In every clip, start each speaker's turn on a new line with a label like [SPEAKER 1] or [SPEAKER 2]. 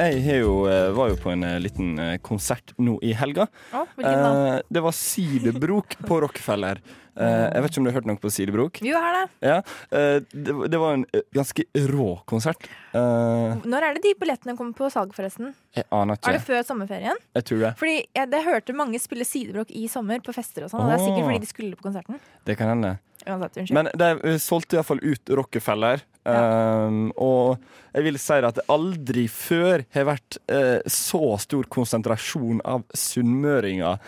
[SPEAKER 1] Jeg har jo, eh, var jo på en eh, liten eh, konsert nå i helga.
[SPEAKER 2] Å, hvilken da?
[SPEAKER 1] Eh, det var Sidebrok på Rockefeller. Eh, jeg vet ikke om du har hørt noe på Sidebrok?
[SPEAKER 2] Vi har det.
[SPEAKER 1] Ja. Eh, det, det var en eh, ganske rå konsert. Eh,
[SPEAKER 2] Når er det de billettene kommer på salg, forresten?
[SPEAKER 1] jeg aner
[SPEAKER 2] Er det
[SPEAKER 1] ikke.
[SPEAKER 2] før sommerferien?
[SPEAKER 1] Jeg tror det.
[SPEAKER 2] Fordi jeg, jeg hørte mange spille sidebrokk i sommer på fester og sånn. Og det er
[SPEAKER 1] Åh.
[SPEAKER 2] sikkert fordi de skulle på konserten.
[SPEAKER 1] Det kan hende.
[SPEAKER 2] Uansett, unnskyld.
[SPEAKER 1] Men de eh, solgte iallfall ut Rockefeller. Eh, og jeg vil si at det aldri før har vært eh, så stor konsentrasjon av sunnmøringer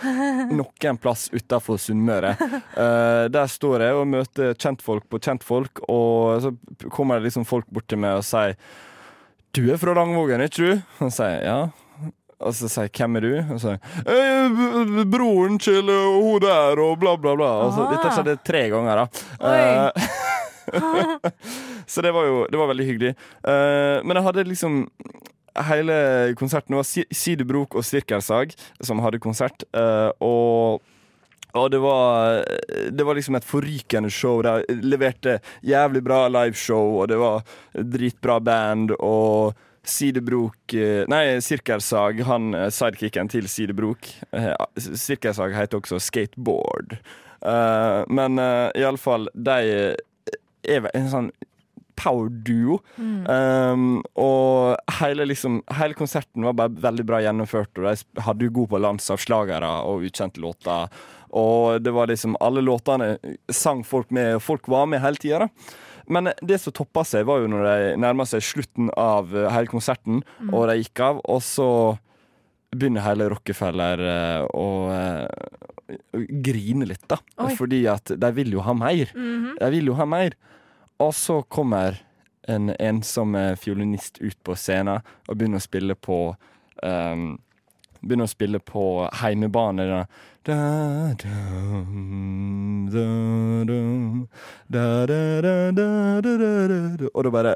[SPEAKER 1] noen plass utafor Sunnmøre. Eh, der står jeg og møter kjentfolk på kjentfolk, og så p- kommer det liksom folk bort til meg og sier Du er fra Langvågen, ikke du? Og så sier jeg ja. Og så sier jeg 'Hvem er du?' Og så sier jeg «Eh, b- b- 'Broren til eh, hun der', og bla, bla, bla. Og så,
[SPEAKER 2] Ah.
[SPEAKER 1] dette skjedde tre ganger, da.
[SPEAKER 2] Oi.
[SPEAKER 1] Eh, så det var jo det var veldig hyggelig. Eh, men jeg hadde liksom Hele konserten det var Si- Sidebrok og Sirkelsag som hadde konsert. eh, og og det var, det var liksom et forrykende show. De leverte jævlig bra liveshow, og det var dritbra band. Og Sidebrok eh, Nei, Sirkelsag, han eh, sidekicken til Sidebrok. eh, Sirkelsag heter også Skateboard. Eh, men uh, iallfall, de er vel en sånn power-duo. Um, og hele, liksom, hele konserten var bare veldig bra gjennomført, og de sp- hadde jo god balanse av slagere og ukjente låter. Og det var liksom alle låtene sang folk med, og folk var med hele tida. Men eh, det som toppa seg, var jo når de nærma seg slutten av eh, hele konserten, og de gikk av. Og så begynner hele Rockefeller eh, å eh, grine litt, da.
[SPEAKER 2] Oi.
[SPEAKER 1] Fordi at de vil jo ha mer. De vil jo ha mer. Og så kommer en ensom eh, fiolinist ut på scenen og begynner å spille på ehm, Begynner å spille på heimebane. Da. Da, dum, da, dum, da, da, da, da, da, da, da. Og da bare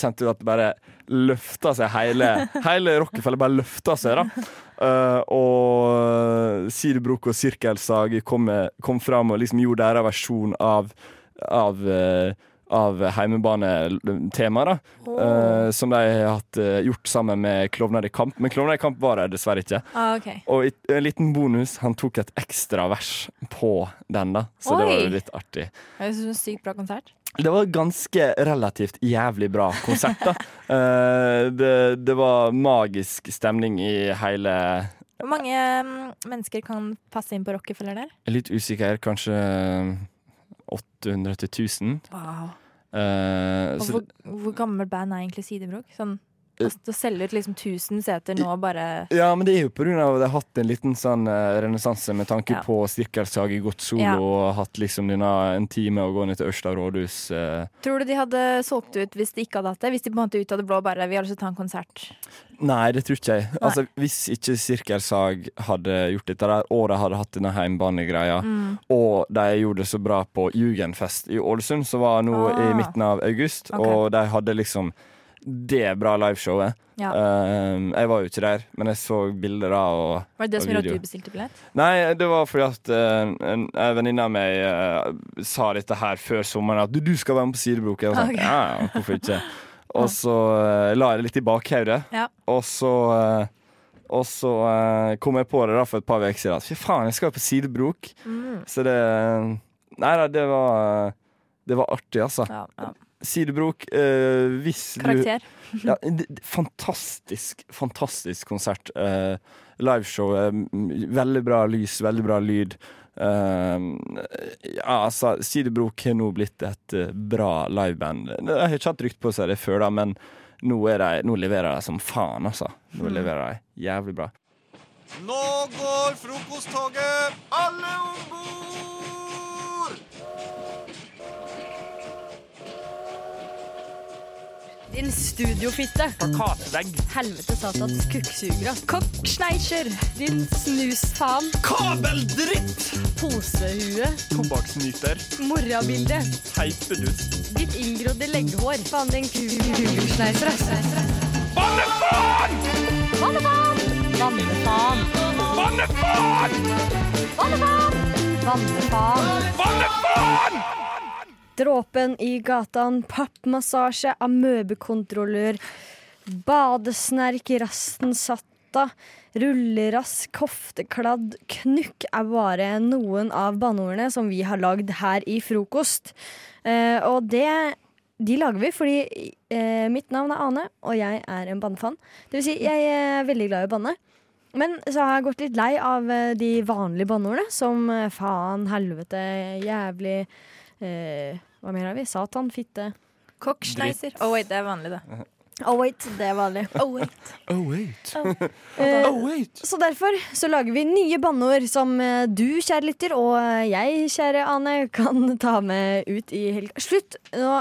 [SPEAKER 1] kjente du at det bare løfta seg hele Hele Rockefeller bare løfta seg, da. Eh, og eh, Sidebrok og Sirkelsag kom, kom fram og liksom gjorde deres versjon av Av, eh, av heimebanetemaet, da. eh, som de har hatt, eh, gjort sammen med Klovner i kamp. Men Klovner i kamp var der dessverre ikke.
[SPEAKER 2] Ah, ok.
[SPEAKER 1] Og i- en liten bonus, han tok et ekstra vers på den, da. Så det
[SPEAKER 2] Oi.
[SPEAKER 1] var jo litt artig.
[SPEAKER 2] Jeg synes det var en sykt bra konsert.
[SPEAKER 1] Det var ganske relativt jævlig bra konsert, da. Eh, det, det var magisk stemning i hele
[SPEAKER 2] Hvor mange mm, mennesker kan passe inn på Rockefeller der?
[SPEAKER 1] Jeg er litt usikker, kanskje 800 til 1000.
[SPEAKER 2] Wow.
[SPEAKER 1] Eh,
[SPEAKER 2] Og
[SPEAKER 1] så Eh.
[SPEAKER 2] hvor, hvor gammel band er egentlig Sidebrok? Sånn, altså, å selge ut liksom 1000 seter nå bare
[SPEAKER 1] Ja, men det er jo på grunn av at jeg har hatt en liten sånn eh, renessanse med tanke
[SPEAKER 2] Ja.
[SPEAKER 1] på Sirkelsag i Godt Solo
[SPEAKER 2] Ja.
[SPEAKER 1] og hatt liksom denne en time å gå ned til Ørsta rådhus. eh.
[SPEAKER 2] Tror du de hadde solgt ut hvis de ikke hadde hatt det? Hvis de på en måte ut av det blå bare Vi har lyst til å ta en konsert.
[SPEAKER 1] Nei, det tror ikke jeg. Altså, Hvis ikke Sirkelsag hadde gjort dette der, og de hadde hatt denne heimbanegreia,
[SPEAKER 2] Mm.
[SPEAKER 1] og de gjorde det så bra på Jugendfest i Ålesund, som var nå i
[SPEAKER 2] Ah.
[SPEAKER 1] midten av august,
[SPEAKER 2] Ok.
[SPEAKER 1] og de hadde liksom det bra liveshowet.
[SPEAKER 2] Ja.
[SPEAKER 1] Um, jeg var jo ikke der, men jeg så bilder da. og
[SPEAKER 2] Var det det
[SPEAKER 1] og
[SPEAKER 2] som gjorde at
[SPEAKER 1] video.
[SPEAKER 2] du bestilte billett?
[SPEAKER 1] Nei, det var fordi at eh, en, en venninne av meg eh, sa dette her før sommeren, at du, du skal være med på Sidebroket. Jeg var sånn,
[SPEAKER 2] Ok.
[SPEAKER 1] ja, ja, hvorfor ikke? Og så eh, la jeg det litt i bakhodet,
[SPEAKER 2] Ja.
[SPEAKER 1] og så eh, og så eh, kom jeg på det da for et par uker siden. at Fy faen, jeg skal jo på sidebrok.
[SPEAKER 2] Mm.
[SPEAKER 1] Så det eh, Nei da, det var Det var artig, altså.
[SPEAKER 2] Ja, ja.
[SPEAKER 1] Sidebrok, eh, hvis du
[SPEAKER 2] Karakter.
[SPEAKER 1] ja, d- d- fantastisk, fantastisk konsert. Eh, liveshow. eh, m- veldig bra lys, veldig bra lyd. Eh, ja, altså, Sidebrok har nå blitt et eh, bra liveband. De har ikke hatt rykte på seg det før, da, men nå, er de, nå leverer de som faen, altså. Nå
[SPEAKER 2] Mm.
[SPEAKER 1] leverer de jævlig bra.
[SPEAKER 3] Nå går frokosttoget! Alle om bord!
[SPEAKER 4] Din studiofitte.
[SPEAKER 5] Plakatvegg.
[SPEAKER 4] Helvete satans kukksugere. Kokksneisjer. Din snusfaen.
[SPEAKER 5] Kabeldritt!
[SPEAKER 4] Posehue.
[SPEAKER 5] Tobakksnyter.
[SPEAKER 4] Morrabilde.
[SPEAKER 5] Teipedust.
[SPEAKER 4] Ditt inngrodde legghår. Faen, din kukksneiser, ass.
[SPEAKER 5] Bannefaen!
[SPEAKER 4] Vannefaen. Vannefaen.
[SPEAKER 5] Bannefaen!
[SPEAKER 4] Vannefaen. Vannefaen.
[SPEAKER 5] Bannefaen!
[SPEAKER 4] Dråpen i gatan, pappmassasje, amøbekontrollør, badesnerk i rasten satta, rullerass, koftekladd, knukk er bare noen av banneordene som vi har lagd her i frokost. Eh, og det de lager vi fordi eh, mitt navn er Ane, og jeg er en bannefan. Det vil si, jeg eh, er veldig glad i å banne. Men så har jeg gått litt lei av eh, de vanlige banneordene, som eh, faen, helvete, jævlig eh, Hva mer har vi? Satan, fitte.
[SPEAKER 2] Kokkschneiser. Oh, wait, det er vanlig, det.
[SPEAKER 4] Oh wait, det er vanlig.
[SPEAKER 2] Oh, wait.
[SPEAKER 1] Oh, wait.
[SPEAKER 4] Eh,
[SPEAKER 1] Oh, wait.
[SPEAKER 4] Så derfor så lager vi nye banneord som eh, du, kjære lytter, og eh, jeg, kjære Ane, kan ta med ut i helga. Slutt! Nå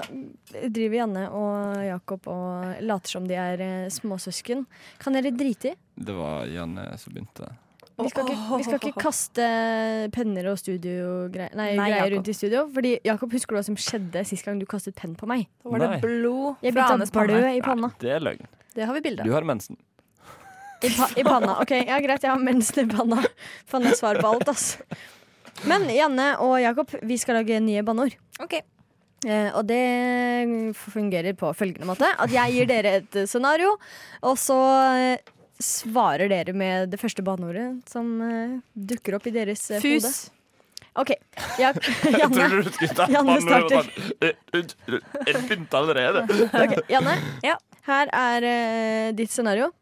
[SPEAKER 4] driver Janne og Jakob og later som de er eh, småsøsken. Kan dere drite i?
[SPEAKER 1] Det var Janne som begynte.
[SPEAKER 4] Vi skal, ikke, vi skal ikke kaste penner og studiogreier nei,
[SPEAKER 2] Nei,
[SPEAKER 4] greier
[SPEAKER 2] Jakob.
[SPEAKER 4] rundt i studio. Fordi Jakob, husker du hva som skjedde sist gang du kastet penn på meg?
[SPEAKER 2] Da var det
[SPEAKER 1] Nei.
[SPEAKER 2] blod
[SPEAKER 4] Jeg
[SPEAKER 2] fra
[SPEAKER 4] begynte
[SPEAKER 2] Anes
[SPEAKER 4] å blø
[SPEAKER 2] panne.
[SPEAKER 4] i panna.
[SPEAKER 5] Det er løgn.
[SPEAKER 2] Det har vi bilde
[SPEAKER 1] Du
[SPEAKER 2] av.
[SPEAKER 1] har mensen.
[SPEAKER 4] I, pa I panna. Ok, ja greit, jeg har mensen i panna. Faen, jeg svarer på alt, ass. Men Janne og Jakob, vi skal lage nye banneord.
[SPEAKER 2] Ok.
[SPEAKER 4] Eh, og det fungerer på følgende måte. At jeg gir dere et eh, scenario, og så eh, svarer dere med det første banneordet som eh, dukker opp i deres eh, hode.
[SPEAKER 2] Fus.
[SPEAKER 4] Ok, Jak
[SPEAKER 5] Tror
[SPEAKER 4] Janne,
[SPEAKER 5] du du skulle ta
[SPEAKER 4] Janne
[SPEAKER 5] banneord og
[SPEAKER 4] starter.
[SPEAKER 5] sånn, eh, Unnskyld, jeg begynte allerede.
[SPEAKER 4] ok, Janne
[SPEAKER 2] Ja.
[SPEAKER 4] her er eh, ditt scenario.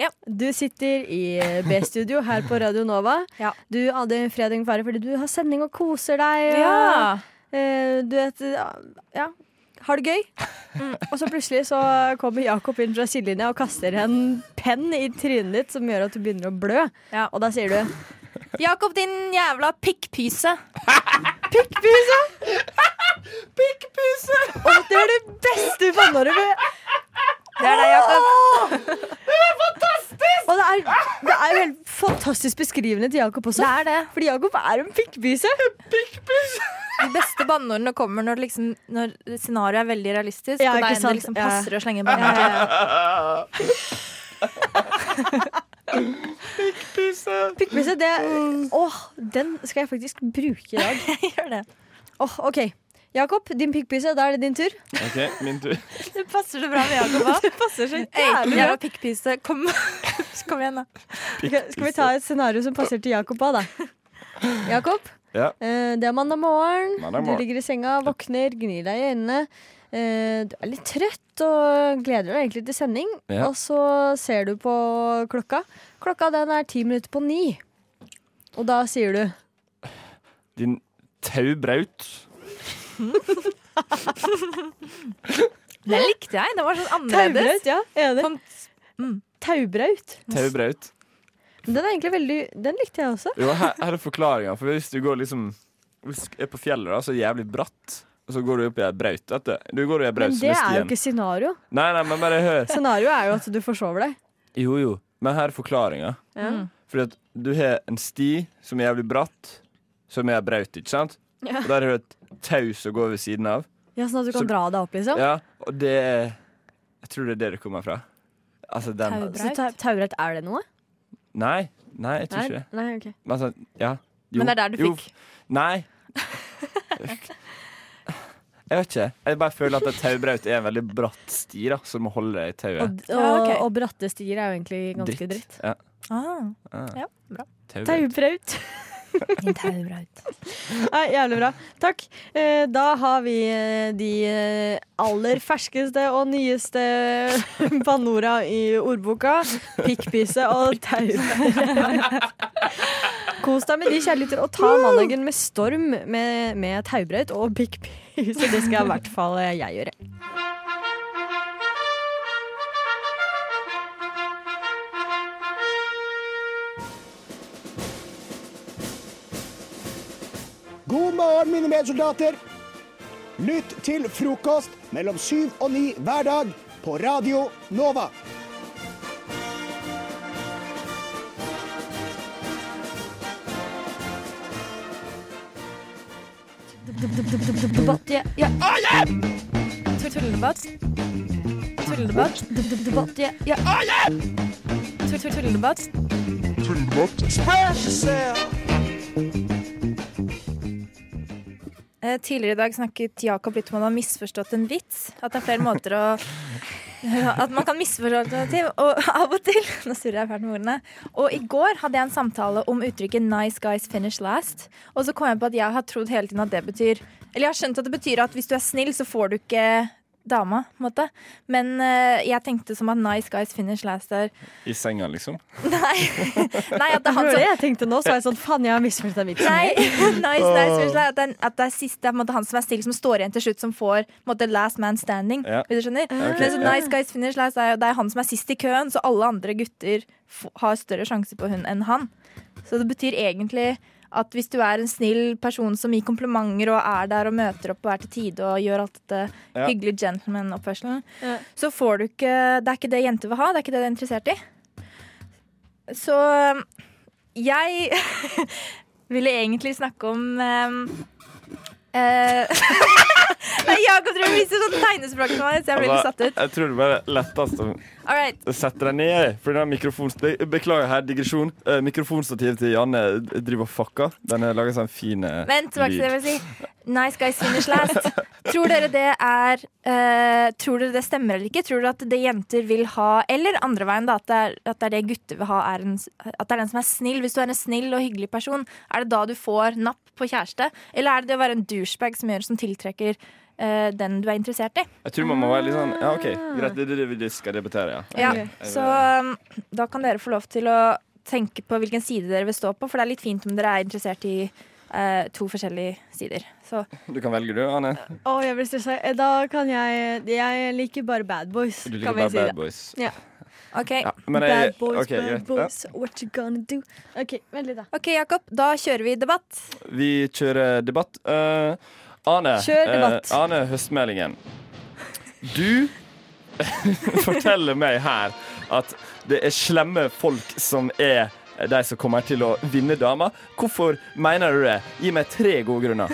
[SPEAKER 2] Ja.
[SPEAKER 4] Du sitter i eh, B-studio her på Radio Nova.
[SPEAKER 2] Ja.
[SPEAKER 4] Du hadde en fredag med fare fordi du har sending og koser deg. og,
[SPEAKER 2] Ja.
[SPEAKER 4] eh, du vet, ja, ja, har det gøy.
[SPEAKER 2] Mm.
[SPEAKER 4] Og så plutselig så kommer Jakob inn fra sidelinja og kaster en penn i trynet ditt som gjør at du begynner å blø.
[SPEAKER 2] Ja.
[SPEAKER 4] Og da sier du
[SPEAKER 2] Jakob, din jævla pikkpyse.
[SPEAKER 4] Pikkpuse! Pikkpuse! Og det er det beste banneordet med
[SPEAKER 2] Det er deg, Jakob.
[SPEAKER 4] Og det er, det er jo helt fantastisk beskrivende til Jakob også.
[SPEAKER 2] Det er det.
[SPEAKER 4] Fordi Jakob er en pikkbyse.
[SPEAKER 2] De beste banneordene kommer når, det liksom, når scenarioet er veldig realistisk.
[SPEAKER 4] Ja,
[SPEAKER 2] og
[SPEAKER 4] ikke
[SPEAKER 2] der det
[SPEAKER 4] sant?
[SPEAKER 2] liksom
[SPEAKER 4] Ja.
[SPEAKER 2] passer å slenge banneord. Ja, ja,
[SPEAKER 4] Pikkbyse, det Åh, den skal jeg faktisk bruke i dag.
[SPEAKER 2] ja. Gjør det.
[SPEAKER 4] Åh, OK. Jakob, din pikkbyse, da er det din tur.
[SPEAKER 1] OK, min tur.
[SPEAKER 2] Det passer så bra med Jakob òg.
[SPEAKER 4] Passer så
[SPEAKER 2] Ey,
[SPEAKER 4] bra.
[SPEAKER 2] jævla pikkpyse. Kom. Kom igjen, da.
[SPEAKER 4] Skal vi ta et scenario som passer til Jakob òg, da? Jakob,
[SPEAKER 1] Ja.
[SPEAKER 4] eh, det er mandag morgen.
[SPEAKER 1] Mandag
[SPEAKER 4] Du
[SPEAKER 1] morgen.
[SPEAKER 4] ligger i senga, våkner, gnir deg i øynene. Eh, Du er litt trøtt og gleder deg egentlig til sending.
[SPEAKER 1] Ja.
[SPEAKER 4] Og så ser du på klokka. Klokka den er ti minutter på ni. Og da sier du
[SPEAKER 1] Din taubraut.
[SPEAKER 2] Den likte jeg. Den var sånn annerledes.
[SPEAKER 4] Taubraut. Ja, enig.
[SPEAKER 2] Sånn- mm.
[SPEAKER 4] Taubraut.
[SPEAKER 1] Taubraut.
[SPEAKER 4] Den er egentlig veldig Den likte jeg også.
[SPEAKER 1] Jo, her, her er forklaringa. For hvis du går liksom Hvis du er på fjellet, da, så er det jævlig bratt. Og så går du opp i ei braut. vet du. Du går i ei braut
[SPEAKER 4] Men
[SPEAKER 1] som
[SPEAKER 4] det
[SPEAKER 1] er
[SPEAKER 4] er jo
[SPEAKER 1] stien.
[SPEAKER 4] ikke scenario.
[SPEAKER 1] Nei, nei, men bare hør.
[SPEAKER 4] Scenario er jo at du forsover deg.
[SPEAKER 1] Jo, jo. Men her er forklaringa.
[SPEAKER 4] Ja.
[SPEAKER 2] Mm.
[SPEAKER 1] Fordi at du har en sti som er jævlig bratt, som er ei braut, ikke sant? Og der har du et tau som går ved siden av.
[SPEAKER 4] Ja, Sånn at du kan
[SPEAKER 1] Så-
[SPEAKER 4] dra deg opp, liksom.
[SPEAKER 1] Ja, og det er- Jeg tror det er det det kommer fra. Altså den
[SPEAKER 2] Tau-
[SPEAKER 4] Så ta- Taubraut, er det noe?
[SPEAKER 1] Nei, nei, jeg tror ikke det.
[SPEAKER 4] Nei, ok.
[SPEAKER 1] Men altså, ja. Jo,
[SPEAKER 2] Men det er der du
[SPEAKER 1] jo,
[SPEAKER 2] fikk.
[SPEAKER 1] Nei. Jeg vet ikke. Jeg bare føler at et taubraut er en veldig bratt sti, da, så du må holde deg i tauet.
[SPEAKER 4] Og, og,
[SPEAKER 2] Ja, ok.
[SPEAKER 4] og bratte stier er jo egentlig ganske dritt.
[SPEAKER 1] Ja.
[SPEAKER 2] Ah,
[SPEAKER 1] Ah,
[SPEAKER 2] ja, bra.
[SPEAKER 1] taubraut.
[SPEAKER 4] Taubraut.
[SPEAKER 2] Din taubraut.
[SPEAKER 4] Nei, jævlig bra. Takk. Eh, Da har vi eh, de eh, aller ferskeste og nyeste bannorda i ordboka. Pikkpise og taubraut. Kos deg med de kjærligheter, og ta mandagen med storm med, med taubraut og pikkpise. Det skal i hvert fall eh, jeg gjøre.
[SPEAKER 6] God morgen, mine medsoldater. Lytt til frokost mellom syv og ni hver dag på Radio Nova.
[SPEAKER 4] Debatt, ja, ja.
[SPEAKER 2] Tulledebatt. Tulledebatt.
[SPEAKER 4] Debatt, ja, ja.
[SPEAKER 2] Tulledebatt. Eh, Tidligere i dag snakket Jakob litt om at han har misforstått en vits. At det er flere måter å At man kan misforstå alternativ. Og av og til Nå surrer jeg fælt med ordene. Og i går hadde jeg en samtale om uttrykket 'nice guys finish last'. Og så kom jeg på at jeg har trodd hele tiden at det betyr Eller jeg har skjønt at det betyr at hvis du er snill, så får du ikke dama, på en måte. Men eh, jeg tenkte som at 'nice guys finish last' er
[SPEAKER 1] I senga, liksom.
[SPEAKER 2] Nei. Nei, at det er han
[SPEAKER 4] Hør det
[SPEAKER 2] som
[SPEAKER 4] jeg tenkte nå, så var jeg sånn faen, jeg har misforstått den vitsen.
[SPEAKER 2] Nei, nice, nice, unnskyld, at, det er, at det er sist, det er på en måte han som er stille som står igjen til slutt, som får på en måte, last man standing.
[SPEAKER 1] Ja.
[SPEAKER 2] Hvis du skjønner?
[SPEAKER 1] ok,
[SPEAKER 2] Men så
[SPEAKER 1] ja.
[SPEAKER 2] nice guys finish last, er jo- det er han som er sist i køen, så alle andre gutter f har større sjanse på hun enn han. Så det betyr egentlig at hvis du er en snill person som gir komplimenter og er der og møter opp og er til tide og gjør alt dette
[SPEAKER 1] Ja.
[SPEAKER 2] hyggelige gentleman-oppførselen,
[SPEAKER 4] Ja.
[SPEAKER 2] så får du ikke Det er ikke det jenter vil ha, det er ikke det de er interessert i. Så um, jeg ville egentlig snakke om ehm, eh, Nei, Jakob tror jeg viser sånn tegnespråk til meg, så jeg blir
[SPEAKER 1] Altså-
[SPEAKER 2] litt satt ut.
[SPEAKER 1] Jeg tror det bare er lettest å
[SPEAKER 2] All right.
[SPEAKER 1] sette deg ned. For den mikrofon... Be- Beklager her, digresjon. Eh, Mikrofonstativet til Janne driver og fucker. Den er laget sånn fin eh,
[SPEAKER 2] Men tilbake til
[SPEAKER 1] lyd.
[SPEAKER 2] det jeg vil si. Nice guys finish last. Tror dere det er eh, Tror dere det stemmer eller ikke? Tror dere at det jenter vil ha Eller andre veien, da. At det er, at det, er det gutter vil ha, er en, at det er den som er snill. Hvis du er en snill og hyggelig person, er det da du får napp på kjæreste? Eller er det det å være en douchebag som gjør som tiltrekker eh, den du er interessert i?
[SPEAKER 1] Jeg tror man må være litt sånn Ja, OK, greit, det er det vi skal debattere, ja.
[SPEAKER 2] Ah. Ja,
[SPEAKER 4] Ok.
[SPEAKER 2] så um, da kan dere få lov til å tenke på hvilken side dere vil stå på, for det er litt fint om dere er interessert i eh, to forskjellige sider. Så
[SPEAKER 1] Du kan velge, du, Anne.
[SPEAKER 4] Å, jeg blir stressa. Eh, Da kan jeg Jeg liker bare bad boys.
[SPEAKER 1] Du liker
[SPEAKER 4] kan vi
[SPEAKER 1] bare
[SPEAKER 4] si det.
[SPEAKER 1] bad boys.
[SPEAKER 2] OK,
[SPEAKER 1] Ja, men jeg,
[SPEAKER 4] Bad boys,
[SPEAKER 1] ok,
[SPEAKER 4] bad
[SPEAKER 1] greit. Ja.
[SPEAKER 4] boys, what you gonna do? OK, vent litt, da.
[SPEAKER 2] Ok, Jakob, da kjører vi debatt.
[SPEAKER 1] Vi kjører debatt. Eh, Ane,
[SPEAKER 4] Kjør debatt.
[SPEAKER 1] eh, Ane Høstmeldingen. Du forteller meg her at det er slemme folk som er de som kommer til å vinne dama. Hvorfor mener du det? Gi meg tre gode grunner.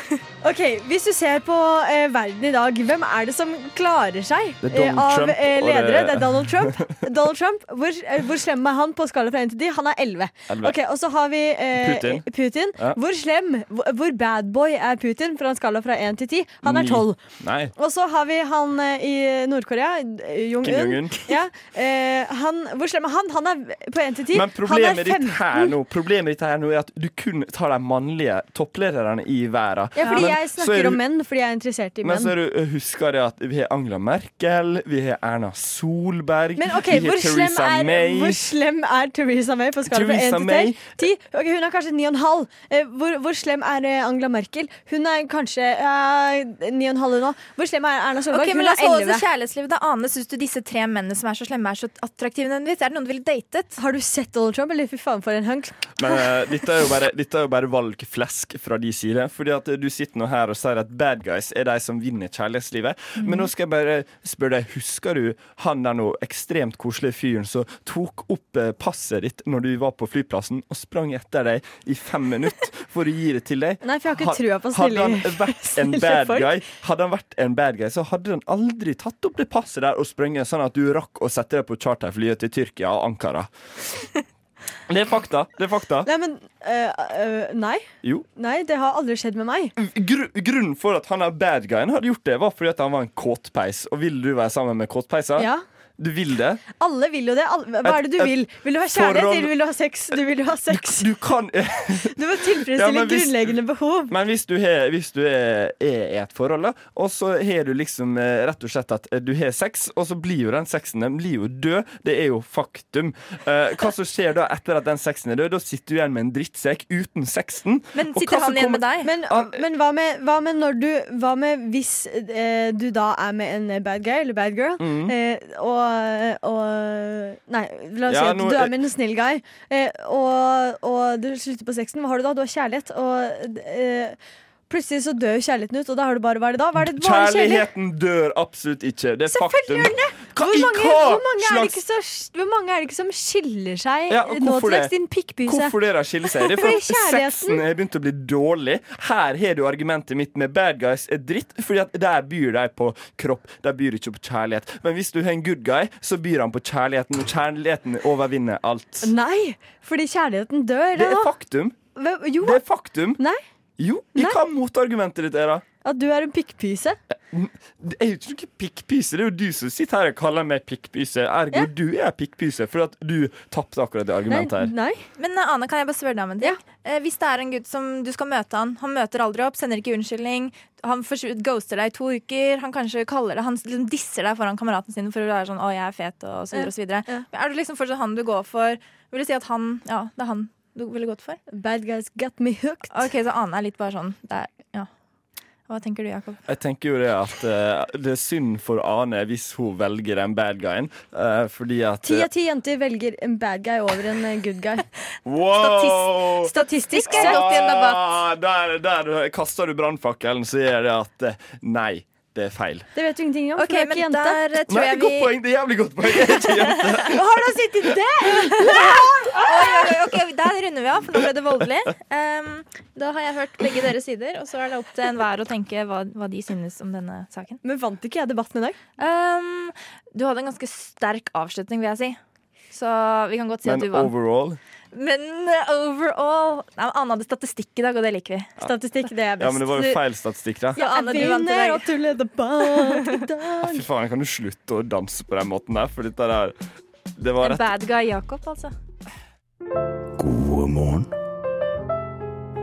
[SPEAKER 4] Ok, Hvis du ser på eh, verden i dag, hvem er det som klarer seg
[SPEAKER 1] Det
[SPEAKER 4] eh,
[SPEAKER 1] er Donald
[SPEAKER 4] av
[SPEAKER 1] Trump,
[SPEAKER 4] eh,
[SPEAKER 1] og det-
[SPEAKER 4] ledere? Det er Donald Trump. Donald Trump, Hvor, eh, hvor slem er han på skala fra 1 til 10? Han er 11.
[SPEAKER 1] Elleve.
[SPEAKER 4] Ok, Og så har vi eh,
[SPEAKER 1] Putin. Ja.
[SPEAKER 4] Hvor slem, hvor, hvor bad boy er Putin fra en skala fra 1 til 10? Han
[SPEAKER 1] Ni.
[SPEAKER 4] er 12.
[SPEAKER 1] Nei.
[SPEAKER 4] Og så har vi han eh, i Nord-Korea, eh,
[SPEAKER 1] Kim
[SPEAKER 4] Jong-un.
[SPEAKER 1] Jong-un.
[SPEAKER 4] Ja, eh, han, hvor slem er han? Han er på 1 til 10.
[SPEAKER 1] Men problemet
[SPEAKER 4] han er
[SPEAKER 1] ditt, her nå, problemet ditt her nå er at du kun tar de mannlige topplederne i verden.
[SPEAKER 4] Ja, fordi
[SPEAKER 1] Men
[SPEAKER 4] jeg
[SPEAKER 1] så er
[SPEAKER 4] snakker
[SPEAKER 1] du-
[SPEAKER 4] om menn, fordi jeg er interessert i
[SPEAKER 1] Men
[SPEAKER 4] menn.
[SPEAKER 1] så er du, husker jeg at vi har Angela Merkel, vi har Erna Solberg,
[SPEAKER 4] Men ok,
[SPEAKER 1] vi
[SPEAKER 4] hvor
[SPEAKER 1] har
[SPEAKER 4] slem,
[SPEAKER 1] Theresa
[SPEAKER 4] er,
[SPEAKER 1] May.
[SPEAKER 4] hvor slem er Theresa May på skala
[SPEAKER 1] Theresa
[SPEAKER 4] fra 1
[SPEAKER 1] May-
[SPEAKER 4] til 10? Ok, hun er kanskje 9,5. Eh, Hvor, hvor slem er eh, Angela Merkel? Hun er kanskje eh, 9,5 hun òg. Hvor slem er Erna Solberg?
[SPEAKER 2] Ok, men
[SPEAKER 4] hun
[SPEAKER 2] la oss
[SPEAKER 4] er
[SPEAKER 2] holde oss til
[SPEAKER 4] 11.
[SPEAKER 2] kjærlighetslivet. Da, Ane, syns du disse tre mennene som er så slemme, er så attraktive nødvendigvis? Er det noen du ville datet?
[SPEAKER 4] Har du sett Donald Trump, eller fy faen for en hunk?
[SPEAKER 1] Men eh, dette, er jo bare, dette er jo bare valgflesk fra de side. Fordi at du sitter nå her og sier at bad guys er de som vinner kjærlighetslivet.
[SPEAKER 4] Mhm.
[SPEAKER 1] Men nå skal jeg bare spørre deg, husker du han der nå ekstremt koselige fyren som tok opp eh, passet ditt når du var på flyplassen, og sprang etter deg i fem minutter for å gi det til deg?
[SPEAKER 4] Nei, for jeg har ikke
[SPEAKER 1] Ha-
[SPEAKER 4] trua på
[SPEAKER 1] Hadde han
[SPEAKER 4] snille-
[SPEAKER 1] vært en
[SPEAKER 4] snille
[SPEAKER 1] bad
[SPEAKER 4] folk.
[SPEAKER 1] guy, hadde han vært en bad guy, så hadde han aldri tatt opp det passet der og sprunget sånn at du rakk å sette deg på charterflyet til Tyrkia og Ankara. Det er fakta. Det er fakta.
[SPEAKER 4] Nei, men eh, eh, Nei.
[SPEAKER 1] Jo.
[SPEAKER 4] Nei, det har aldri skjedd med meg.
[SPEAKER 1] Gru grunnen for at han er bad guyen hadde gjort det, var fordi at han var en kåtpeis. Og vil du være sammen med kåtpeiser?
[SPEAKER 4] Ja.
[SPEAKER 1] Du vil det?
[SPEAKER 4] Alle vil jo det. Alle, hva er det du
[SPEAKER 1] Et- et
[SPEAKER 4] vil? Vil du ha kjærlighet,
[SPEAKER 1] forhold-
[SPEAKER 4] eller vil du ha sex? Du vil jo ha sex.
[SPEAKER 1] Du kan
[SPEAKER 4] Du må
[SPEAKER 1] Ja,
[SPEAKER 4] tilfredsstille
[SPEAKER 1] men hvis-
[SPEAKER 4] grunnleggende behov.
[SPEAKER 1] Men hvis du, har- hvis du er, er i et forhold, da, og så har du liksom eh, rett og slett at eh, du har sex, og så blir jo den sexen den blir jo død. Det er jo faktum. Eh, hva som skjer da etter at den sexen er død? Da sitter du igjen med en drittsekk uten sexen.
[SPEAKER 2] Men
[SPEAKER 1] Og hva
[SPEAKER 2] sitter
[SPEAKER 1] som
[SPEAKER 2] han igjen
[SPEAKER 1] kommer-
[SPEAKER 2] med deg?
[SPEAKER 4] Men,
[SPEAKER 1] Han-
[SPEAKER 4] men hva, med, hva med når du Hva med hvis eh, du da er med en bad guy eller bad girl,
[SPEAKER 1] Mm.
[SPEAKER 4] eh, og, og Nei, la oss
[SPEAKER 1] Ja,
[SPEAKER 4] si at
[SPEAKER 1] nå-
[SPEAKER 4] du er med en snill guy, eh, og, og du slutter på sexen. Hva har du da? Du har kjærlighet, og eh, plutselig så dør jo kjærligheten ut, og da har du bare Hva er det da? Hva er det bare kjærlighet?
[SPEAKER 1] Kjærligheten dør absolutt ikke. Det er faktum.
[SPEAKER 4] Selvfølgelig gjør den det!
[SPEAKER 1] Hva-
[SPEAKER 4] Hvor
[SPEAKER 1] i
[SPEAKER 4] mange,
[SPEAKER 1] hva
[SPEAKER 4] hvor, mange er det
[SPEAKER 1] slags-
[SPEAKER 4] ikke så, hvor mange er det ikke som skiller seg
[SPEAKER 1] Ja, og
[SPEAKER 4] Eh, nå
[SPEAKER 1] hvorfor
[SPEAKER 4] til dags,
[SPEAKER 1] det?
[SPEAKER 4] din pikkbyse?
[SPEAKER 1] Hvorfor dere skiller seg? Det er
[SPEAKER 4] Fordi
[SPEAKER 1] fordi at
[SPEAKER 4] kjærligheten-
[SPEAKER 1] sexen har begynt å bli dårlig. Her har du argumentet mitt med bad guys er dritt, fordi at der byr de på kropp. De byr ikke på kjærlighet. Men hvis du har en good guy, så byr han på kjærligheten, og kjærligheten overvinner alt.
[SPEAKER 4] Nei, fordi kjærligheten dør.
[SPEAKER 1] Det
[SPEAKER 4] den
[SPEAKER 1] er
[SPEAKER 4] nå.
[SPEAKER 1] faktum.
[SPEAKER 4] Hvem- Jo,
[SPEAKER 1] Det er faktum.
[SPEAKER 4] nei.
[SPEAKER 1] Jo, i
[SPEAKER 4] Nei.
[SPEAKER 1] hva motargumentet ditt er, da?
[SPEAKER 4] At du er en pikkpyse?
[SPEAKER 1] Det er jo ikke noe pikkpyse. Det er jo du som sitter her og kaller meg pikkpyse. Ergo,
[SPEAKER 4] Ja.
[SPEAKER 1] du er pikkpyse, fordi at du tapte akkurat det
[SPEAKER 4] Nei,
[SPEAKER 1] argumentet her.
[SPEAKER 4] nei.
[SPEAKER 2] Men eh, Ane, kan jeg bare spørre deg om en ting? Eh, hvis det er en gutt som du skal møte han, han møter aldri opp, sender ikke unnskyldning, han forsv- ghoster deg i to uker, han kanskje kaller det, han liksom disser deg foran kameratene sine for å være sånn 'å, jeg er fet', og så
[SPEAKER 4] Ja.
[SPEAKER 2] videre og så videre.
[SPEAKER 4] Ja.
[SPEAKER 2] Men Er det liksom fortsatt han du går for? Vil du si at han Ja, det er han du ville gått for?
[SPEAKER 4] Bad guys got me hooked.
[SPEAKER 2] OK, så Ane er litt bare sånn det er, Ja. Hva tenker du, Jakob?
[SPEAKER 1] Jeg tenker jo det at eh, det er synd for Ane hvis hun velger den bad guyen, eh, fordi at
[SPEAKER 4] Ti av ti jenter velger en bad guy over en eh, good guy.
[SPEAKER 1] Wow!
[SPEAKER 4] Statistisk
[SPEAKER 2] Skal jeg
[SPEAKER 4] sett.
[SPEAKER 2] opp i en debatt?
[SPEAKER 1] Ah, der, der kaster du brannfakkelen, så gjør det at eh, Nei, det er feil.
[SPEAKER 4] Det vet du ingenting om,
[SPEAKER 2] OK,
[SPEAKER 4] for du er ikke
[SPEAKER 2] men
[SPEAKER 4] jente.
[SPEAKER 2] der eh, tror
[SPEAKER 1] Nei,
[SPEAKER 2] jeg
[SPEAKER 1] godt
[SPEAKER 2] vi
[SPEAKER 1] poeng! Det er jævlig godt poeng! Jeg er ikke jente.
[SPEAKER 4] Har du sittet der?
[SPEAKER 2] Oi, oi, oi, ok, Der runder vi av, for nå ble det voldelig. Ehm, da har jeg hørt begge deres sider, og så er det opp til enhver å tenke hva, hva de synes om denne saken.
[SPEAKER 4] Men vant ikke jeg debatten i dag?
[SPEAKER 2] Ehm, du hadde en ganske sterk avslutning, vil jeg si. Så vi kan godt si at
[SPEAKER 1] Men
[SPEAKER 2] du vant.
[SPEAKER 1] overall
[SPEAKER 2] Men eh, overall Nei, men Anne hadde statistikk i dag, og det liker vi.
[SPEAKER 4] Statistikk, det er best.
[SPEAKER 1] Ja, men det var jo feil statistikk, da. Ah,
[SPEAKER 2] Ja, Anne, du vant i dag.
[SPEAKER 4] og du leder bak i dag.
[SPEAKER 1] Fy faen, kan du slutte å danse på den måten der? For dette der Det var
[SPEAKER 2] En
[SPEAKER 1] rett.
[SPEAKER 2] bad guy Jakob, altså.
[SPEAKER 7] God morgen.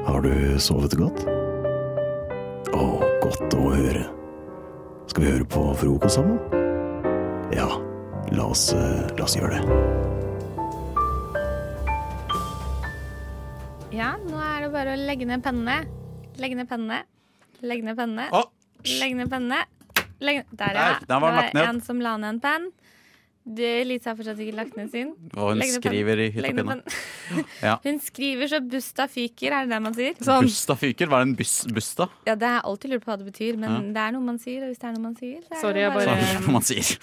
[SPEAKER 7] Har du sovet godt? Å, godt å høre. Skal vi høre på frokost sammen? Ja, la oss, eh, la oss gjøre det.
[SPEAKER 8] Ja, nå er det bare å legge ned pennene. Legge ned pennene. Legge ned pennene.
[SPEAKER 3] Å.
[SPEAKER 8] Legge ned pennene. Legge... Der, ja.
[SPEAKER 3] Der, der var den lagt
[SPEAKER 8] det
[SPEAKER 3] ned.
[SPEAKER 8] var en som la ned en penn. Du, Lise har fortsatt ikke lagt ned sin.
[SPEAKER 3] Og hun
[SPEAKER 8] Legg ned
[SPEAKER 3] skriver i hytt og
[SPEAKER 8] Legg ned
[SPEAKER 3] pinne.
[SPEAKER 8] penn.
[SPEAKER 3] Ja.
[SPEAKER 8] Hun skriver så busta fyker, er det det man sier?
[SPEAKER 9] Sånn.
[SPEAKER 3] Busta fyker? Hva er en bus, busta?
[SPEAKER 8] Ja, det har jeg alltid lurt på hva det betyr, men det er noe man sier, og hvis det er noe man sier, så er
[SPEAKER 9] Sorry,
[SPEAKER 8] det
[SPEAKER 9] jeg
[SPEAKER 8] bare
[SPEAKER 9] bare-
[SPEAKER 3] Sånn, Hva er det man sier?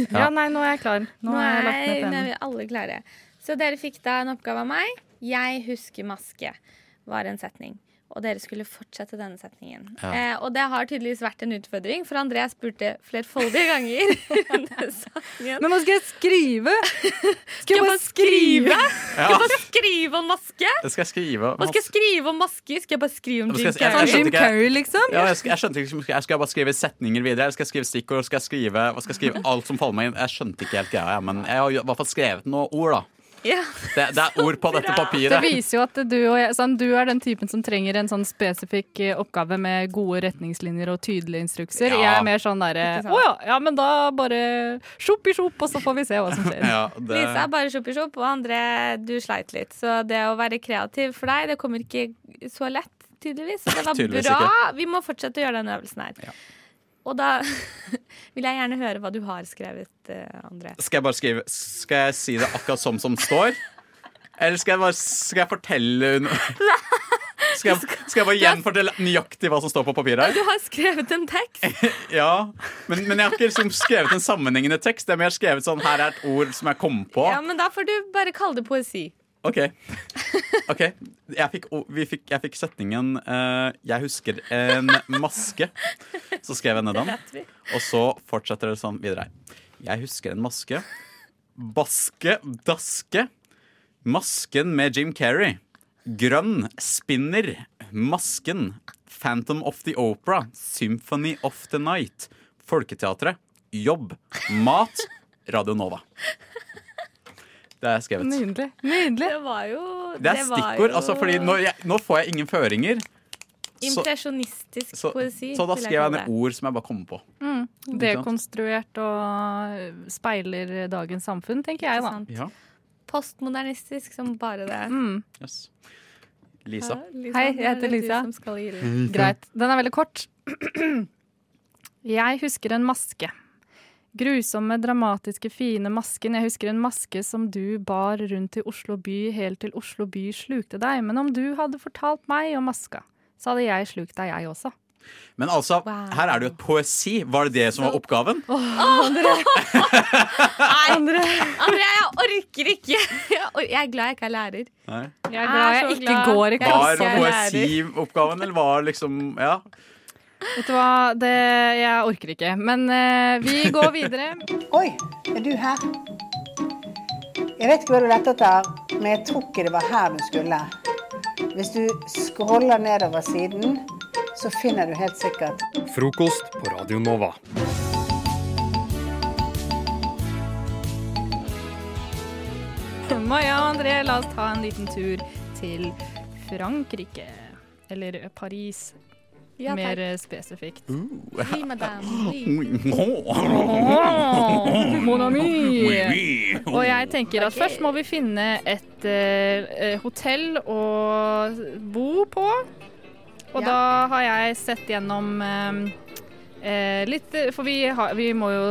[SPEAKER 3] Ja.
[SPEAKER 9] Ja. nei, nå er jeg klar. Nå har jeg lagt ned
[SPEAKER 8] Nei, nå er
[SPEAKER 9] pennen.
[SPEAKER 8] vi alle klare. Så dere fikk da en oppgave av meg. 'Jeg husker maske' var en setning. Og dere skulle fortsette denne setningen. Eh, og det har tydeligvis vært en utfordring, for André spurte flerfoldige ganger. under setningen.
[SPEAKER 9] Men nå skal jeg skrive! Skal
[SPEAKER 8] Skal
[SPEAKER 9] jeg bare skrive?
[SPEAKER 8] Skal jeg bare skrive om maske?
[SPEAKER 3] Det skal jeg skrive.
[SPEAKER 8] Hva skal jeg skrive om masker? Skal jeg bare skrive om
[SPEAKER 3] Ja,
[SPEAKER 8] Jim
[SPEAKER 3] men skal jeg-
[SPEAKER 9] Sånn
[SPEAKER 8] Carrey?
[SPEAKER 3] skjønte
[SPEAKER 9] Jim
[SPEAKER 3] ikke.
[SPEAKER 9] Carrey, liksom?
[SPEAKER 3] Ja, jeg, sk- jeg skjønte ikke, jeg Skal jeg bare skrive setninger videre? Eller skal jeg skrive stikkord? Skal jeg skrive, hva skal jeg skrive alt som faller meg inn? Jeg skjønte ikke helt greia, jeg, men jeg har jo i hvert fall skrevet noen ord, da.
[SPEAKER 8] Ja.
[SPEAKER 3] Det, det er ord på dette
[SPEAKER 9] Det
[SPEAKER 3] papiret.
[SPEAKER 9] viser jo at du, og jeg, sånn, du er den typen som trenger en sånn spesifikk eh, oppgave med gode retningslinjer og tydelige instrukser.
[SPEAKER 3] Ja.
[SPEAKER 9] Jeg er mer sånn derre
[SPEAKER 8] Ikke sant?
[SPEAKER 9] Å ja, ja, men da bare sjopp i sjopp, og så får vi se hva som skjer.
[SPEAKER 3] Ja, det,
[SPEAKER 8] Lisa er bare sjopp i sjopp, og André, du sleit litt. Så det å være kreativ for deg, det kommer ikke så lett, tydeligvis. Så det var
[SPEAKER 3] Tydeligvis
[SPEAKER 8] bra. Vi må fortsette å gjøre denne øvelsen her. Og da vil jeg gjerne høre hva du har skrevet, eh, André.
[SPEAKER 3] skal jeg bare skrive Skal jeg si det akkurat som som står? Eller skal jeg bare Skal jeg fortelle hun skal jeg, skal jeg bare gjenfortelle nøyaktig hva som står på papiret?
[SPEAKER 8] Du
[SPEAKER 3] her?
[SPEAKER 8] har skrevet en tekst.
[SPEAKER 3] Ja, men, men jeg har ikke liksom skrevet en sammenhengende tekst. Det er mer skrevet sånn Her er et ord som jeg kom på.
[SPEAKER 8] Ja, men da får du bare kalle det poesi.
[SPEAKER 3] OK. ok Jeg fikk, o- vi fikk, jeg fikk setningen eh, 'Jeg husker en maske'. Så skrev jeg ned den.
[SPEAKER 8] Vet vi.
[SPEAKER 3] Og så fortsetter det sånn videre her. Jeg husker en maske. Baske, daske. Masken med Jim Carrey. Grønn, spinner, masken. Phantom of the Opera. Symphony of the Night. Folketeatret. Jobb. Mat. Radio Nova. Det er skrevet.
[SPEAKER 9] Nydelig. Nydelig.
[SPEAKER 8] Det var jo
[SPEAKER 3] Det
[SPEAKER 8] var
[SPEAKER 3] er stikkord,
[SPEAKER 8] jo
[SPEAKER 3] altså, fordi nå, jeg, nå får jeg ingen føringer. Så,
[SPEAKER 8] Impresjonistisk
[SPEAKER 3] så,
[SPEAKER 8] poesi.
[SPEAKER 3] så da
[SPEAKER 8] vil
[SPEAKER 3] skrev jeg
[SPEAKER 8] kalle
[SPEAKER 3] ned ord som jeg bare kom på.
[SPEAKER 9] Mm. Dekonstruert og eh, speiler dagens samfunn, tenker jeg,
[SPEAKER 8] Ikke
[SPEAKER 9] da.
[SPEAKER 8] sant?
[SPEAKER 3] Ja,
[SPEAKER 8] Postmodernistisk som bare det.
[SPEAKER 9] Mm.
[SPEAKER 3] yes. Lisa.
[SPEAKER 8] Lisa,
[SPEAKER 9] Hei, jeg
[SPEAKER 8] nå er
[SPEAKER 9] heter
[SPEAKER 8] det du
[SPEAKER 9] Lisa.
[SPEAKER 8] som skal gi det.
[SPEAKER 9] Greit. Den er veldig kort. Jeg husker en maske. Grusomme, dramatiske, fine masken. Jeg husker en maske som du bar rundt i Oslo by helt til Oslo by slukte deg. Men om du hadde fortalt meg om maska, så hadde jeg slukt deg, jeg også.
[SPEAKER 3] Men altså,
[SPEAKER 8] Wow.
[SPEAKER 3] her er det jo et poesi. Var det det som var oppgaven?
[SPEAKER 8] Andre. Andre, jeg orker ikke. Jeg or- Jeg er glad jeg ikke er lærer.
[SPEAKER 3] Nei.
[SPEAKER 9] Jeg er
[SPEAKER 8] er
[SPEAKER 9] glad
[SPEAKER 8] så
[SPEAKER 9] jeg ikke
[SPEAKER 8] glad.
[SPEAKER 9] går i
[SPEAKER 8] Jeg
[SPEAKER 3] Var
[SPEAKER 8] også
[SPEAKER 9] klasse.
[SPEAKER 8] er
[SPEAKER 3] poesioppgaven, eller var liksom Ja.
[SPEAKER 9] Vet du hva, det, jeg orker ikke. Men eh, vi går videre.
[SPEAKER 10] Oi, er du her? Jeg vet ikke hva du lette etter, men jeg tror ikke det var her du skulle. Hvis du scroller nedover siden, så finner du helt sikkert
[SPEAKER 11] Frokost på Radio Nova.
[SPEAKER 9] Maja og André, la oss ta en liten tur til Frankrike. Eller Paris,
[SPEAKER 8] Ja, takk.
[SPEAKER 9] mer eh, spesifikt.
[SPEAKER 8] Oui, madame.
[SPEAKER 9] Åh, Mon ami!
[SPEAKER 8] Oui, oui.
[SPEAKER 9] Og jeg tenker at
[SPEAKER 8] Ok.
[SPEAKER 9] først må vi finne et eh, eh, hotell å bo på. Og da har jeg sett gjennom eh, eh, litt eh, For vi, har, vi må jo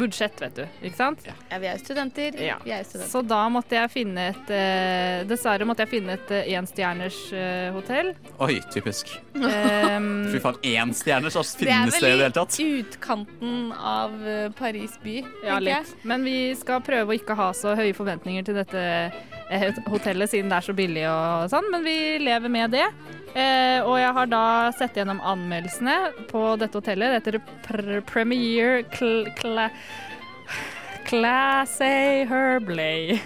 [SPEAKER 9] Budsjett, vet du. Ikke sant?
[SPEAKER 8] Ja, vi er jo studenter.
[SPEAKER 9] Ja.
[SPEAKER 8] Vi er jo studenter.
[SPEAKER 9] Så da måtte jeg finne et eh, Dessverre måtte jeg finne et eh, enstjerners eh, hotell.
[SPEAKER 3] Oi, typisk.
[SPEAKER 9] Ehm,
[SPEAKER 3] Fy faen, én stjerne, så
[SPEAKER 8] Det er
[SPEAKER 3] finnes det i det hele tatt?
[SPEAKER 8] i utkanten av eh, Paris by.
[SPEAKER 9] Ja,
[SPEAKER 8] tenker jeg.
[SPEAKER 9] litt. Men vi skal prøve å ikke ha så høye forventninger til dette eh, hotellet, siden det er så billig og sånn, men vi lever med det. Eh, og jeg har da sett gjennom anmeldelsene på dette hotellet. Det heter pr Premier Cl Cla Classy Herblay.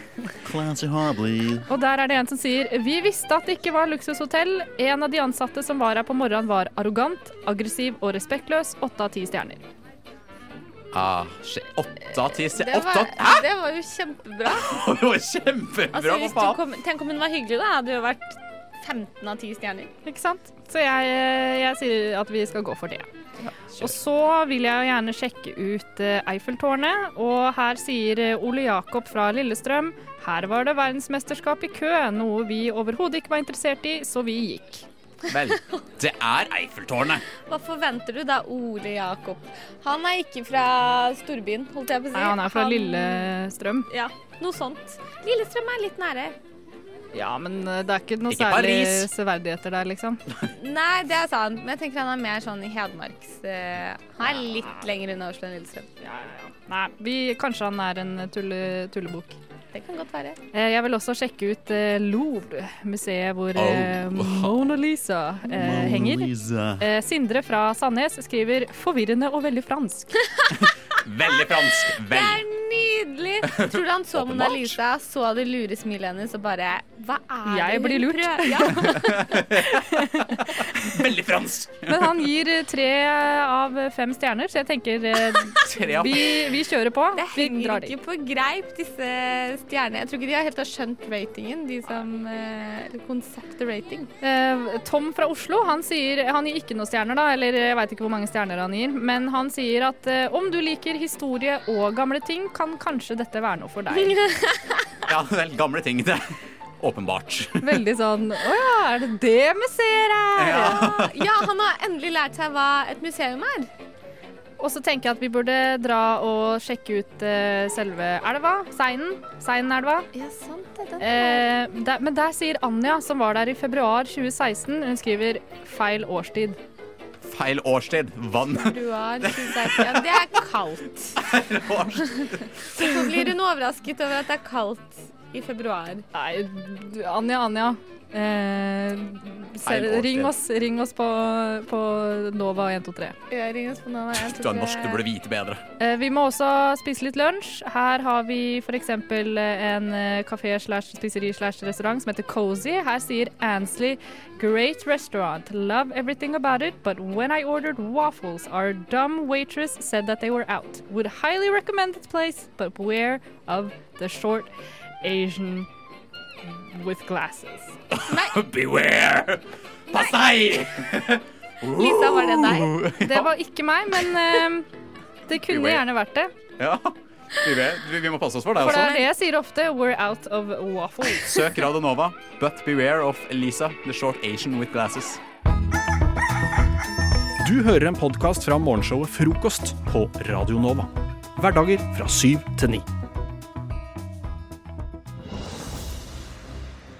[SPEAKER 12] Clancy Harbley.
[SPEAKER 9] Og der er det en som sier Vi visste at det ikke var luksushotell. En av de ansatte som var her på morgenen var arrogant, aggressiv og respektløs. Åtte av ti stjerner.
[SPEAKER 3] Ah, shit. Åtte av ti stjerner?
[SPEAKER 8] Det
[SPEAKER 3] Åtte
[SPEAKER 8] var,
[SPEAKER 3] av Hæ?!
[SPEAKER 8] det var jo kjempebra.
[SPEAKER 3] Det var kjempebra,
[SPEAKER 8] Altså, hvis
[SPEAKER 3] hva
[SPEAKER 8] du
[SPEAKER 3] faen?
[SPEAKER 8] kom, tenk om hun var hyggelig, da. Hadde jo vært 15 av 10 stjerner.
[SPEAKER 9] Ikke sant? Så jeg, jeg sier at vi skal gå for det. Og så vil jeg jo gjerne sjekke ut eh, Eiffeltårnet, og her sier eh, Ole Jakob fra Lillestrøm her var det verdensmesterskap i kø, noe vi overhodet ikke var interessert i, så vi gikk.
[SPEAKER 3] Vel, det er Eiffeltårnet.
[SPEAKER 8] Hva forventer du da, Ole Jakob? Han er ikke fra storbyen, holdt jeg på å si.
[SPEAKER 9] Nei, han er fra Lillestrøm.
[SPEAKER 8] Ja, noe sånt. Lillestrøm er litt nære.
[SPEAKER 9] Ja, men eh, det er ikke noe
[SPEAKER 3] Ikke
[SPEAKER 9] særlig
[SPEAKER 3] Paris.
[SPEAKER 9] severdigheter der, liksom.
[SPEAKER 8] Nei, det er sant, men jeg tenker han er mer sånn i Hedmarks eh, Han er
[SPEAKER 9] Ah.
[SPEAKER 8] litt lenger unna Oslo enn Lillestrøm.
[SPEAKER 9] Nei, vi, kanskje han er en eh, tulle, tullebok.
[SPEAKER 8] Det kan godt være.
[SPEAKER 9] Eh, Jeg vil også sjekke ut eh, Louvre, museet hvor
[SPEAKER 3] Oh.
[SPEAKER 9] eh, Mona Lisa eh, henger.
[SPEAKER 12] Lisa.
[SPEAKER 9] Eh, Sindre fra Sandnes skriver 'forvirrende og veldig fransk'.
[SPEAKER 3] Veldig fransk.
[SPEAKER 8] Det
[SPEAKER 3] Vel.
[SPEAKER 8] er nydelig! Tror du han så Mona Lisa, så det lure smilet hennes og bare Hva er det
[SPEAKER 9] Jeg
[SPEAKER 8] hun
[SPEAKER 9] blir lurt.
[SPEAKER 8] prøver?» Ja.
[SPEAKER 3] Veldig fransk.
[SPEAKER 9] Men han gir eh, tre av fem stjerner, så jeg tenker eh,
[SPEAKER 3] Tre av-
[SPEAKER 9] vi, vi kjører på.
[SPEAKER 8] Det
[SPEAKER 9] Vi drar
[SPEAKER 8] henger
[SPEAKER 9] dit.
[SPEAKER 8] ikke på greip, disse stjernene. Jeg tror ikke de har helt har skjønt ratingen, de som eh, eller Konseptet rating.
[SPEAKER 9] Eh, Tom fra Oslo han, sier, han gir ikke noen stjerner, da, eller jeg veit ikke hvor mange stjerner han gir. Men han sier at eh, om du liker historie og gamle ting, kan kanskje dette være noe for deg.
[SPEAKER 3] Ja, vel, gamle ting. Det er åpenbart.
[SPEAKER 9] Veldig sånn Å ja, er det det museet er?
[SPEAKER 8] Ja. han har endelig lært seg hva et museum er.
[SPEAKER 9] Og så tenker jeg at vi burde dra og sjekke ut eh, selve elva, Seinen. Seinelva.
[SPEAKER 8] Ja, sant det.
[SPEAKER 9] Eh, der, men der sier Anja, som var der i februar 2016, hun skriver feil årstid.
[SPEAKER 3] Feil årstid. Vann.
[SPEAKER 8] Februar 2016. Ja, det er kaldt. Så blir hun overrasket over at det er kaldt i februar.
[SPEAKER 9] Nei, du, Anja, Anja. Eh, se,
[SPEAKER 3] Feil årstid.
[SPEAKER 9] ring oss, ring oss på, på Nova 123.
[SPEAKER 8] Ring oss på Nova 123.
[SPEAKER 3] Du er norsk, du burde vite bedre.
[SPEAKER 9] Eh, Vi må også spise litt lunsj. Her har vi f.eks. en eh, kafé slash spiseri slash restaurant som heter Cozy. Her sier Ansley Great restaurant. Love everything about it, but when I ordered waffles, our dumb waitress said that they were out. Would highly recommend this place, but beware of the short Asian with glasses.
[SPEAKER 3] Beware! Pass deg!
[SPEAKER 9] Lisa, var det deg? Det var ikke meg, men eh, det kunne
[SPEAKER 3] Beware.
[SPEAKER 9] gjerne vært det.
[SPEAKER 3] Ja. Vi, vet, vi, vi må passe oss for deg
[SPEAKER 9] For det er det
[SPEAKER 3] også.
[SPEAKER 9] jeg sier ofte. We're out of waffles.
[SPEAKER 3] Søk Radio Nova, but beware of Lisa, the short Asian with glasses.
[SPEAKER 13] Du hører en podkast fra morgenshowet Frokost på Radio Nova. Hverdager fra syv til ni.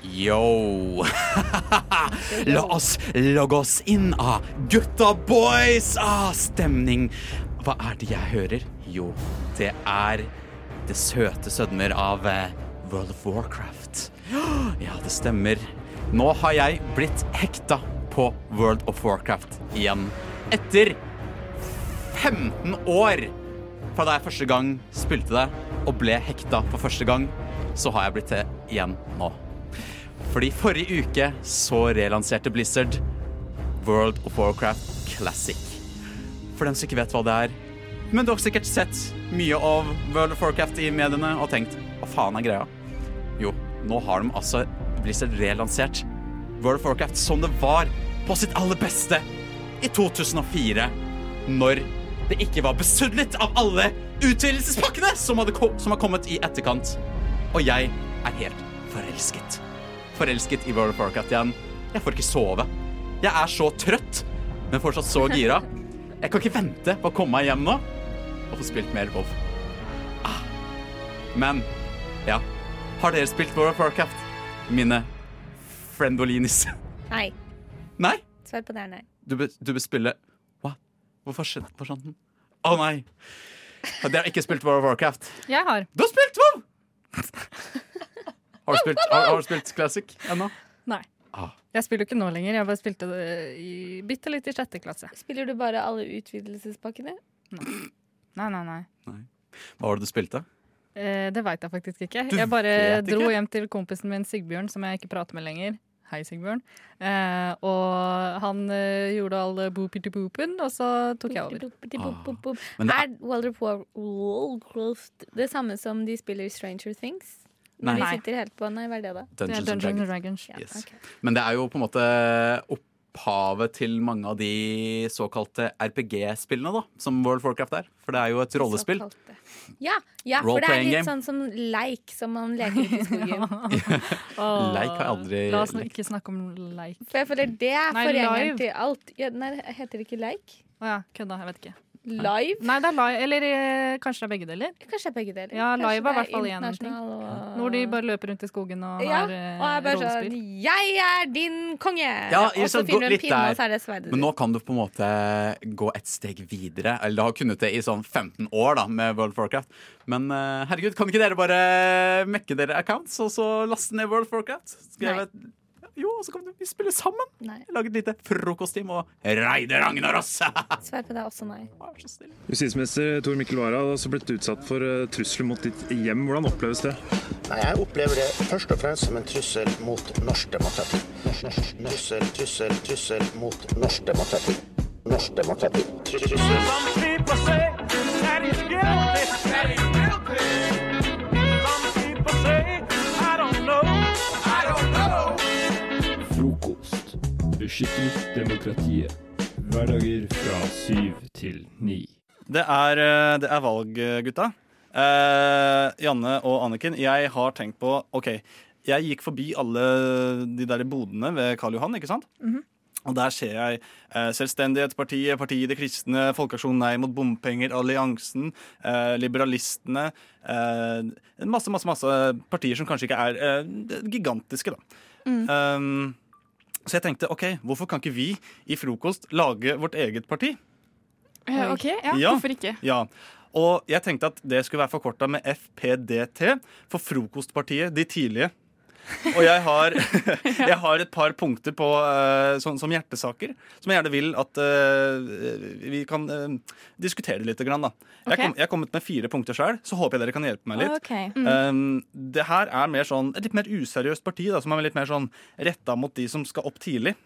[SPEAKER 3] Yo! La oss logge oss inn av Gutta boys! Ah, stemning! Hva er det jeg hører? Jo, det er det søte sødmer av eh, World of Warcraft. Ja, det stemmer. Nå har jeg blitt hekta på World of Warcraft igjen. Etter 15 år fra da jeg første gang spilte det og ble hekta for første gang, så har jeg blitt det igjen nå. Fordi forrige uke så relanserte Blizzard World of Warcraft Classic. For dem som ikke vet hva det er. Men du har sikkert sett mye av World of Warcraft i mediene og tenkt hva faen er greia? Jo, nå har de altså Blizzard relansert World of Warcraft som det var på sitt aller beste i 2004. Når det ikke var besudlet av alle utvidelsespakkene som, hadde ko- som har kommet i etterkant. Og jeg er helt forelsket. Forelsket i World of Warcraft igjen. Jeg får ikke sove. Jeg er så trøtt, men fortsatt så gira. Jeg kan ikke vente på å komme meg hjem nå og få spilt mer WoW. Ah. Men ja, har dere spilt World of Warcraft, mine friendolinis?
[SPEAKER 8] Nei.
[SPEAKER 3] Nei?
[SPEAKER 8] Svar på det er nei.
[SPEAKER 3] Du, bør- du bør spille Hva? Hvorfor skjøn- forsvant den? Å nei! Dere har ikke spilt World of Warcraft.
[SPEAKER 9] Jeg har.
[SPEAKER 3] Du har spilt WoW! Har du spilt, har, har du spilt Classic ennå?
[SPEAKER 9] Nei.
[SPEAKER 3] Ah.
[SPEAKER 9] Jeg spiller jo ikke nå lenger. Jeg bare spilte det i, bitte litt i sjette klasse.
[SPEAKER 8] Spiller du bare alle utvidelsespakkene?
[SPEAKER 9] Nei, nei, nei.
[SPEAKER 3] Hva var det du spilte?
[SPEAKER 9] Eh, det veit jeg faktisk ikke.
[SPEAKER 3] Du
[SPEAKER 9] jeg bare
[SPEAKER 3] vet ikke?
[SPEAKER 9] dro hjem til kompisen min Sigbjørn, som jeg ikke prater med lenger. Hei, Sigbjørn. Eh, og han eh, gjorde all boopity-boopen, og så tok jeg over.
[SPEAKER 3] Ah.
[SPEAKER 8] Er
[SPEAKER 9] Men det er-
[SPEAKER 8] World of War- Warcraft det samme som de spiller i Stranger Things? Når
[SPEAKER 3] Nei.
[SPEAKER 8] de sitter helt på Nei, hva er det, da?
[SPEAKER 3] Dungeons Det er and Dungeons and Dragons.
[SPEAKER 8] Ja,
[SPEAKER 3] Yes.
[SPEAKER 8] ok.
[SPEAKER 3] Men det er jo på en måte opphavet til mange av de såkalte RPG-spillene, da, som World of Warcraft er. For det er jo et rollespill.
[SPEAKER 8] ja, ja, for det er
[SPEAKER 3] Role-playing
[SPEAKER 8] litt
[SPEAKER 3] game.
[SPEAKER 8] sånn som leik som man leker ute i skogen.
[SPEAKER 9] Åh,
[SPEAKER 3] Leik har jeg aldri
[SPEAKER 9] La oss nå
[SPEAKER 3] lekt.
[SPEAKER 9] ikke snakke om leik.
[SPEAKER 8] For jeg føler det er
[SPEAKER 9] Nei, live.
[SPEAKER 8] forgjengeren til alt. Ja, nei, heter det ikke leik?
[SPEAKER 9] Å ja, kødda. Jeg vet ikke.
[SPEAKER 8] Live?
[SPEAKER 9] Nei, det er live. Eller eh, kanskje det er begge deler.
[SPEAKER 8] Kanskje det er begge deler.
[SPEAKER 9] Ja,
[SPEAKER 8] Kanskje det
[SPEAKER 9] live er i
[SPEAKER 8] er
[SPEAKER 9] hvert fall én ting.
[SPEAKER 8] internasjonal og-
[SPEAKER 9] Når
[SPEAKER 2] Ah.
[SPEAKER 9] de bare løper rundt i skogen og
[SPEAKER 8] Ja,
[SPEAKER 9] har
[SPEAKER 8] og
[SPEAKER 9] eh,
[SPEAKER 8] jeg er bare sånn
[SPEAKER 9] rollespill.
[SPEAKER 8] Jeg er din konge!
[SPEAKER 3] Ja,
[SPEAKER 8] Eh, og så
[SPEAKER 3] liksom, gå
[SPEAKER 8] finner du en
[SPEAKER 3] litt
[SPEAKER 8] pinne,
[SPEAKER 3] der.
[SPEAKER 8] og så er det sverdet
[SPEAKER 3] Men nå
[SPEAKER 8] ditt.
[SPEAKER 3] kan du på en måte gå et steg videre. Eller det har kunnet det i sånn 15 år da, med World of Warcraft. Men eh, herregud, kan ikke dere bare mekke dere accounts og så laste ned World of Warcraft? Skrev et Jo, og så kan du- vi spille sammen.
[SPEAKER 8] Nei.
[SPEAKER 3] Lage et lite frokostteam og reide Ragnaros!
[SPEAKER 8] Svar på det er også nei.
[SPEAKER 14] Justisminister Tor Mikkel Wara har også blitt utsatt for eh, trusler mot ditt hjem. Hvordan oppleves det?
[SPEAKER 15] Nei, Jeg opplever det først og fremst som en trussel mot norsk demokrati. Norsk- norsk- Trussel, trussel, trussel mot norsk demokrati. Norsk demokrati. Trussel.
[SPEAKER 16] Frokost. Beskytter demokratiet. Hverdager fra syv til ni.
[SPEAKER 17] Det er, eh, det er valg, eh, gutta. Eh, Janne og Anniken, jeg har tenkt på OK, jeg gikk forbi alle de der bodene ved Karl Johan, ikke sant?
[SPEAKER 13] Mhm.
[SPEAKER 17] Og der ser jeg eh, Selvstendighetspartiet, Partiet De Kristne, Folkeaksjon Nei mot bompenger, Alliansen, eh, Liberalistene eh, En masse, masse, masse partier som kanskje ikke er eh, gigantiske, da.
[SPEAKER 8] Mm.
[SPEAKER 7] Mm.
[SPEAKER 18] Uh,
[SPEAKER 17] Um, så jeg tenkte OK, hvorfor kan ikke vi i frokost lage vårt eget parti?
[SPEAKER 9] Eh, OK, ja, hvorfor ikke?
[SPEAKER 17] Ja. Og jeg tenkte at det skulle være forkorta med FPDT, for Frokostpartiet De Tidlige. Og jeg har, jeg har et par punkter på, eh, sånn, som hjertesaker som jeg gjerne vil at eh, vi kan eh, diskutere litt. Grann, da.
[SPEAKER 13] Ok.
[SPEAKER 17] Jeg, kom, jeg har kommet med fire punkter sjøl, så håper jeg dere kan hjelpe meg litt.
[SPEAKER 13] Ok.
[SPEAKER 9] mm.
[SPEAKER 4] Mm.
[SPEAKER 1] Eh,
[SPEAKER 17] Um, det her er mer sånn, et litt mer useriøst parti, da, som er litt mer sånn retta mot de som skal opp tidlig.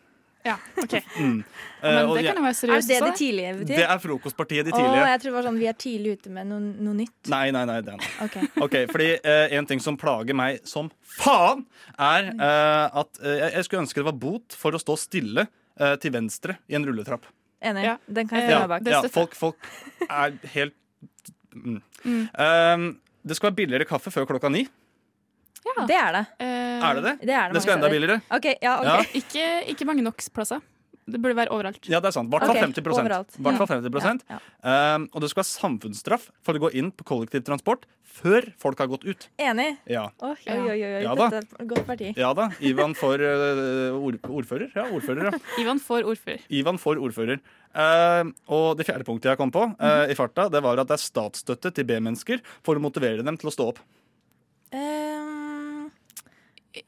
[SPEAKER 9] Ja, OK.
[SPEAKER 17] Mm.
[SPEAKER 9] Men
[SPEAKER 17] Eh, og
[SPEAKER 9] det
[SPEAKER 17] jeg-
[SPEAKER 9] kan jo være
[SPEAKER 2] Er det det de
[SPEAKER 9] også.
[SPEAKER 2] tidlige betyr?
[SPEAKER 17] Det er Frokostpartiet De
[SPEAKER 2] Å,
[SPEAKER 17] Tidlige.
[SPEAKER 2] jeg tror det var sånn vi er tidlig ute med noe, noe nytt.
[SPEAKER 17] Nei, nei, nei. Den.
[SPEAKER 2] Ok.
[SPEAKER 17] Ok, fordi eh, En ting som plager meg som faen, er eh, at eh, jeg- jeg skulle ønske det var bot for å stå stille eh, til venstre i en rulletrapp.
[SPEAKER 2] Enig. Den kan jeg stille
[SPEAKER 17] Ja,
[SPEAKER 2] meg bak.
[SPEAKER 17] ja, folk, folk er helt mm.
[SPEAKER 2] Mm.
[SPEAKER 17] Um, Det skal være billigere kaffe før klokka ni.
[SPEAKER 2] Det er det.
[SPEAKER 19] Eh,
[SPEAKER 17] Er det det?
[SPEAKER 2] Det, er det
[SPEAKER 17] Det skal
[SPEAKER 2] mange
[SPEAKER 17] enda billigere.
[SPEAKER 2] steder. Ok, ja, ok.
[SPEAKER 17] Ja.
[SPEAKER 19] Ikke, ikke mange nok plasser. Det burde være overalt.
[SPEAKER 17] Ja, det er sant. I hvert fall
[SPEAKER 19] Ok,
[SPEAKER 17] 50,
[SPEAKER 19] overalt.
[SPEAKER 17] Hvert fall
[SPEAKER 19] Ja.
[SPEAKER 17] 50%. Um, Og det skal være samfunnsstraff for å gå inn på kollektivtransport før folk har gått ut.
[SPEAKER 2] Enig.
[SPEAKER 17] Ja.
[SPEAKER 2] Oi, oi, oi, oi.
[SPEAKER 17] Ja da.
[SPEAKER 2] Dette er et godt parti.
[SPEAKER 17] Ja da. Ivan for eh, ord, ordfører. Ja, ordfører, ja.
[SPEAKER 19] Ivan får ordfører.
[SPEAKER 17] Ivan for ordfører. Eh, og det fjerde punktet jeg kom på,
[SPEAKER 19] Mhm.
[SPEAKER 17] eh, i farta, det var at det er statsstøtte til B-mennesker for å motivere dem til å stå opp.
[SPEAKER 19] Eh,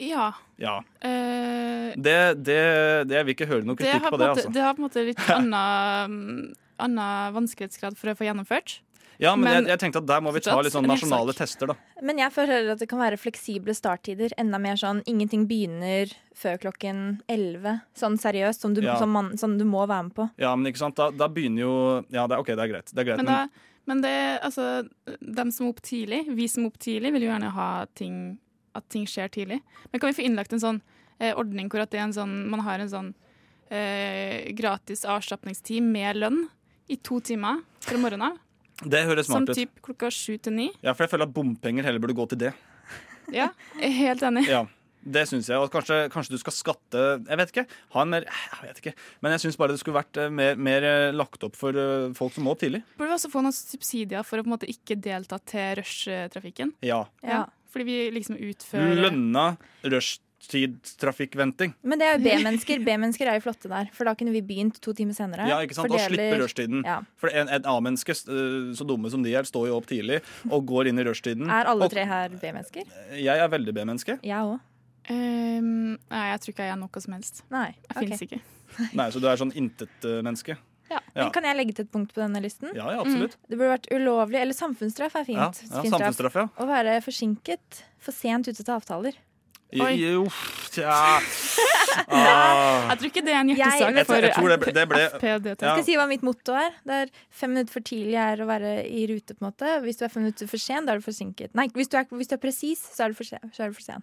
[SPEAKER 19] Ja.
[SPEAKER 17] Ja.
[SPEAKER 19] eh,
[SPEAKER 17] Det, det, det, jeg vil ikke høre noe
[SPEAKER 19] det,
[SPEAKER 17] kritikk
[SPEAKER 19] har
[SPEAKER 17] på
[SPEAKER 19] på
[SPEAKER 17] det,
[SPEAKER 19] en måte,
[SPEAKER 17] altså.
[SPEAKER 19] det har på en måte litt anna mm, annen vanskelighetsgrad for å få gjennomført.
[SPEAKER 17] Ja, men, jeg, jeg tenkte at der må vi ta litt sånn
[SPEAKER 19] fortsatt en
[SPEAKER 17] nasjonale tester, da.
[SPEAKER 2] Men jeg føler at det kan være fleksible starttider. Enda mer sånn ingenting begynner før klokken 11. Sånn seriøst, som du,
[SPEAKER 17] Ja.
[SPEAKER 2] som man, som du må være med på.
[SPEAKER 17] Ja, men ikke sant, da, da begynner jo Ja, det, er- OK, det er greit. Det er greit
[SPEAKER 19] Men,
[SPEAKER 17] men,
[SPEAKER 19] da, men det, altså, dem som er opp tidlig, vi som er opp tidlig, vil jo gjerne ha ting, at ting skjer tidlig. Men kan vi få innlagt en sånn eh, ordning hvor at det er en sånn, man har en sånn eh, gratis avslapningstid med lønn i to timer fra morgenen av?
[SPEAKER 17] det høres
[SPEAKER 19] Som
[SPEAKER 17] smart ut.
[SPEAKER 19] typ klokka sju til ni.
[SPEAKER 17] Ja, for jeg føler at bompenger heller burde gå til det.
[SPEAKER 19] Ja, jeg er helt enig.
[SPEAKER 17] Ja, det syns jeg. Og kanskje, kanskje du skal skatte Jeg vet ikke. Ha en mer Jeg vet ikke. Men jeg syns bare det skulle vært eh, mer, mer eh, lagt opp for eh, folk som må tidlig.
[SPEAKER 19] Burde vi også få noen subsidier for å på en måte ikke delta til rushtrafikken?
[SPEAKER 17] Ja.
[SPEAKER 19] Ja. Fordi vi liksom utfører
[SPEAKER 17] Lønna rushtidtrafikkventing.
[SPEAKER 2] Men det er jo B-mennesker. B-mennesker er jo flotte der. For da kunne vi begynt to timer senere.
[SPEAKER 17] Ja, ikke sant? Da
[SPEAKER 2] Fordeler-
[SPEAKER 17] slipper rushtiden.
[SPEAKER 2] Ja.
[SPEAKER 17] For en, en A-menneske, eh, så dumme som de er, står jo opp tidlig og går inn i rushtiden.
[SPEAKER 2] Er alle
[SPEAKER 17] Og-
[SPEAKER 2] tre her B-mennesker?
[SPEAKER 17] Jeg er veldig B-menneske.
[SPEAKER 2] Jeg òg.
[SPEAKER 19] Ehm, nei, jeg tror ikke jeg er noe som helst.
[SPEAKER 2] Nei,
[SPEAKER 19] Jeg finnes
[SPEAKER 2] ok.
[SPEAKER 19] ikke.
[SPEAKER 17] Nei, Så du er sånn intet-menneske.
[SPEAKER 2] Men kan jeg legge til et punkt på denne listen? Mm.
[SPEAKER 17] Ja, ja, absolutt.
[SPEAKER 2] Det burde vært ulovlig, eller samfunnsstraff er fint.
[SPEAKER 17] Ja, ja,
[SPEAKER 2] Fin straff.
[SPEAKER 17] samfunnsstraff, ja.
[SPEAKER 2] Å være forsinket, for sent ute til avtaler.
[SPEAKER 19] Oi.
[SPEAKER 17] I- i- uff, tja. Ah.
[SPEAKER 19] Jeg tror ikke det er en
[SPEAKER 2] Jeg-
[SPEAKER 19] hjertesak
[SPEAKER 17] Jeg tror-
[SPEAKER 19] for
[SPEAKER 17] jeg tror det ble- det ble-
[SPEAKER 19] FPDT.
[SPEAKER 2] Jeg skal si hva mitt motto er. Det er fem minutter for tidlig er å være i rute. på en måte. Hvis du er fem minutter for sen, da er du forsinket. Nei, hvis du er, hvis du er presis, så er du for sen. Så er du for sen.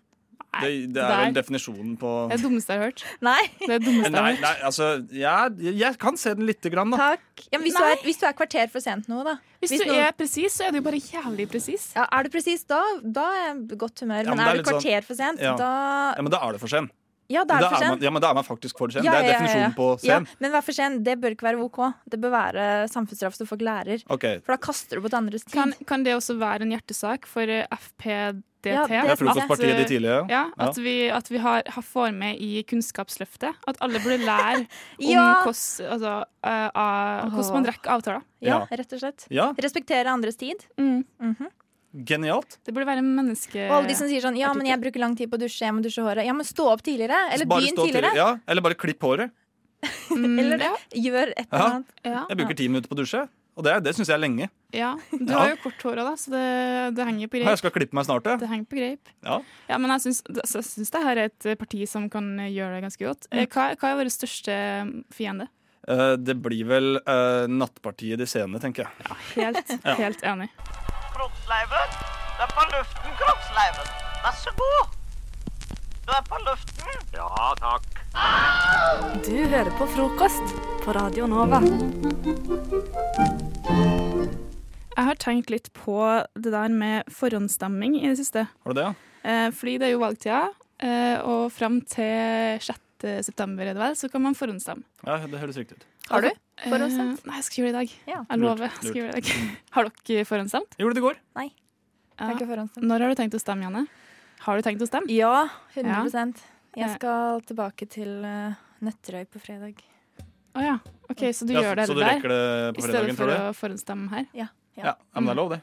[SPEAKER 17] Det, det er vel definisjonen på
[SPEAKER 19] Det er det dummeste jeg har hørt.
[SPEAKER 2] Nei.
[SPEAKER 19] Det er det dummeste
[SPEAKER 17] Nei,
[SPEAKER 19] jeg har hørt.
[SPEAKER 17] nei, altså jeg, jeg kan se den lite grann, da.
[SPEAKER 2] Takk. Ja, men hvis, du
[SPEAKER 19] Nei.
[SPEAKER 2] er, hvis du er kvarter for sent nå, da.
[SPEAKER 19] Hvis du er presis, så er du bare jævlig presis.
[SPEAKER 2] Ja, er du presis, da, da er jeg i godt humør.
[SPEAKER 17] Ja,
[SPEAKER 2] men,
[SPEAKER 17] men det er
[SPEAKER 2] er du
[SPEAKER 17] litt sånn-
[SPEAKER 2] kvarter for sent,
[SPEAKER 17] Ja. Ja,
[SPEAKER 2] da
[SPEAKER 17] men da er det for sent.
[SPEAKER 2] Ja, da er du for
[SPEAKER 17] man,
[SPEAKER 2] sent.
[SPEAKER 17] ja, men da er man faktisk for sen.
[SPEAKER 2] Ja,
[SPEAKER 17] det er
[SPEAKER 2] ja, ja, ja.
[SPEAKER 17] definisjonen på sen.
[SPEAKER 2] Ja, men vær for sen. Det bør ikke være OK. Det bør være samfunnsstraff så folk lærer.
[SPEAKER 17] Ok.
[SPEAKER 2] For da kaster du på et andres tid.
[SPEAKER 19] Kan, kan det også være en hjertesak for eh, FPDT?
[SPEAKER 2] Ja, det er
[SPEAKER 17] Frokostpartiet de tidlige, ja.
[SPEAKER 19] ja. At
[SPEAKER 17] Ja.
[SPEAKER 19] vi, at vi har, har får med i Kunnskapsløftet. At alle burde lære om
[SPEAKER 2] Ja.
[SPEAKER 19] hvordan, altså, eh, av- hvordan man rekker avtaler.
[SPEAKER 2] Ja, rett og slett.
[SPEAKER 17] Ja.
[SPEAKER 2] Respektere andres tid. Mhm.
[SPEAKER 17] Genialt.
[SPEAKER 19] Mm. Det burde være menneske...
[SPEAKER 2] Og alle de som sier sånn Ja, men jeg bruker lang tid på å dusje, jeg må dusje håret. Ja, men stå opp tidligere. Eller
[SPEAKER 17] Bare
[SPEAKER 2] begynn
[SPEAKER 17] stå til-
[SPEAKER 2] tidligere.
[SPEAKER 17] Ja, eller bare klipp håret.
[SPEAKER 19] Mm,
[SPEAKER 2] eller gjør et eller
[SPEAKER 17] Ja.
[SPEAKER 2] annet.
[SPEAKER 17] Jeg bruker ti minutter på å dusje, og det, det syns jeg er lenge.
[SPEAKER 19] Ja, Du
[SPEAKER 17] Ja.
[SPEAKER 19] har jo kort hår òg, da, så det, det henger på
[SPEAKER 17] Jeg
[SPEAKER 19] greip.
[SPEAKER 17] skal klippe meg snart,
[SPEAKER 19] Det
[SPEAKER 17] jeg.
[SPEAKER 19] henger på greip.
[SPEAKER 17] Ja.
[SPEAKER 19] Ja, men jeg syns, altså, jeg syns det her er et parti som kan gjøre det ganske godt.
[SPEAKER 2] Mm.
[SPEAKER 19] Eh, Hva, hva er vår største fiende?
[SPEAKER 17] Eh, det blir vel eh, nattpartiet de sene, tenker jeg.
[SPEAKER 19] Helt,
[SPEAKER 17] Ja.
[SPEAKER 19] helt enig.
[SPEAKER 18] Kroppsleiven. Det er på luften, kroppsleiven. Vær så god. Du er på luften. Ja, takk.
[SPEAKER 20] Du hører på frokost på Radio Nova.
[SPEAKER 19] Jeg har tenkt litt på det der med forhåndsstemming i det siste.
[SPEAKER 17] Har du det, ja?
[SPEAKER 19] Eh, fordi det er jo valgtida, eh, og fram til 6. september er det vel, så kan man forhåndsstemme.
[SPEAKER 17] ja? Det høres riktig ut.
[SPEAKER 19] Har du
[SPEAKER 20] Altså,
[SPEAKER 19] Eh,
[SPEAKER 2] forhåndsstemt?
[SPEAKER 19] nei, jeg skal gjøre det i dag. Jeg
[SPEAKER 17] Lurt,
[SPEAKER 19] lover. jeg skal
[SPEAKER 17] lurt.
[SPEAKER 19] gjøre det i dag. Har dere forhåndsstemt?
[SPEAKER 17] Gjorde det i går.
[SPEAKER 2] Nei.
[SPEAKER 19] Ja.
[SPEAKER 2] har ikke forhåndsstemt.
[SPEAKER 19] Når har du tenkt å stemme, Janne? Har du tenkt å stemme?
[SPEAKER 2] Ja, 100 Jeg skal tilbake til eh, Nøtterøy på fredag.
[SPEAKER 19] Å ja. OK, så du
[SPEAKER 17] Ja,
[SPEAKER 19] gjør det
[SPEAKER 17] så du
[SPEAKER 19] der
[SPEAKER 17] rekker det på
[SPEAKER 19] i
[SPEAKER 17] fredagen, tror
[SPEAKER 19] stedet for
[SPEAKER 17] du?
[SPEAKER 19] å forhåndsstemme her?
[SPEAKER 2] Ja.
[SPEAKER 17] Ja, ja, men det er lov, det.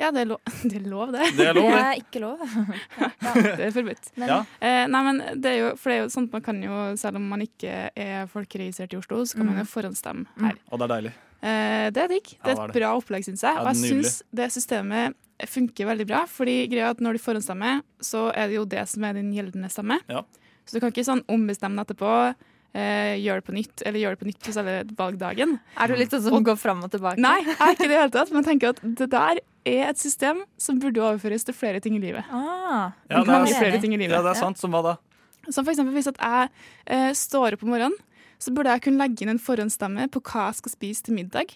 [SPEAKER 19] Ja, det er, lov, det er lov, det.
[SPEAKER 17] Det er lov, det. Det
[SPEAKER 2] er ikke lov.
[SPEAKER 19] det er forbudt.
[SPEAKER 17] Men- Ja.
[SPEAKER 19] Eh, nei, men det er jo, for det er jo sånt man kan jo, selv om man ikke er folkeregistrert i Oslo, så kan man
[SPEAKER 17] Mm.
[SPEAKER 19] jo forhåndsstemme her.
[SPEAKER 17] Og det er deilig.
[SPEAKER 19] Eh, det er digg. Det
[SPEAKER 17] Ja,
[SPEAKER 19] er
[SPEAKER 17] det er
[SPEAKER 19] et
[SPEAKER 17] det.
[SPEAKER 19] bra opplegg, syns jeg.
[SPEAKER 17] Ja,
[SPEAKER 19] Og jeg
[SPEAKER 17] nydelig.
[SPEAKER 19] syns det systemet funker veldig bra, fordi greia er at når du forhåndsstemmer, så er det jo det som er din gjeldende stemme.
[SPEAKER 17] Ja.
[SPEAKER 19] Så du kan ikke sånn ombestemme deg etterpå. Eh, gjør det på nytt, eller gjør det på nytt på selve valgdagen.
[SPEAKER 2] Er du litt sånn som går fram og tilbake?
[SPEAKER 19] Nei, jeg er ikke det i det hele tatt. Men jeg tenker at det der er et system som burde overføres til flere ting i livet.
[SPEAKER 2] Ah,
[SPEAKER 17] Ja, det
[SPEAKER 19] Mange
[SPEAKER 17] er,
[SPEAKER 19] flere ting i livet.
[SPEAKER 17] ja, det er sant. Som hva da?
[SPEAKER 19] Som for eksempel hvis at jeg eh, står opp om morgenen, så burde jeg kunne legge inn en forhåndsstemme på hva jeg skal spise til middag.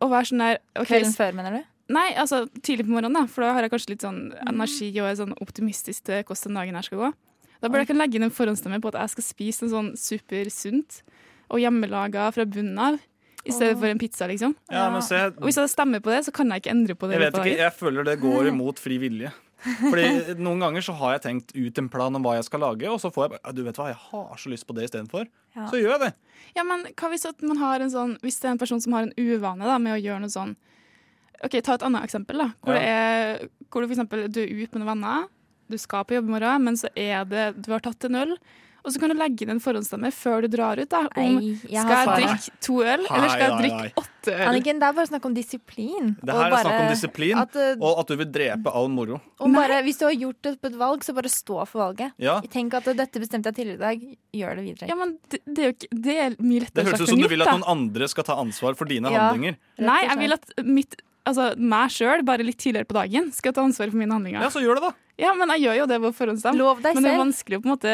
[SPEAKER 19] Og være sånn der ok-
[SPEAKER 2] Kvelden før, mener du?
[SPEAKER 19] Nei, altså tidlig på morgenen, da, for da har jeg kanskje litt sånn
[SPEAKER 17] Mm.
[SPEAKER 19] energi og er sånn optimistisk til hvordan dagen her skal gå. Da burde jeg kunne legge inn en forhåndsstemme på at jeg skal spise noe sånn supersunt og hjemmelaga fra bunnen av, i stedet for en pizza, liksom.
[SPEAKER 17] Ja, men se,
[SPEAKER 19] Og hvis jeg stemmer på det, så kan jeg ikke endre på det.
[SPEAKER 17] Jeg
[SPEAKER 19] i
[SPEAKER 17] vet
[SPEAKER 19] løpet av
[SPEAKER 17] ikke,
[SPEAKER 19] dagen.
[SPEAKER 17] jeg føler det går imot fri vilje. Fordi eh, Noen ganger så har jeg tenkt ut en plan om hva jeg skal lage, og så får jeg bare «Ja, Du vet hva, jeg har så lyst på det istedenfor.
[SPEAKER 19] Ja.
[SPEAKER 17] Så gjør jeg det.
[SPEAKER 19] Ja, men hva hvis at man har en sånn Hvis det er en person som har en uvane da, med å gjøre noe sånn Ok, ta et annet eksempel da Hvor,
[SPEAKER 17] Ja.
[SPEAKER 19] det er, hvor du for eksempel Du er ute med noen venner Du skal på jobb i morgen Men så er det Du har tatt en øl Og så kan du legge inn en forhåndsstemme før du drar ut. da Om
[SPEAKER 2] Nei,
[SPEAKER 19] skal
[SPEAKER 2] jeg har
[SPEAKER 19] jeg
[SPEAKER 2] svaret.
[SPEAKER 19] drikke to øl,
[SPEAKER 17] Hei,
[SPEAKER 19] eller skal jeg
[SPEAKER 17] hei, hei.
[SPEAKER 19] drikke åtte øl?
[SPEAKER 2] Anniken, det er bare snakk om disiplin.
[SPEAKER 17] Det
[SPEAKER 2] og
[SPEAKER 17] her er
[SPEAKER 2] bare
[SPEAKER 17] snakk om disiplin,
[SPEAKER 2] At, eh,
[SPEAKER 17] og at du vil drepe all moro.
[SPEAKER 2] og bare, hvis du har gjort det på et valg, så bare stå for valget.
[SPEAKER 17] Ja.
[SPEAKER 2] Tenk at dette bestemte jeg tidligere i dag, gjør det videre.
[SPEAKER 19] Ja, men det, det er jo ikke Det er mye
[SPEAKER 17] Det
[SPEAKER 19] lettere
[SPEAKER 17] høres
[SPEAKER 19] sagt
[SPEAKER 17] ut som
[SPEAKER 19] enn
[SPEAKER 17] du vil at
[SPEAKER 19] gjort, da.
[SPEAKER 17] noen andre skal ta ansvar for dine
[SPEAKER 19] Ja.
[SPEAKER 17] handlinger.
[SPEAKER 19] Nei, jeg vil at mitt, altså, meg sjøl, bare litt tidligere på dagen, skal ta ansvaret for mine handlinger.
[SPEAKER 17] Ja, så gjør det da
[SPEAKER 19] Ja, men jeg gjør jo det på forhåndsdag.
[SPEAKER 2] Lov deg
[SPEAKER 19] men det er
[SPEAKER 2] selv.
[SPEAKER 19] vanskelig å på en måte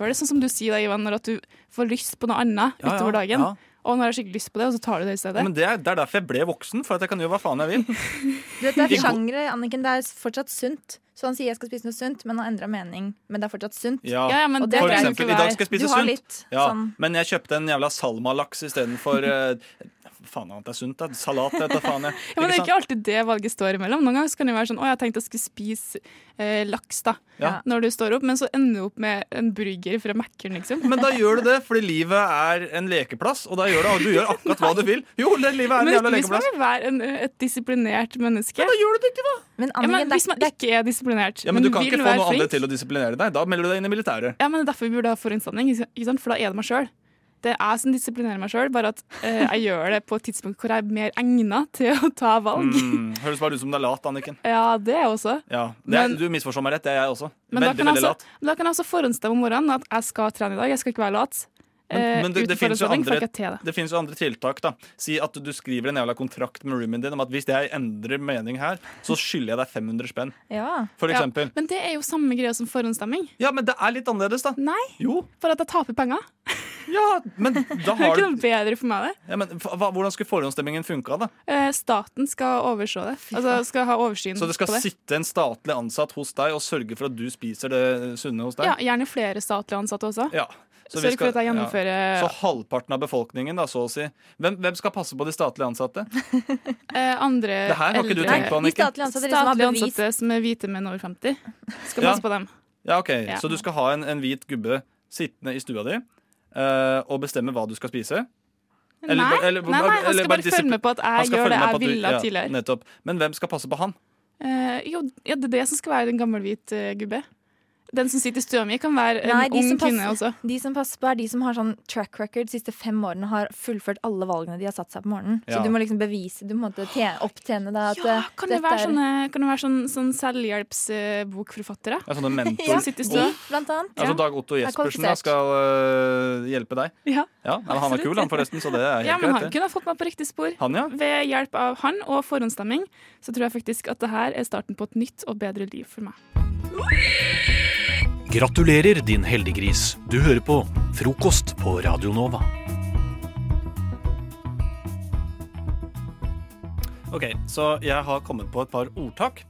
[SPEAKER 19] gjennomføre det, sånn som du sier da, Ivan, når at du får lyst på noe annet
[SPEAKER 17] Ja, ja,
[SPEAKER 19] utover dagen.
[SPEAKER 17] ja.
[SPEAKER 19] Og nå har jeg skikkelig lyst på det, og så tar du det i stedet.
[SPEAKER 17] Men det er, det er derfor jeg ble voksen, for at jeg kan gjøre hva faen jeg vil.
[SPEAKER 2] Du vet, det
[SPEAKER 17] I
[SPEAKER 2] er
[SPEAKER 17] går-
[SPEAKER 2] sjangre, Anniken. Det er fortsatt sunt. Så han sier jeg skal spise noe sunt, men har endra mening. Men det er fortsatt sunt.
[SPEAKER 17] Ja,
[SPEAKER 2] Og det
[SPEAKER 17] for
[SPEAKER 2] trenger du
[SPEAKER 17] eksempel, i
[SPEAKER 2] ikke
[SPEAKER 17] dag
[SPEAKER 2] være.
[SPEAKER 17] skal jeg spise
[SPEAKER 2] du har
[SPEAKER 17] sunt.
[SPEAKER 2] Litt,
[SPEAKER 17] ja,
[SPEAKER 2] sånn,
[SPEAKER 17] Men jeg kjøpte en jævla salmalaks istedenfor uh, Faen annet er sunt, da. Salat, jeg vet da faen. Jeg.
[SPEAKER 19] Ja, men Det er
[SPEAKER 17] sant?
[SPEAKER 19] ikke alltid det valget står imellom. Noen ganger så kan det være sånn 'Å, jeg tenkte jeg skulle spise eh, laks', da.
[SPEAKER 17] Ja.
[SPEAKER 19] Når du står opp, men så ender du opp med en burger fra Mækkern, liksom.
[SPEAKER 17] Men da gjør du det, fordi livet er en lekeplass, og da gjør du, og du gjør akkurat hva du vil. Jo, det livet er en
[SPEAKER 19] Men
[SPEAKER 17] jævla
[SPEAKER 19] hvis
[SPEAKER 17] lekeplass.
[SPEAKER 19] man vil være en, et disiplinert menneske Men da
[SPEAKER 17] gjør du det ikke, da!
[SPEAKER 2] Men,
[SPEAKER 19] ja, men Hvis man ikke er disiplinert,
[SPEAKER 17] Ja, men du kan
[SPEAKER 19] vil
[SPEAKER 17] ikke få
[SPEAKER 19] være
[SPEAKER 17] noen andre
[SPEAKER 19] flink
[SPEAKER 17] til å disiplinere deg. Da melder du deg inn i militæret.
[SPEAKER 19] Ja, men det er derfor vi burde ha forhåndsdanning, ikke ikke sant? for da er det meg sjøl. Det er jeg som disiplinerer meg sjøl, bare at eh, jeg gjør det på et tidspunkt hvor jeg er mer egna til å ta valg.
[SPEAKER 17] Mm, høres bare ut som du er lat, Anniken.
[SPEAKER 19] Ja, det er jeg også.
[SPEAKER 17] Ja, det er,
[SPEAKER 19] Men-
[SPEAKER 17] Du misforstår meg rett, det er jeg også.
[SPEAKER 19] Men da
[SPEAKER 17] veldig,
[SPEAKER 19] kan, altså,
[SPEAKER 17] veldig
[SPEAKER 19] jeg
[SPEAKER 17] lat.
[SPEAKER 19] også, da kan jeg også forhåndsstemme om morgenen at jeg skal trene i dag, jeg skal ikke være lat.
[SPEAKER 17] Men,
[SPEAKER 19] Eh,
[SPEAKER 17] men det, det,
[SPEAKER 19] uten
[SPEAKER 17] finnes jo
[SPEAKER 19] forhåndsdanning får
[SPEAKER 17] andre,
[SPEAKER 19] jeg ikke til det.
[SPEAKER 17] det finnes jo andre tiltak. da Si at du skriver en jævla kontrakt med roomien din om at hvis jeg endrer mening her, så skylder jeg deg 500 spenn. For eksempel.
[SPEAKER 19] Ja, men det er jo samme greia som forhåndsstemming.
[SPEAKER 17] Ja, men det er litt annerledes, da.
[SPEAKER 19] Nei,
[SPEAKER 17] Jo,
[SPEAKER 19] for at jeg taper penger.
[SPEAKER 17] men da
[SPEAKER 19] Det er
[SPEAKER 17] har
[SPEAKER 19] ikke
[SPEAKER 17] du
[SPEAKER 19] noe bedre for meg, det.
[SPEAKER 17] ja, men, f- hva, Hvordan skulle forhåndsstemmingen funka, da?
[SPEAKER 19] Eh, staten skal overse det. Altså skal ha oversyn
[SPEAKER 17] Så det skal
[SPEAKER 19] på det.
[SPEAKER 17] sitte en statlig ansatt hos deg og sørge for at du spiser det sunne hos deg?
[SPEAKER 19] Ja, gjerne flere statlige ansatte også.
[SPEAKER 17] Ja. vi
[SPEAKER 19] Sørg for at jeg gjennomfører-
[SPEAKER 17] Så halvparten av befolkningen, da, så å si. Hvem, hvem skal passe på de statlig ansatte?
[SPEAKER 19] Eh, andre
[SPEAKER 17] Det her har ikke du
[SPEAKER 19] eldre-
[SPEAKER 17] tenkt på, Annikken. De statlige
[SPEAKER 2] ansatte, de som har
[SPEAKER 19] Statlige
[SPEAKER 2] bevis.
[SPEAKER 19] ansatte som er hvite menn over 50. Skal
[SPEAKER 17] Ja.
[SPEAKER 19] passe på dem.
[SPEAKER 17] Ja, ok.
[SPEAKER 19] Ja.
[SPEAKER 17] Så du skal ha en, en hvit gubbe sittende i stua di eh, og bestemme hva du skal spise?
[SPEAKER 19] Nei, nei, nei, han skal bare
[SPEAKER 17] disipl-
[SPEAKER 19] følge med på at jeg
[SPEAKER 17] Han skal
[SPEAKER 19] gjør
[SPEAKER 17] følge
[SPEAKER 19] det
[SPEAKER 17] med
[SPEAKER 19] jeg
[SPEAKER 17] på at du-
[SPEAKER 19] ville tidligere.
[SPEAKER 17] Nettopp. Men hvem skal passe på han?
[SPEAKER 19] Eh, jo, ja, det er det som skal være en gammel hvit eh, gubbe. Den som sitter i stua mi, kan være en
[SPEAKER 2] Nei, de
[SPEAKER 19] ung
[SPEAKER 2] som,
[SPEAKER 19] kvinne
[SPEAKER 2] passer,
[SPEAKER 19] også.
[SPEAKER 2] de som passer på, er de som har sånn track record de siste fem årene, har fullført alle valgene de har satt seg på morgenen.
[SPEAKER 19] Ja.
[SPEAKER 2] Så du må liksom bevise, du må tjene, opptjene deg at
[SPEAKER 19] Ja,
[SPEAKER 2] eh,
[SPEAKER 19] kan det
[SPEAKER 2] dette
[SPEAKER 19] være
[SPEAKER 2] er-
[SPEAKER 19] sånne, kan det være sånn, sånn selvhjelpsbokforfattere?
[SPEAKER 17] Ja, sånne mentor.
[SPEAKER 2] Ja,
[SPEAKER 19] Som sitter i stua.
[SPEAKER 2] de, blant annet.
[SPEAKER 17] Altså Dag Otto
[SPEAKER 19] Jeg er
[SPEAKER 17] Jespersen da,
[SPEAKER 19] kvalifisert.
[SPEAKER 17] skal eh, hjelpe deg?
[SPEAKER 19] Ja,
[SPEAKER 17] ja men Han var kul, han forresten, så det er helt
[SPEAKER 19] Ja, men han
[SPEAKER 17] greit. det.
[SPEAKER 19] kunne ha fått meg på riktig spor.
[SPEAKER 17] Han, ja.
[SPEAKER 19] Ved hjelp av han og forhåndsstemming så tror jeg faktisk at det her er starten på et nytt og bedre liv for meg.
[SPEAKER 13] Gratulerer, din heldiggris. Du hører på Frokost på Radio Nova.
[SPEAKER 17] Ok, Så jeg har kommet på et par ordtak.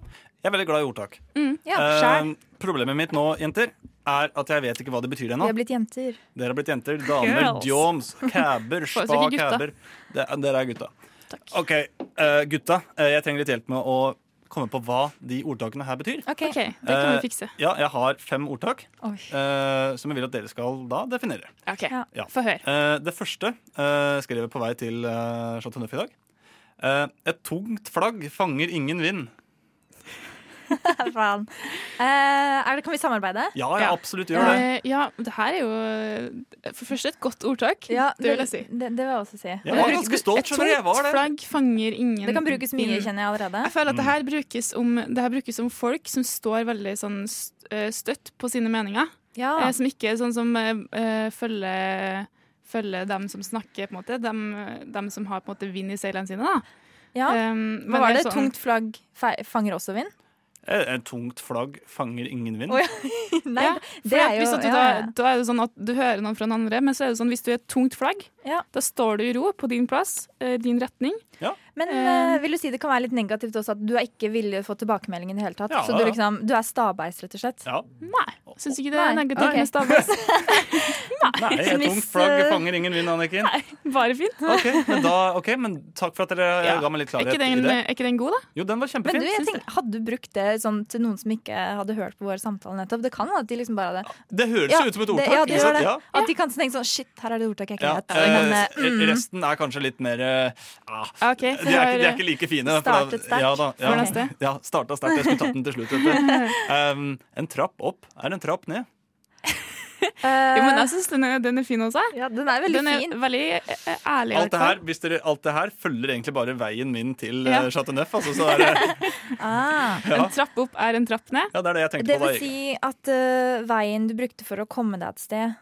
[SPEAKER 17] Jeg er veldig glad i ordtak.
[SPEAKER 2] Mm, ja,
[SPEAKER 17] Eh,
[SPEAKER 2] skjær.
[SPEAKER 17] problemet mitt nå, jenter, er at jeg vet ikke hva det betyr
[SPEAKER 2] Vi
[SPEAKER 17] ennå.
[SPEAKER 2] har blitt jenter.
[SPEAKER 17] Dere har blitt jenter, damer,
[SPEAKER 2] Girls.
[SPEAKER 17] djoms, caber, spa,
[SPEAKER 2] Foretrekker gutta.
[SPEAKER 17] caber. Det er- Dere er gutta. OK, eh, gutta. eh, jeg trenger litt hjelp med å komme på hva de ordtakene her betyr.
[SPEAKER 19] Ok, Det kan
[SPEAKER 17] Eh,
[SPEAKER 19] vi fikse.
[SPEAKER 17] ja, jeg har fem ordtak
[SPEAKER 19] Oi.
[SPEAKER 17] eh, som jeg vil at dere skal da definere.
[SPEAKER 19] Ok,
[SPEAKER 17] Ja.
[SPEAKER 19] Få høre.
[SPEAKER 17] Eh, det første eh, skrev jeg på vei til uh, Chateau Neuf i dag. Eh, et tungt flagg fanger ingen vind.
[SPEAKER 2] Faen. Eh, er det, kan vi samarbeide?
[SPEAKER 17] Ja, jeg absolutt gjør det.
[SPEAKER 19] Eh, ja, det her er jo eh, for først et godt ordtak.
[SPEAKER 2] Ja,
[SPEAKER 19] det vil jeg si.
[SPEAKER 2] Det, det vil jeg også si.
[SPEAKER 19] Jeg var ganske stolt, skjønner du, jeg var det. Mm. Et tungt flagg fanger ingen
[SPEAKER 2] Det kan brukes mye,
[SPEAKER 19] vind.
[SPEAKER 2] kjenner jeg allerede.
[SPEAKER 19] Jeg føler at det her brukes om, det her brukes om folk som står veldig sånn st- eh, støtt på sine meninger.
[SPEAKER 2] Ja.
[SPEAKER 19] Eh, Som ikke er sånn som eh, eh, følger, følger dem som snakker, på en måte. Dem, dem som har på en måte vind i seilene sine, da.
[SPEAKER 2] Ja.
[SPEAKER 19] Um, men
[SPEAKER 2] Hva var
[SPEAKER 19] det
[SPEAKER 2] det?
[SPEAKER 19] er sånn-
[SPEAKER 2] Tungt flagg fe- fanger også vind?
[SPEAKER 17] Et, Eh, et tungt flagg fanger ingen vind.
[SPEAKER 2] Å, ja. Nei,
[SPEAKER 19] For
[SPEAKER 2] det
[SPEAKER 19] at
[SPEAKER 2] er jo
[SPEAKER 19] hvis at du,
[SPEAKER 2] ja, ja.
[SPEAKER 19] da, da er det sånn at du hører noen fra den andre, men så er det sånn hvis du er et tungt flagg, da står du i ro på din plass, eh, din retning.
[SPEAKER 2] Men eh, vil du si det kan være litt negativt også at du er ikke villig få tilbakemelding i det hele tatt?
[SPEAKER 19] Ja,
[SPEAKER 2] så du,
[SPEAKER 19] ja.
[SPEAKER 2] liksom, du er stabeis, rett og slett?
[SPEAKER 17] Ja.
[SPEAKER 19] Nei. Syns ikke det er negativt med
[SPEAKER 2] stabeis.
[SPEAKER 17] Nei, et tungt flagg
[SPEAKER 19] eh,
[SPEAKER 17] fanger ingen vind, Anniken.
[SPEAKER 19] Bare fint.
[SPEAKER 17] Ok, men, da, ok, men takk for at dere ga meg litt
[SPEAKER 19] Er
[SPEAKER 17] klarhet
[SPEAKER 19] ikke, den, eh,
[SPEAKER 17] i det.
[SPEAKER 19] er ikke den god, da?
[SPEAKER 17] Jo, den var
[SPEAKER 2] eh, Men
[SPEAKER 17] kjempefin.
[SPEAKER 2] du, jeg tenker, hadde du brukt det sånn, til noen som ikke hadde hørt på vår samtale nettopp? Det kan være at de liksom bare hadde
[SPEAKER 17] det høres jo ut som et
[SPEAKER 2] det-
[SPEAKER 17] ordtak.
[SPEAKER 2] Ja,
[SPEAKER 17] ikke
[SPEAKER 2] det gjør
[SPEAKER 17] sant?
[SPEAKER 2] det.
[SPEAKER 17] Ja.
[SPEAKER 2] At de kan tenke sånn Shit, her er det ordtak jeg ikke
[SPEAKER 17] Ja,
[SPEAKER 2] vet. Men,
[SPEAKER 17] eh,
[SPEAKER 2] eh, mm.
[SPEAKER 17] resten er kanskje litt mer eh, ah,
[SPEAKER 19] Ok,
[SPEAKER 17] de, er, ikke- de er ikke like fine. for da-
[SPEAKER 2] startet sterkt.
[SPEAKER 17] Ja, da, ja.
[SPEAKER 2] For neste.
[SPEAKER 17] Ja, starta sterkt. Jeg skulle tatt den til slutt. vet du. Um, en trapp opp er en trapp ned.
[SPEAKER 19] Jo, men jeg syns den, er- den er fin også.
[SPEAKER 4] Ja, den er veldig fin.
[SPEAKER 19] veldig eh, ærlig. i
[SPEAKER 17] Alt det,
[SPEAKER 19] hvert fall.
[SPEAKER 17] her, hvis dere, alt det her følger egentlig bare veien min til
[SPEAKER 19] Ja.
[SPEAKER 17] ja. Chateauneuf. Altså, så er det, Ja.
[SPEAKER 19] En trapp opp er en trapp ned.
[SPEAKER 17] ja, det er det jeg tenkte
[SPEAKER 2] Ah. Det
[SPEAKER 17] på.
[SPEAKER 2] vil
[SPEAKER 17] da.
[SPEAKER 2] si at eh, veien du brukte for å komme deg et sted,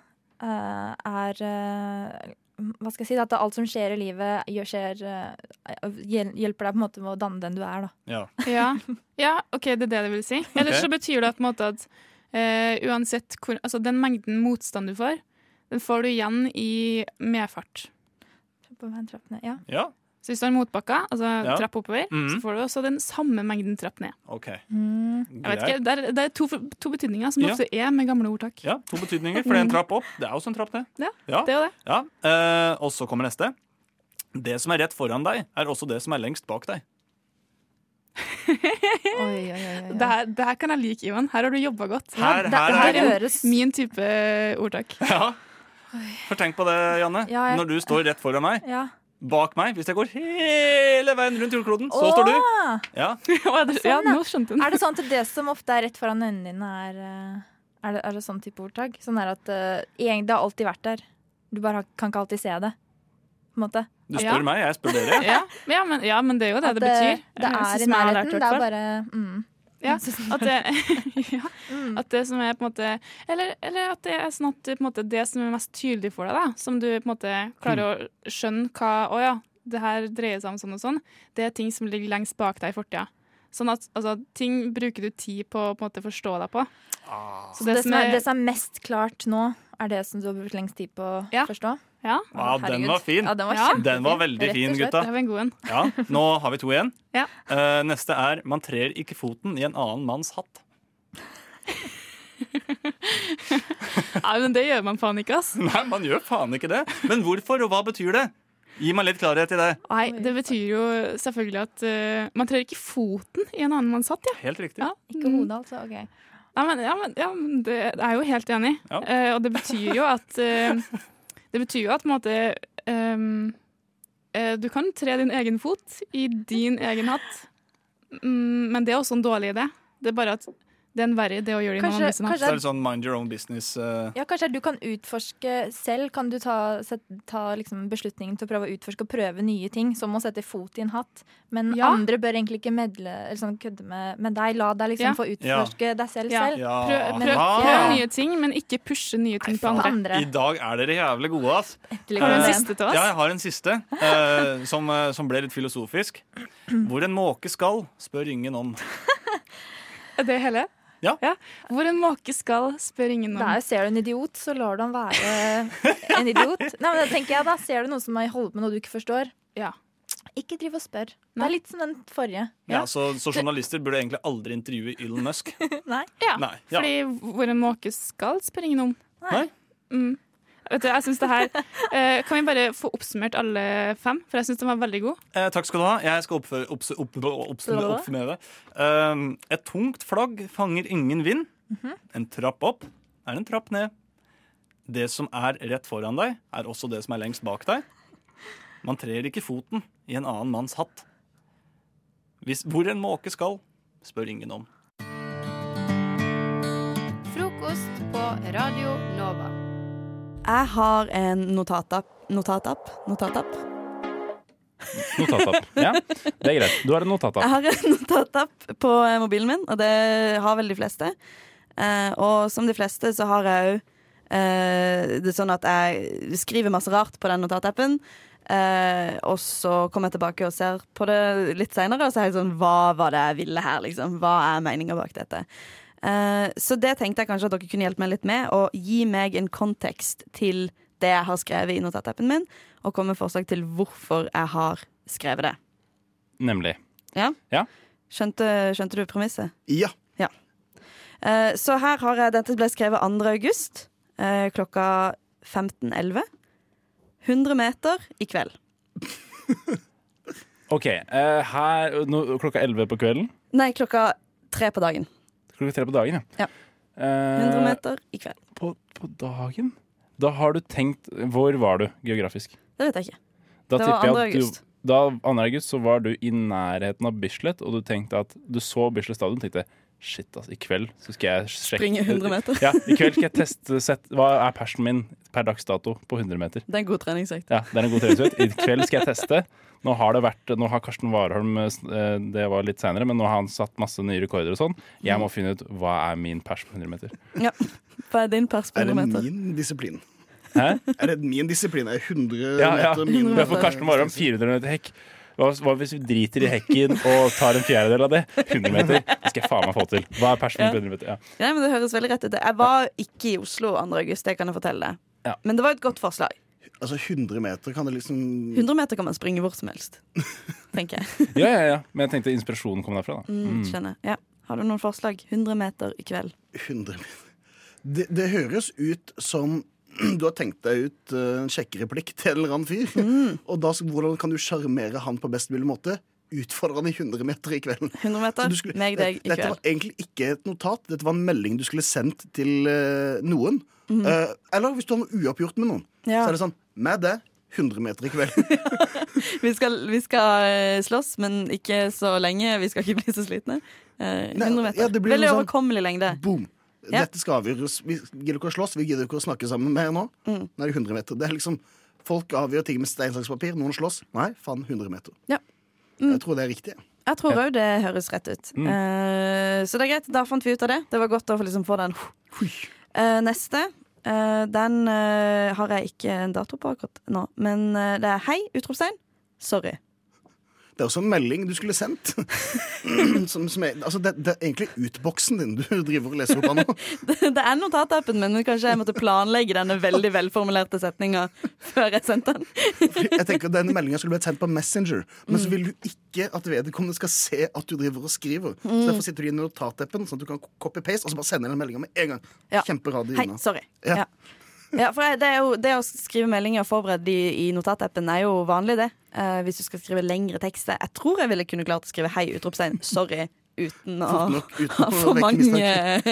[SPEAKER 2] eh, er eh, Hva skal jeg si? At alt som skjer i livet, gjør, skjer, eh, hjel- hjelper deg på en måte med å danne den du er, da.
[SPEAKER 17] Ja.
[SPEAKER 19] Ja. ja, OK, det er det det vil si. Eller
[SPEAKER 2] Ok.
[SPEAKER 19] så betyr det på en måte at eh, uansett hvor Altså, den mengden motstand du får, den får du igjen i medfart.
[SPEAKER 2] På veien trapp ned, ja.
[SPEAKER 17] Ja,
[SPEAKER 19] Så hvis du har motbakka, altså
[SPEAKER 17] Ja.
[SPEAKER 19] trapp oppover,
[SPEAKER 17] Mhm.
[SPEAKER 19] så får du også den samme mengden trapp ned.
[SPEAKER 17] OK.
[SPEAKER 2] Mm.
[SPEAKER 19] Jeg vet ikke, Det er, det er to, to betydninger som
[SPEAKER 17] Ja.
[SPEAKER 19] ofte er med gamle ordtak.
[SPEAKER 17] Ja, to betydninger, for det er en trapp opp. Det er også en trapp ned.
[SPEAKER 19] Ja,
[SPEAKER 17] Ja.
[SPEAKER 19] det er jo det.
[SPEAKER 17] Ja. eh, og så kommer neste. Det som er rett foran deg, er også det som er lengst bak deg.
[SPEAKER 19] Det her, det her kan jeg like, Ivan. Her har du jobba godt.
[SPEAKER 17] Her- Ja, det- her- det her
[SPEAKER 19] er en-
[SPEAKER 17] høres-
[SPEAKER 19] min type ordtak.
[SPEAKER 17] Ja. For tenk på det, Janne.
[SPEAKER 19] Ja, jeg-
[SPEAKER 17] Når du står rett foran meg,
[SPEAKER 2] Ja.
[SPEAKER 17] bak meg, hvis jeg går hele veien rundt jordkloden, så står du.
[SPEAKER 2] Åh!
[SPEAKER 17] Ja.
[SPEAKER 19] ja,
[SPEAKER 2] ja.
[SPEAKER 19] nå skjønte hun.
[SPEAKER 2] Er det sånn at det som ofte er rett foran øynene dine, er eh, Er det, er det sånn type ordtak? Sånn er at eh, egentlig det har alltid vært der. Du bare har- kan ikke alltid se det. På en måte.
[SPEAKER 17] Du spør meg, jeg spør dere.
[SPEAKER 19] ja. Ja, men, ja, men det er jo det
[SPEAKER 2] At
[SPEAKER 19] det,
[SPEAKER 2] det-
[SPEAKER 19] betyr.
[SPEAKER 2] det
[SPEAKER 19] Eh, sånn
[SPEAKER 2] er i
[SPEAKER 19] som jeg har
[SPEAKER 2] nærheten,
[SPEAKER 19] lært i
[SPEAKER 2] det
[SPEAKER 19] hvert
[SPEAKER 2] er
[SPEAKER 19] fall.
[SPEAKER 2] bare, mm.
[SPEAKER 19] ja, at, det, Mm. ja, at det som er på en måte Eller, eller at det er sånn at på en måte, det som er mest tydelig for deg, da, som du på en måte klarer å skjønne hva Å ja, det her dreier seg om sånn og sånn, det er ting som ligger lengst bak deg i fortida. Sånn at altså, ting bruker du tid på å på en måte forstå deg på.
[SPEAKER 2] Så det, som er, det som er mest klart nå, er det som du har brukt lengst tid på å forstå?
[SPEAKER 19] Ja.
[SPEAKER 17] Ja, den var fin.
[SPEAKER 2] Ja, den var kjempefin.
[SPEAKER 17] Den var veldig
[SPEAKER 2] Rett og
[SPEAKER 17] fin,
[SPEAKER 2] slett.
[SPEAKER 17] gutta.
[SPEAKER 19] Det var en god en.
[SPEAKER 17] Ja, Nå har vi to igjen.
[SPEAKER 19] Ja.
[SPEAKER 17] Eh, neste er 'man trer ikke foten i en annen manns hatt'.
[SPEAKER 19] Nei, men det gjør man faen ikke, ass.
[SPEAKER 17] Nei, man gjør faen ikke det. Men hvorfor, og hva betyr det? Gi meg litt klarhet i det.
[SPEAKER 19] Nei, det betyr jo selvfølgelig at eh, man trer ikke foten i en annen manns hatt, ja.
[SPEAKER 17] Helt riktig.
[SPEAKER 19] Ja. Mm.
[SPEAKER 2] Ikke hodet, altså? Ok.
[SPEAKER 19] Nei, men, ja, men, ja, men det jeg er jeg jo helt enig i. Eh, og det betyr jo at eh, Det betyr jo at på en måte ehm, eh, Du kan tre din egen fot i din egen hatt, mm, men det er også en dårlig idé. Det er bare at det er en verre idé å gjøre det i noen
[SPEAKER 2] Kanskje-
[SPEAKER 19] andre sin
[SPEAKER 17] Så er
[SPEAKER 19] hatt.
[SPEAKER 17] det sånn mind your own business. eh,
[SPEAKER 2] Ja, kanskje du kan utforske selv. Kan du ta, set, ta liksom beslutningen til å prøve å utforske og prøve nye ting, som å sette fot i en hatt. Men
[SPEAKER 19] Ja.
[SPEAKER 2] andre bør egentlig ikke medle, eller sånn, kødde med, med deg. La deg liksom
[SPEAKER 19] Ja.
[SPEAKER 2] få utforske deg selv
[SPEAKER 19] Ja.
[SPEAKER 2] selv.
[SPEAKER 19] Prøv,
[SPEAKER 17] Ja.
[SPEAKER 19] prøv,
[SPEAKER 17] Ah.
[SPEAKER 19] prøv nye ting, men ikke pushe nye ting på andre.
[SPEAKER 17] I dag er dere jævlig gode, ass.
[SPEAKER 19] Endelig Har du en
[SPEAKER 17] Eh,
[SPEAKER 19] siste til oss?
[SPEAKER 17] Ja, jeg har en siste, eh, som, eh, som ble litt filosofisk. Hvor en måke skal, spør ingen om.
[SPEAKER 19] Er det hele?
[SPEAKER 17] Ja.
[SPEAKER 19] Hvor en måke skal, spør ingen om.
[SPEAKER 2] Der ser du en idiot, så lar du han være en idiot. Nei, men det tenker jeg da, Ser du noen som holder på med noe du ikke forstår, ikke driv og spør. Det er litt som den forrige.
[SPEAKER 17] Ja, så, så journalister burde egentlig aldri intervjue Elon Musk.
[SPEAKER 2] Nei.
[SPEAKER 19] Ja,
[SPEAKER 17] Nei, ja.
[SPEAKER 19] fordi hvor en måke skal, spør ingen om. Mm. Vet du, jeg synes det her eh, Kan vi bare få oppsummert alle fem? For jeg syns den var veldig god.
[SPEAKER 17] Eh, takk skal du ha. Jeg skal oppføre- opps- opp- oppsummere
[SPEAKER 19] Blablabla.
[SPEAKER 17] oppsummere det. Um, et tungt flagg fanger ingen vind.
[SPEAKER 21] Mhm.
[SPEAKER 17] En trapp opp er en trapp ned. Det som er rett foran deg, er også det som er lengst bak deg. Man trer ikke foten i en annen manns hatt. Hvis, hvor en måke skal, spør ingen om.
[SPEAKER 20] Frokost på Radio Nova.
[SPEAKER 22] Jeg har en notatapp. Notatapp? Notatapp?
[SPEAKER 23] Notatapp. Ja, det er greit. Du har en notatapp.
[SPEAKER 22] Jeg har en notatapp på eh, mobilen min, og det har vel de fleste. Eh, og som de fleste så har jeg òg det er sånn at jeg skriver masse rart på den notatappen. eh, og så kommer jeg tilbake og ser på det litt seinere, og så er jeg sånn Hva var det jeg ville her, liksom? Hva er meninga bak dette? Eh, så det tenkte jeg kanskje at dere kunne hjelpe meg litt med, og gi meg en kontekst til det jeg har skrevet i notatappen min, og komme med forslag til hvorfor jeg har skrevet det.
[SPEAKER 23] Nemlig.
[SPEAKER 22] Ja? Skjønte, skjønte du premisset? Ja. Eh, så her har jeg Dette ble skrevet 2. august eh, klokka 15.11. 100 meter i kveld.
[SPEAKER 23] OK. eh, her, nå, klokka 11 på kvelden.
[SPEAKER 22] Nei, klokka tre på dagen.
[SPEAKER 23] Klokka tre på dagen, ja. Eh,
[SPEAKER 22] 100 meter i kveld.
[SPEAKER 23] På, på dagen? Da har du tenkt Hvor var du geografisk?
[SPEAKER 22] Det vet jeg ikke.
[SPEAKER 23] Da
[SPEAKER 22] det var 2.
[SPEAKER 23] tipper jeg at
[SPEAKER 22] august.
[SPEAKER 23] Du, da 2. august så var du i nærheten av Bislett, og du tenkte at du så Bislett stadion og tenkte Shit, altså. I kveld så skal jeg sjekke
[SPEAKER 22] Springe 100 meter.
[SPEAKER 23] Ja, I kveld skal jeg teste sett, Hva er persen min per dags dato på 100 meter?
[SPEAKER 22] Det er en god treningsøkt.
[SPEAKER 23] Ja, det er en god treningsøkt. I kveld skal jeg teste. Nå har, det vært, nå har Karsten Warholm eh, Det var litt seinere, men nå har han satt masse nye rekorder og sånn. Jeg må finne ut hva er min pers på 100 meter.
[SPEAKER 22] Ja. Hva er din pers på
[SPEAKER 5] Er det
[SPEAKER 22] 100 meter?
[SPEAKER 5] min disiplin?
[SPEAKER 23] Hæ?
[SPEAKER 5] Er det min disiplin? Er 100
[SPEAKER 23] Ja, ja.
[SPEAKER 5] meter min eh,
[SPEAKER 23] Men for Karsten Warholm 400 meter hekk. Hva, hva hvis vi driter i hekken og tar en fjerdedel av det? 100 meter. Det skal jeg faen meg få til. Hva er persen
[SPEAKER 22] Ja.
[SPEAKER 23] på 100 meter? Ja.
[SPEAKER 22] Nei, men Det høres veldig rett ut. Jeg var ikke i Oslo 2. august, det kan jeg fortelle deg. Men det var et godt forslag.
[SPEAKER 5] Altså 100 meter kan det liksom
[SPEAKER 22] 100 meter kan man springe hvor som helst, tenker jeg.
[SPEAKER 23] Ja, ja, ja. Men jeg tenkte inspirasjonen kom derfra. Da.
[SPEAKER 22] Mm, skjønner. Ja. Har du noen forslag? 100 meter i kveld.
[SPEAKER 5] 100 det, det høres ut som du har tenkt deg ut eh, en sjekkereplikk til en eller annen fyr.
[SPEAKER 22] Mm.
[SPEAKER 5] Og da, s- hvordan kan du sjarmere han på best mulig måte? Utfordre han i 100 meter i kvelden.
[SPEAKER 22] 100
[SPEAKER 5] Så
[SPEAKER 22] meter,
[SPEAKER 5] du skulle-
[SPEAKER 22] meg, deg, i
[SPEAKER 5] Dette var
[SPEAKER 22] kveld.
[SPEAKER 5] egentlig ikke et notat, dette var en melding du skulle sendt til eh, noen.
[SPEAKER 22] Mhm.
[SPEAKER 5] Eh, eller hvis du har noe uoppgjort med noen,
[SPEAKER 22] Ja.
[SPEAKER 5] så er det sånn med det 100 meter i kveld.
[SPEAKER 22] Vi skal, vi skal eh, slåss, men ikke så lenge. Vi skal ikke bli så slitne. Eh, 100 meter.
[SPEAKER 5] ja, det blir
[SPEAKER 22] veldig
[SPEAKER 5] noe sånn-
[SPEAKER 22] overkommelig lengde.
[SPEAKER 5] Boom.
[SPEAKER 22] Ja.
[SPEAKER 5] Dette skal avgjøres. Vi gidder ikke å slåss, vi gidder ikke å snakke sammen mer nå.
[SPEAKER 22] Mm.
[SPEAKER 5] Nå er det 100 meter. Det er liksom, folk avgjør ting med stein, saks, papir. Noen slåss. Nei, faen, 100 meter.
[SPEAKER 22] Ja. Mm.
[SPEAKER 5] Jeg tror det er riktig.
[SPEAKER 22] Jeg tror òg det høres rett ut.
[SPEAKER 5] Mm.
[SPEAKER 22] Eh, så det er greit. Da fant vi ut av det. Det var godt å få liksom få den. Eh, neste. eh, den eh, har jeg ikke en dato på akkurat nå, men eh, det er hei! Utropstegn. Sorry.
[SPEAKER 5] Det er også en melding du skulle sendt. som, som er, altså, det, det er egentlig utboksen din du driver og leser opp av nå.
[SPEAKER 22] det er notatappen min, men kanskje jeg måtte planlegge denne veldig velformulerte setninga før jeg sendte den.
[SPEAKER 5] Jeg tenker at Den meldinga skulle blitt sendt på Messenger, men
[SPEAKER 22] Mm.
[SPEAKER 5] så vil du ikke at vedkommende skal se at du driver og skriver. Så
[SPEAKER 22] Mm.
[SPEAKER 5] Derfor sitter du i notatappen, sånn at du kan copy-paste og så bare sende den meldinga med en gang.
[SPEAKER 22] Ja.
[SPEAKER 5] Kjemperadig
[SPEAKER 22] Hei,
[SPEAKER 5] unna.
[SPEAKER 22] sorry.
[SPEAKER 5] Ja.
[SPEAKER 22] Ja. Ja, for jeg- det, er jo, det å skrive meldinger og forberede de i notatappen er jo vanlig, det. Eh, hvis du skal skrive lengre tekster. Jeg tror jeg ville kunne klart å skrive 'hei! utropstegn', sorry, uten å
[SPEAKER 23] Fort nok, uten
[SPEAKER 22] ha
[SPEAKER 23] å
[SPEAKER 22] for
[SPEAKER 23] vekke
[SPEAKER 22] mange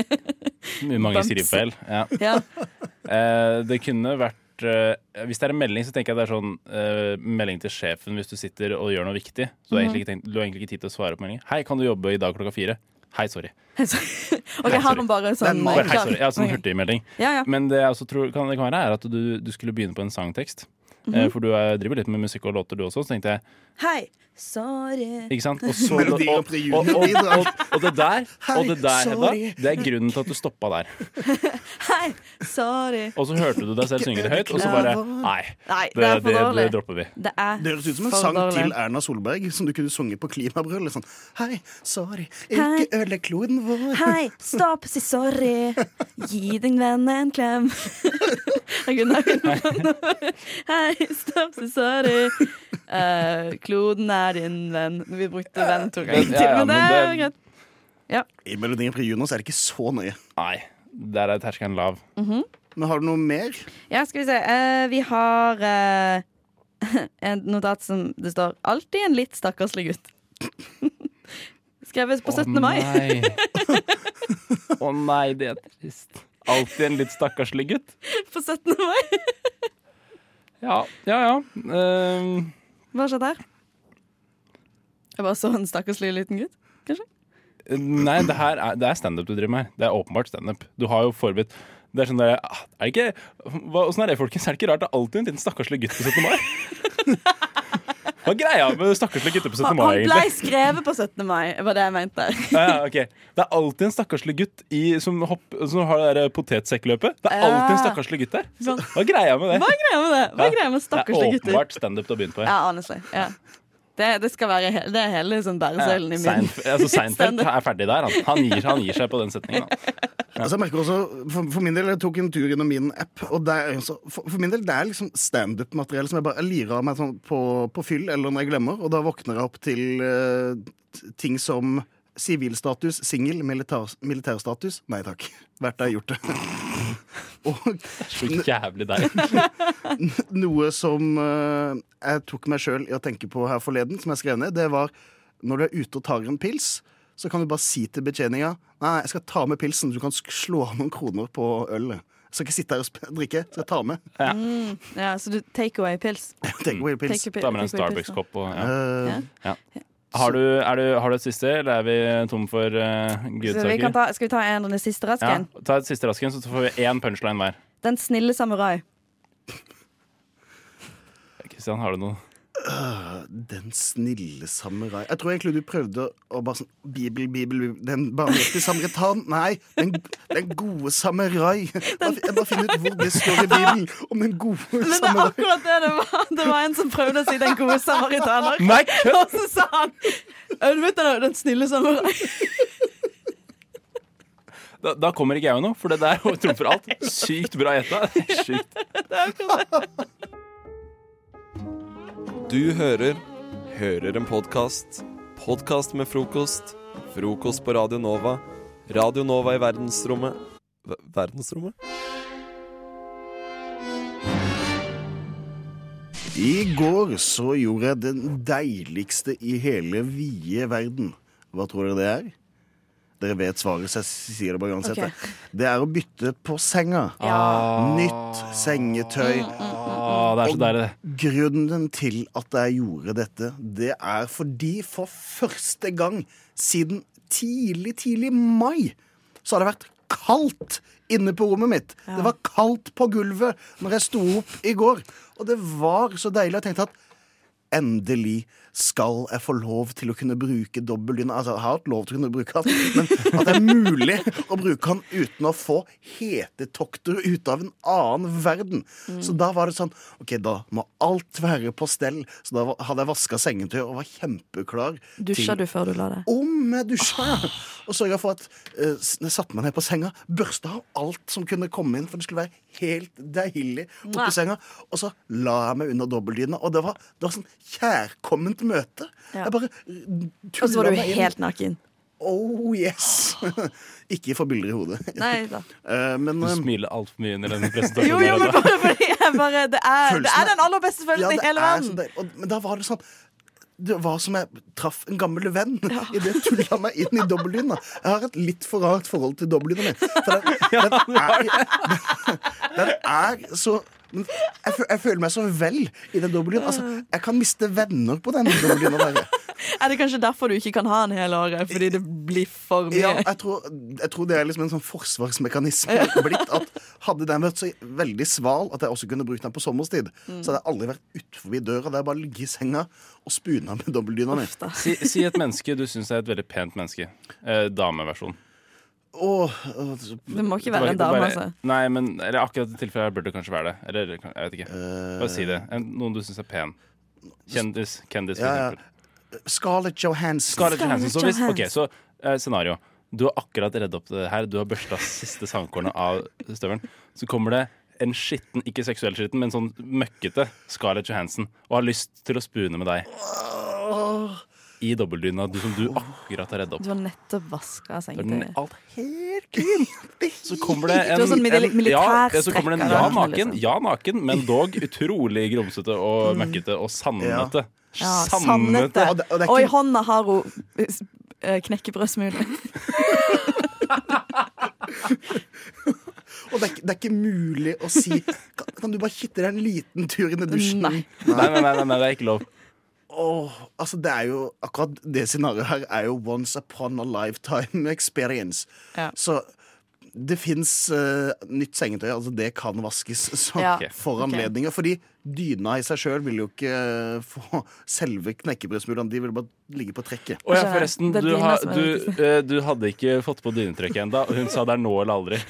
[SPEAKER 23] Mye mange
[SPEAKER 22] Bamse.
[SPEAKER 23] skrivefeil. Ja.
[SPEAKER 22] Ja.
[SPEAKER 23] Eh, det kunne vært eh, Hvis det er en melding, så tenker jeg det er sånn eh, melding til sjefen hvis du sitter og gjør noe viktig. Så du har egentlig ikke, tenkt, du har egentlig ikke tid til å svare på meldingen. Hei, kan du jobbe i dag klokka fire? Hei, sorry.
[SPEAKER 22] OK, har man bare sånn
[SPEAKER 23] Bare, Hei,
[SPEAKER 22] klar-
[SPEAKER 23] sorry. Ja, sånn
[SPEAKER 22] Ok.
[SPEAKER 23] hurtigmelding.
[SPEAKER 22] Ja, ja.
[SPEAKER 23] Men det jeg også tror kan, det kan være, er at du, du skulle begynne på en sangtekst. Eh,
[SPEAKER 22] Mhm.
[SPEAKER 23] For du er, driver litt med musikk og låter, du også. Så tenkte jeg
[SPEAKER 22] Hei! Sorry.
[SPEAKER 23] Ikke sant? Og, så, og, og,
[SPEAKER 5] Melodi Grand Prix
[SPEAKER 23] og, og,
[SPEAKER 5] juniorbidrag.
[SPEAKER 23] og, og det der, og det der
[SPEAKER 22] Hei,
[SPEAKER 23] Hedda,
[SPEAKER 22] sorry.
[SPEAKER 23] det er grunnen til at du stoppa der.
[SPEAKER 22] Hei! Sorry.
[SPEAKER 23] Og så hørte du deg selv synge det høyt, og så bare Nei,
[SPEAKER 22] Nei, det
[SPEAKER 23] det,
[SPEAKER 22] er for
[SPEAKER 23] det, det
[SPEAKER 22] dårlig.
[SPEAKER 23] dropper vi.
[SPEAKER 22] Det er
[SPEAKER 5] Det høres ut som en
[SPEAKER 22] for
[SPEAKER 5] sang
[SPEAKER 22] dårlig.
[SPEAKER 5] til Erna Solberg som du kunne sunget på klimabrøl. Sånn, Hei, sorry,
[SPEAKER 22] Hei.
[SPEAKER 5] ikke ødelegg kloden vår.
[SPEAKER 22] Hei, stopp, si sorry. Gi din venn en klem. Jeg kunne ha kunnet- Hei, stopp, si sorry. Eh, kloden er din venn. Vi brukte venn to ganger til,
[SPEAKER 5] Ja, ja,
[SPEAKER 22] men det er jo
[SPEAKER 5] men
[SPEAKER 22] greit.
[SPEAKER 5] I Melodien Pri Juno så er det ikke så nøye.
[SPEAKER 23] Nei, der er terskelen lav.
[SPEAKER 22] Mhm.
[SPEAKER 5] Men har du noe mer?
[SPEAKER 22] Ja, skal vi se. Eh, vi har eh, en notat som det står 'Alltid en litt stakkarslig gutt'. Skrevet på 17. mai.
[SPEAKER 23] nei. Å nei, det er trist. Alltid en litt stakkarslig gutt.
[SPEAKER 22] på 17. mai.
[SPEAKER 23] Ja, ja. ja. Ehm,
[SPEAKER 22] Hva skjedde her? Jeg bare så en stakkarslig liten gutt, kanskje?
[SPEAKER 23] nei, det her er, det er standup du driver med her. Det er åpenbart standup. Du har jo forberedt Det er sånn der ah, er det ikke, hva, Åssen er det, folkens? Er det ikke rart det er alltid en liten stakkarslig gutt på 17. mai? Hva er greia med stakkarslige gutter på 17.
[SPEAKER 22] Han,
[SPEAKER 23] mai,
[SPEAKER 22] han ble
[SPEAKER 23] egentlig?
[SPEAKER 22] skrevet på 17. mai, var det jeg mente.
[SPEAKER 23] Ja, ja, ok. Det er alltid en stakkarslig gutt i, som, hopp, som har det der potetsekkløpet. Det er alltid en
[SPEAKER 22] Ja.
[SPEAKER 23] stakkarslig gutt der. Så, Hva er greia med det?
[SPEAKER 22] Hva er greia med det? Hva er greia med stakkarslige
[SPEAKER 23] Det er
[SPEAKER 22] gutter?
[SPEAKER 23] åpenbart standup du har begynt på.
[SPEAKER 22] Ja, honestly. Ja. Det, det skal være he- det er hele sånn bæresøylen i min.
[SPEAKER 23] Seinf- altså Seinfeld
[SPEAKER 22] standup.
[SPEAKER 23] er ferdig der. Han, han, gir, han gir seg på den setningen. Han.
[SPEAKER 5] Altså, jeg merker også, for, for min del, jeg tok en tur innom min app, og det er, altså, for, for min del, det er liksom standup-materiell som jeg bare jeg lirer av meg sånn på, på fyll, eller når jeg glemmer, og da våkner jeg opp til eh, t- ting som sivilstatus, singel, militær, militærstatus. Nei takk. Hvert jeg har gjort det.
[SPEAKER 23] Så jævlig deg.
[SPEAKER 5] Noe som eh, jeg tok meg sjøl i å tenke på her forleden, som jeg skrev ned, det var når du er ute og tar en pils, så kan du bare si til betjeninga Nei, jeg skal ta med pilsen, du kan sk- slå av noen kroner på ølet. Jeg skal ikke sitte her og sp- drikke, jeg skal ta med.
[SPEAKER 22] Mm, ja, så du take away pils.
[SPEAKER 5] Take away pils.
[SPEAKER 22] Take a pi- Ta med deg en take away pils, Starbucks-kopp
[SPEAKER 23] og
[SPEAKER 5] Eh,
[SPEAKER 22] Ja.
[SPEAKER 23] Har du, er du, har du et siste, eller er vi tom for uh,
[SPEAKER 22] Så vi
[SPEAKER 23] gudsaker?
[SPEAKER 22] kan ta, skal vi ta en av de siste raske?
[SPEAKER 23] Ja,
[SPEAKER 22] en?
[SPEAKER 23] ta et siste rasken, så får vi én punchline hver.
[SPEAKER 22] Den snille samurai.
[SPEAKER 23] Kristian, har du noe?
[SPEAKER 5] Øh, Den snille samurai Jeg tror egentlig du prøvde å bare sånn Bibel, Bibel, Bibel Den barmhjertige samaritan. Nei, den, den gode samurai. Jeg bare- Jeg bare finner ut hvor det står i Bibelen om den gode
[SPEAKER 22] Men det er
[SPEAKER 5] samurai.
[SPEAKER 22] akkurat det det var. Det var en som prøvde å si 'den gode samaritaner'.
[SPEAKER 5] Nei, kødd!
[SPEAKER 22] Og så sa han «Ja, du vet den, den snille samurai.
[SPEAKER 23] Da, da kommer ikke jeg med noe, for det der trumfer alt. Sykt bra gjetta. Sykt.
[SPEAKER 1] Du hører Hører en podkast. Podkast med frokost. Frokost på Radio Nova. Radio Nova i verdensrommet Ver- Verdensrommet?
[SPEAKER 5] I går så gjorde jeg den deiligste i hele vide verden. Hva tror dere det er? Dere vet svaret, så jeg sier det bare uansett.
[SPEAKER 7] Ok.
[SPEAKER 5] Det er å bytte på senga.
[SPEAKER 7] Ja.
[SPEAKER 5] Nytt sengetøy.
[SPEAKER 23] det er så deilig,
[SPEAKER 5] Og grunnen til at jeg gjorde dette, det er fordi for første gang siden tidlig, tidlig mai, så har det vært kaldt inne på rommet mitt. Det var kaldt på gulvet når jeg sto opp i går. Og det var så deilig. Jeg tenkte at Endelig skal jeg få lov til å kunne bruke dobbeldyne. Altså, jeg har hatt lov til å kunne bruke den, men at det er mulig å bruke den uten å få hetetokter ut av en annen verden. Så da var det sånn OK, da må alt være på stell. Så da var- hadde jeg vaska sengetøy og var kjempeklar.
[SPEAKER 22] Dusja du før du la deg?
[SPEAKER 5] Om jeg dusja, ja. Og sørga for at eh, s- jeg satte meg ned på senga, børsta av alt som kunne komme inn, for det skulle være helt deilig
[SPEAKER 22] Mwah.
[SPEAKER 5] oppi senga. Og så la jeg meg under dobbeltdyna, og det var, det var sånn kjærkomment møte. Jeg bare
[SPEAKER 22] Og så var du
[SPEAKER 5] meg inn.
[SPEAKER 22] helt naken.
[SPEAKER 5] Oh yes! Ikke få bilder i hodet.
[SPEAKER 22] Nei da.
[SPEAKER 5] Eh, men
[SPEAKER 23] Du
[SPEAKER 5] eh,
[SPEAKER 23] smiler altfor mye under denne presentasjonen.
[SPEAKER 22] Jo, jo, men
[SPEAKER 23] der, altså.
[SPEAKER 22] bare fordi jeg bare Det er, det er
[SPEAKER 5] Følelsen er-
[SPEAKER 22] den aller beste
[SPEAKER 5] ja,
[SPEAKER 22] følelsen
[SPEAKER 5] det
[SPEAKER 22] i hele
[SPEAKER 5] er
[SPEAKER 22] verden.
[SPEAKER 5] så deilig. Og- Men da var det sånn det var som jeg traff en gammel venn idet jeg tulla meg inn i dobbeltdyna. Jeg har et litt for rart forhold til dobbeltdyna mi. For den, den, er, den er så men jeg, fø- jeg føler meg så vel i den dobbeltdyna. Altså, jeg kan miste venner på den dobbeltdyna. der.
[SPEAKER 22] Er det kanskje derfor du ikke kan ha den hele året? Fordi det blir for mye?
[SPEAKER 5] Ja, jeg tror, jeg tror det er liksom en sånn forsvarsmekanisme blitt at hadde den vært så veldig sval at jeg også kunne brukt den på sommerstid,
[SPEAKER 23] Mm.
[SPEAKER 5] så hadde jeg aldri vært utenfor døra. Det er bare å ligge i senga og spuna med dobbeltdyna mi.
[SPEAKER 23] Si, si et menneske du syns er et veldig pent menneske. Eh, dameversjon.
[SPEAKER 5] Åh, åh,
[SPEAKER 22] Det må ikke
[SPEAKER 23] Bare-
[SPEAKER 22] være en dame,
[SPEAKER 23] bare-
[SPEAKER 22] altså.
[SPEAKER 23] Nei, men eller akkurat i tilfellet her burde det kanskje være det. Eller eller, jeg vet
[SPEAKER 5] Eh.
[SPEAKER 23] ikke. Bare si det. En, noen du syns er pen. Kjendis. Kendis, for
[SPEAKER 5] Ja, ja.
[SPEAKER 23] eksempel.
[SPEAKER 5] Scarlett Johansson.
[SPEAKER 23] Scarlett Johansson. Så, hvis, ok, så eh, scenario. Du har akkurat redda opp det her. Du har børsta siste sandkornet av støvelen. Så kommer det en skitten, ikke seksuell skitten, men sånn møkkete Scarlett Johansson og har lyst til å spune med deg
[SPEAKER 5] Åh.
[SPEAKER 23] i dobbeltdyna, du som du akkurat har redda opp.
[SPEAKER 22] Du har nettopp vaska
[SPEAKER 23] Det er den-
[SPEAKER 22] sengetøyet.
[SPEAKER 5] Helt klint.
[SPEAKER 23] Så kommer det en,
[SPEAKER 22] Du har sånn mili-
[SPEAKER 23] en- ja, ja, så
[SPEAKER 22] militærstrekk
[SPEAKER 23] kommer det en
[SPEAKER 22] av
[SPEAKER 23] ja
[SPEAKER 22] den,
[SPEAKER 23] naken,
[SPEAKER 22] liksom.
[SPEAKER 23] ja naken, men dog utrolig grumsete og møkkete og sannete.
[SPEAKER 22] Mm. Ja, sannete.
[SPEAKER 5] Og det- og det er
[SPEAKER 22] Og i
[SPEAKER 5] ikke-
[SPEAKER 22] hånda har hun eh, s- eh, knekkebrødsmule.
[SPEAKER 5] Og det er, ikke- det er ikke mulig å si Kan, kan du bare kitte deg en liten tur inn i dusjen?
[SPEAKER 22] Nei.
[SPEAKER 23] Nei, nei, nei, nei, nei, det er ikke lov.
[SPEAKER 5] Åh, altså det er jo Akkurat det scenarioet her er jo once upon a lifetime experience. Så det fins nytt sengetøy. Altså det kan vaskes så,
[SPEAKER 23] Ja,
[SPEAKER 5] for
[SPEAKER 23] ok.
[SPEAKER 5] anledninger. Fordi dyna i seg sjøl vil jo ikke eh, få selve knekkebrødsmulene. De vil bare ligge på trekket.
[SPEAKER 23] Å ja,
[SPEAKER 22] Altså,
[SPEAKER 23] forresten, du, har, du, eh, du hadde ikke fått på dynetrekket ennå, og hun sa det er nå eller aldri.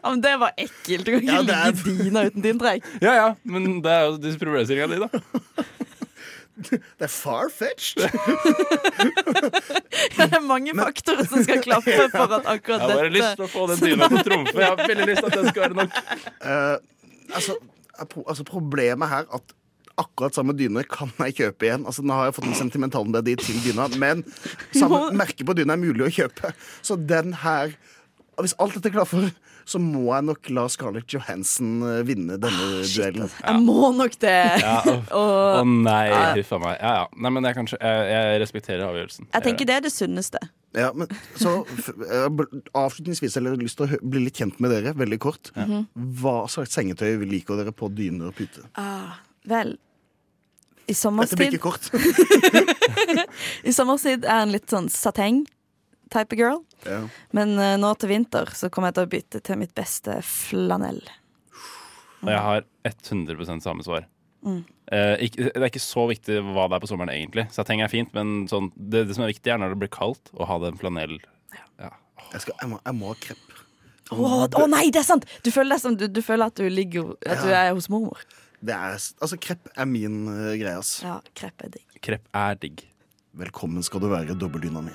[SPEAKER 22] Ja, men det var ekkelt. Du kan ikke
[SPEAKER 23] Ja, det er-
[SPEAKER 22] ligge i dyna uten din trekk.
[SPEAKER 23] Ja ja, men det er jo disse problemstillingene dine, da.
[SPEAKER 5] Det er far-fetched!
[SPEAKER 22] Det er mange faktorer som skal klappe for at
[SPEAKER 23] Jeg
[SPEAKER 22] akkurat
[SPEAKER 23] har bare lyst til å få den dyna til å trumfe. Jeg har veldig lyst til at den skal være nok.
[SPEAKER 5] Eh, altså, er pro- altså, problemet her at akkurat samme dyne kan jeg kjøpe igjen. Altså, nå har jeg fått en sentimentalmelodi til dyna, men samme merke på dyna er mulig å kjøpe. Så den her og Hvis alt dette klaffer, så må jeg nok la Scarlett Johansen eh, vinne denne duellen.
[SPEAKER 22] Ah, Jeg må nok det.
[SPEAKER 23] Ja, uff. Å
[SPEAKER 22] Og
[SPEAKER 23] nei,
[SPEAKER 22] Ja.
[SPEAKER 23] huff a meg. Ja ja. Nei, men jeg, kanskje, jeg, jeg respekterer avgjørelsen.
[SPEAKER 22] jeg tenker det er det sunneste.
[SPEAKER 5] Ja, men så f- eh, bl- Avslutningsvis har jeg lyst til å hø- bli litt kjent med dere, veldig kort.
[SPEAKER 22] Mhm.
[SPEAKER 5] Hva slags sengetøy liker dere på dyne og pute?
[SPEAKER 22] Ah, vel i sommerstid
[SPEAKER 5] Dette blir ikke kort.
[SPEAKER 22] I sommerstid er en litt sånn sateng-type girl.
[SPEAKER 5] Ja.
[SPEAKER 22] Men eh, nå til vinter så kommer jeg til å bytte til mitt beste flanell.
[SPEAKER 23] Og jeg har 100 samme svar.
[SPEAKER 22] Mm.
[SPEAKER 23] Eh, ikke, det er ikke så viktig hva det er på sommeren, egentlig. Sateng er fint, men sånn, det, det som er viktig, er når det blir kaldt, å ha den flanell. Ja.
[SPEAKER 5] Jeg, skal, jeg, må, jeg må ha krepp.
[SPEAKER 22] Å å nei, det er sant! Du føler, deg som, du, du føler at du ligger At du
[SPEAKER 5] Ja.
[SPEAKER 22] er hos mormor.
[SPEAKER 5] Det er, altså, krepp er min eh, greie, ass.
[SPEAKER 22] Ja, krepp er digg.
[SPEAKER 23] Krepp er digg.
[SPEAKER 5] Velkommen skal du være, dobbeldyna mi.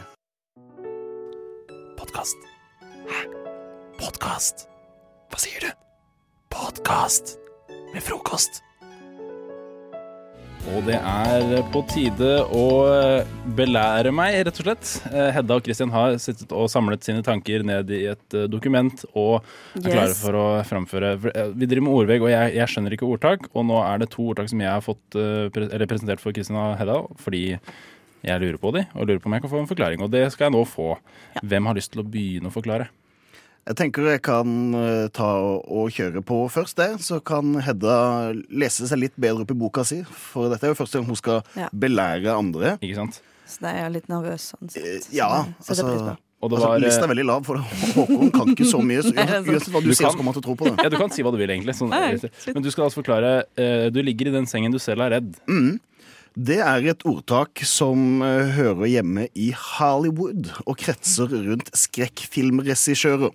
[SPEAKER 1] Podkast. Hæ? Podkast? Hva sier du? Podkast med frokost.
[SPEAKER 23] Og det er på tide å eh, belære meg, rett og slett. Eh, Hedda og Christian har sittet og samlet sine tanker ned i et eh, dokument og
[SPEAKER 6] Yes.
[SPEAKER 23] er klare for å framføre. For, eh, Vi driver med ordvegg, og jeg, jeg skjønner ikke ordtak. Og nå er det to ordtak som jeg har fått eh, pre eller presentert for Christian og Hedda fordi jeg lurer på de, og lurer på om jeg kan få en forklaring. Og det skal jeg nå få. Hvem har lyst til å begynne å forklare?
[SPEAKER 5] Jeg tenker jeg kan eh, ta og, og kjøre på først, det. Så kan Hedda lese seg litt bedre opp i boka si, for dette er jo første gang hun skal
[SPEAKER 22] Ja.
[SPEAKER 5] belære andre.
[SPEAKER 23] Ikke sant?
[SPEAKER 22] Så da er jeg litt nervøs. Sånn sett.
[SPEAKER 5] Ja,
[SPEAKER 22] Så det
[SPEAKER 5] altså,
[SPEAKER 22] setter jeg pris på.
[SPEAKER 23] Og det
[SPEAKER 5] altså
[SPEAKER 23] var, eh,
[SPEAKER 5] Listen er veldig lav, for Håkon kan ikke så mye. Så
[SPEAKER 23] Nei, det er sant.
[SPEAKER 5] uansett hva du,
[SPEAKER 23] Du
[SPEAKER 5] sier,
[SPEAKER 23] kan-
[SPEAKER 5] så kommer han til å tro på det.
[SPEAKER 23] Ja, du kan si hva du vil, egentlig. Sånn,
[SPEAKER 5] sånn- Nei,
[SPEAKER 23] men du skal altså forklare eh, Du ligger i den sengen du selv er redd.
[SPEAKER 5] Mm. Det er et ordtak som eh, hører hjemme i Hollywood og kretser rundt skrekkfilmregissører.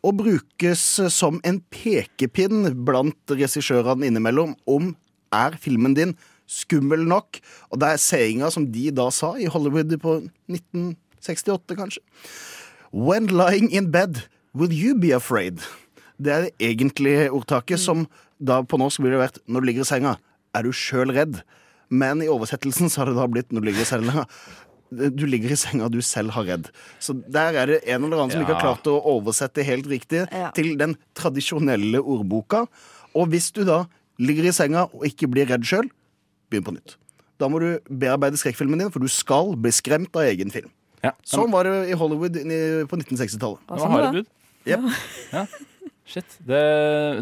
[SPEAKER 5] Og brukes eh, som en pekepinn blant regissørene innimellom om er filmen din skummel nok? Og det er sayinga som de da sa i Hollywood på 1968, kanskje. When lying in bed, will you be afraid? Det er det egentlige ordtaket, som da på norsk ville vært når du ligger i senga, er du sjøl redd? Men i oversettelsen så har det da blitt når du ligger i senga. Du ligger i senga du selv har redd. Så der er det en eller annen som ikke har
[SPEAKER 23] Ja.
[SPEAKER 5] klart å oversette helt riktig til den tradisjonelle ordboka. Og hvis du da ligger i senga og ikke blir redd sjøl, begynn på nytt. Da må du bearbeide skrekkfilmen din, for du skal bli skremt av egen film. Sånn var det i Hollywood inni- på 1960-tallet.
[SPEAKER 23] Det sånn var harde bud.
[SPEAKER 5] Jep.
[SPEAKER 23] Ja. Shit. Det,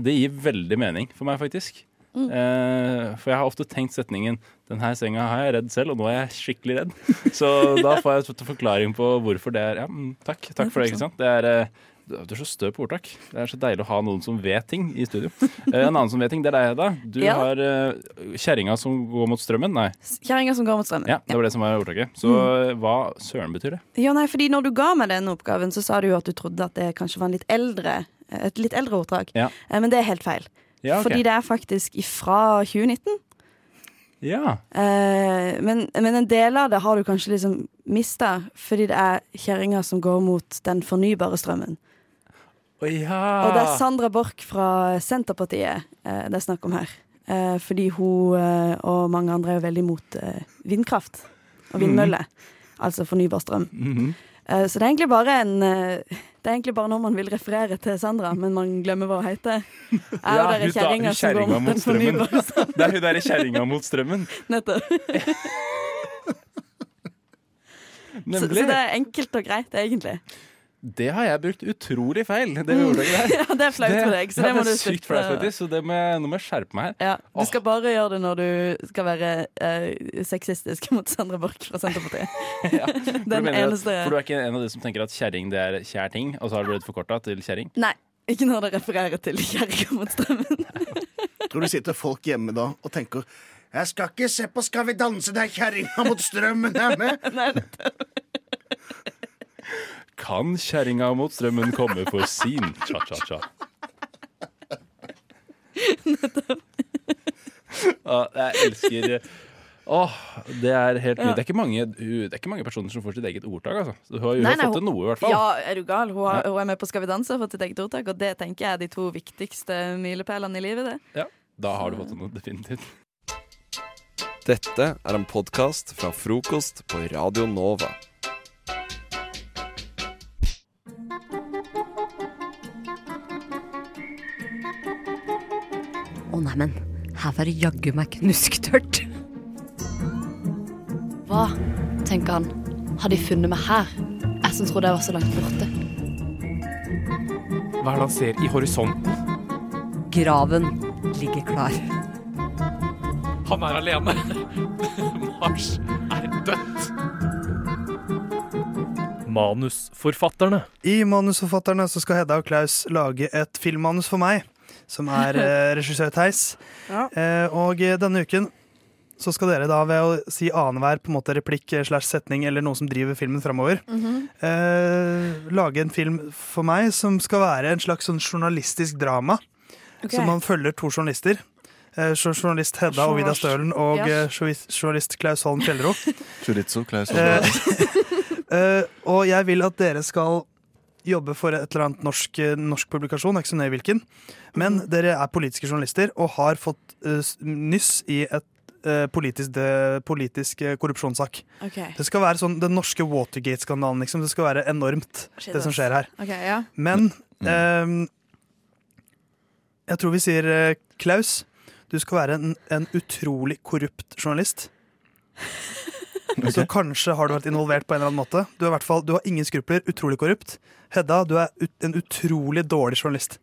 [SPEAKER 23] det gir veldig mening for meg, faktisk.
[SPEAKER 6] Mm.
[SPEAKER 23] Eh, for jeg har ofte tenkt setningen 'Den her senga har jeg redd selv', og nå er jeg skikkelig redd. Så da får jeg en forklaring på hvorfor det er Ja, mm, takk. Takk for det. ikke sant? Det er, eh, du er så stø på ordtak. Det er så deilig å ha noen som vet ting i studio. Eh, en annen som vet ting, det er deg, Hedda. Du
[SPEAKER 22] Ja.
[SPEAKER 23] har eh, kjerringa som går mot strømmen. Nei.
[SPEAKER 22] Kjerringa som går mot strømmen.
[SPEAKER 23] Ja, det var det som var ordtaket. Så eh, hva søren betyr det?
[SPEAKER 22] Ja, nei, fordi når du ga meg den oppgaven, så sa du jo at du trodde at det kanskje var en litt eldre, et litt eldre ordtak.
[SPEAKER 23] Ja.
[SPEAKER 22] Eh, Men det er helt feil.
[SPEAKER 23] Ja, ok.
[SPEAKER 22] Fordi det er faktisk ifra 2019.
[SPEAKER 23] Ja.
[SPEAKER 22] Eh, men, men en del av det har du kanskje liksom mista, fordi det er kjerringa som går mot den fornybare strømmen.
[SPEAKER 23] Å ja.
[SPEAKER 22] Og det er Sandra Borch fra Senterpartiet eh, det er snakk om her. Eh, fordi hun eh, og mange andre er jo veldig imot eh, vindkraft og vindmøller. Altså fornybar strøm. Eh, Så det er egentlig bare en eh, Det er egentlig bare når man vil referere til Sandra, men man glemmer hva hun heter. Er jo dere
[SPEAKER 23] hun da-
[SPEAKER 22] kjerringa som går
[SPEAKER 23] kjerringa
[SPEAKER 22] mot den fornybare strømmen?
[SPEAKER 23] Det er hun derre kjerringa mot strømmen.
[SPEAKER 22] Nettopp. Så, så
[SPEAKER 23] Nemlig.
[SPEAKER 22] det er enkelt og greit, egentlig.
[SPEAKER 23] Det har jeg brukt utrolig feil. Det ordtaket der.
[SPEAKER 22] Ja, Mm. det er flaut for deg, så det
[SPEAKER 23] ja,
[SPEAKER 22] må du
[SPEAKER 23] det er sykt
[SPEAKER 22] slutte-
[SPEAKER 23] flaut, faktisk, så det må jeg, nå må jeg skjerpe meg her.
[SPEAKER 22] Ja, du skal bare gjøre det når du skal være eh, sexistisk mot Sandra Borch fra Senterpartiet.
[SPEAKER 23] For du
[SPEAKER 22] Den
[SPEAKER 23] mener at-
[SPEAKER 22] eneste
[SPEAKER 23] For du er ikke en av de som tenker at kjerring det er kjær ting, og så har du blitt forkorta til kjerring?
[SPEAKER 22] Nei, ikke når det refererer til kjerringa mot strømmen.
[SPEAKER 5] Tror du sitter folk hjemme da og tenker Jeg skal ikke se på Skal vi danse der kjerringa mot strømmen er med?
[SPEAKER 23] Kan kjerringa mot strømmen komme for sin cha-cha-cha? Å, jeg elsker Åh, det er helt
[SPEAKER 22] Ja.
[SPEAKER 23] nydelig. Det, er ikke mange, det er ikke mange personer som får sitt eget ordtak, altså. Så Hun har jo fått til noe, i hvert fall.
[SPEAKER 22] Ja, er du gal? Hun, har,
[SPEAKER 23] Ja.
[SPEAKER 22] hun er med på Skal vi danse og har fått sitt eget ordtak, og det tenker jeg er de to viktigste milepælene i livet. det.
[SPEAKER 23] Ja, da har du fått til noe, definitivt.
[SPEAKER 1] Dette er en podkast fra frokost på Radio Nova.
[SPEAKER 10] Å neimen, her var det jaggu meg knusktørt. Hva, tenker han, har de funnet meg her? Jeg som trodde jeg var så langt borte.
[SPEAKER 11] Hva er det han ser i horisonten?
[SPEAKER 10] Graven ligger klar.
[SPEAKER 6] Han er alene. Mars er dødt. Manusforfatterne.
[SPEAKER 12] I Manusforfatterne så skal Hedda og Klaus lage et filmmanus for meg, som er eh, regissør Theis. Eh, og eh, denne uken så skal dere da ved å si annenhver på en måte replikk eh, slash setning eller noe som driver filmen framover, eh, lage en film for meg som skal være en slags sånn journalistisk drama.
[SPEAKER 21] Ok.
[SPEAKER 12] Så man følger to journalister. Eh, jour- journalist Hedda og Vida
[SPEAKER 21] Journalist.
[SPEAKER 12] Stølen og
[SPEAKER 21] Ja.
[SPEAKER 12] eh, jourist- journalist Klaus Holm Fjellro.
[SPEAKER 7] Chorizo, Klaus.
[SPEAKER 12] Eh, eh, og jeg vil at dere skal jobbe for et eller annet norsk, eh, norsk publikasjon, jeg er ikke så nøye hvilken. Men
[SPEAKER 21] Mhm.
[SPEAKER 12] dere er politiske journalister og har fått eh, s- nyss i et eh, politisk, de, politisk eh, korrupsjonssak.
[SPEAKER 21] Ok.
[SPEAKER 12] Det skal være sånn den norske Watergate-skandalen, liksom. Det skal være enormt,
[SPEAKER 21] Shit,
[SPEAKER 12] det som
[SPEAKER 21] ass.
[SPEAKER 12] skjer her.
[SPEAKER 21] Ok, ja.
[SPEAKER 12] Men ehm, jeg tror vi sier eh, Klaus. Du skal være en, en utrolig korrupt journalist. Så kanskje har du vært involvert på en eller annen måte. Du, er i hvert fall, du har ingen skrupler. Utrolig korrupt. Hedda, du er ut, en utrolig dårlig journalist.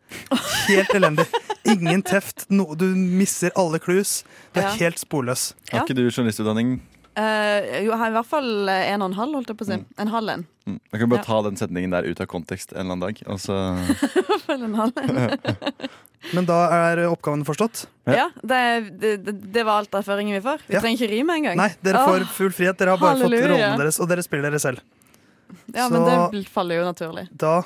[SPEAKER 12] Helt elendig. Ingen teft. No, du misser alle clues. Du er
[SPEAKER 22] Ja.
[SPEAKER 12] helt sporløs.
[SPEAKER 22] Har
[SPEAKER 12] ikke du journalistutdanning?
[SPEAKER 22] Eh, jo, jeg har i hvert fall eh, en og en halv, holdt jeg på å si. En halv en.
[SPEAKER 24] Mm. Jeg kan bare
[SPEAKER 22] Ja.
[SPEAKER 24] ta den setningen der ut av kontekst en eller annen dag. Og så
[SPEAKER 22] Følg en halv en.
[SPEAKER 12] Men da er oppgaven forstått?
[SPEAKER 22] Ja, det, det, det- det var alt av føringen vi får. Vi
[SPEAKER 12] Ja.
[SPEAKER 22] trenger ikke rime engang.
[SPEAKER 12] Nei, dere
[SPEAKER 22] Åh,
[SPEAKER 12] får full frihet. Dere har bare
[SPEAKER 22] halleluja.
[SPEAKER 12] fått rollene deres, og dere spiller dere selv.
[SPEAKER 22] Ja, men
[SPEAKER 12] Så-
[SPEAKER 22] det faller jo naturlig.
[SPEAKER 12] Da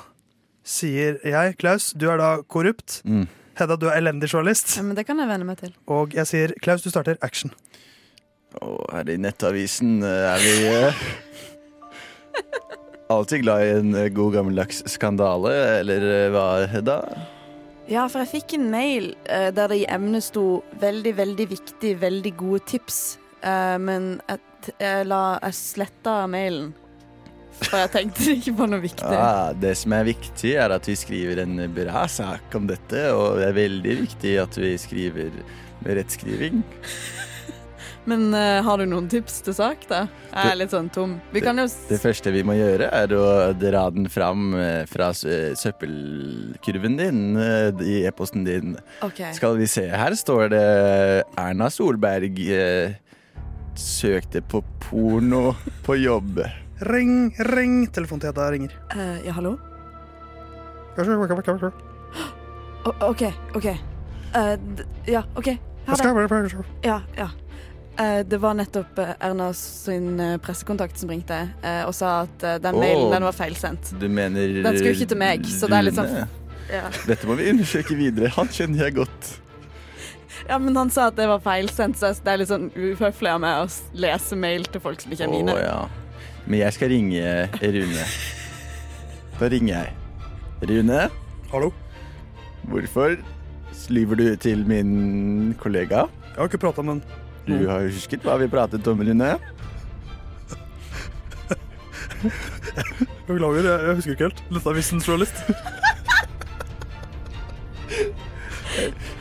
[SPEAKER 12] sier jeg, Klaus, du er da korrupt.
[SPEAKER 24] Mm.
[SPEAKER 12] Hedda, du er elendig journalist.
[SPEAKER 22] Ja, men det kan jeg venne meg til.
[SPEAKER 12] Og jeg sier, Klaus, du starter action.
[SPEAKER 24] Og her i Nettavisen eh, er vi eh, alltid glad i en eh, god gammeldags skandale, eller eh, hva, Hedda?
[SPEAKER 22] Ja, for jeg fikk en mail eh, der det i emnet sto 'veldig, veldig viktig, veldig gode tips', Eh, men jeg, t- jeg, la, jeg sletta mailen. For jeg tenkte ikke på noe viktig.
[SPEAKER 24] Ja, Ah, det som er viktig, er at vi skriver en bra sak om dette, og det er veldig viktig at vi skriver med rettskriving.
[SPEAKER 22] Men eh, har du noen tips til sak, da? Jeg er
[SPEAKER 24] Det-
[SPEAKER 22] litt sånn tom. Vi kan jo s-
[SPEAKER 24] Det første vi må gjøre, er å dra den fram eh, fra s- eh, søppelkurven din eh, i e-posten din.
[SPEAKER 22] Ok.
[SPEAKER 24] Skal vi se, her står det Erna Solberg eh, søkte på porno på jobb.
[SPEAKER 12] Ring, ring. Telefonen til Hedda ringer.
[SPEAKER 22] Eh, Ja, hallo? O OK, OK. Eh, d ja, OK. Ha det. Ja, ja. Eh, det var nettopp eh, Erna sin eh, pressekontakt som ringte eh, og sa at eh, den
[SPEAKER 24] Åh.
[SPEAKER 22] mailen den var feilsendt.
[SPEAKER 24] Du mener
[SPEAKER 22] Den skulle ikke til meg, så det er litt sånn
[SPEAKER 24] Rune?
[SPEAKER 22] ja.
[SPEAKER 24] Dette må vi undersøke videre. Han kjenner jeg godt.
[SPEAKER 22] ja, men han sa at det var feilsendt, så det er litt sånn uhøflig av meg å s- lese mail til folk som ikke er mine.
[SPEAKER 24] Å, ja. Men jeg skal ringe eh, Rune. Da ringer jeg. Rune?
[SPEAKER 12] Hallo?
[SPEAKER 24] Hvorfor lyver du til min kollega?
[SPEAKER 12] Jeg har ikke prata med
[SPEAKER 24] han. Du har jo husket hva vi pratet om, Rune.
[SPEAKER 12] Beklager, jeg, jeg husker ikke helt. Nettavisen journalist.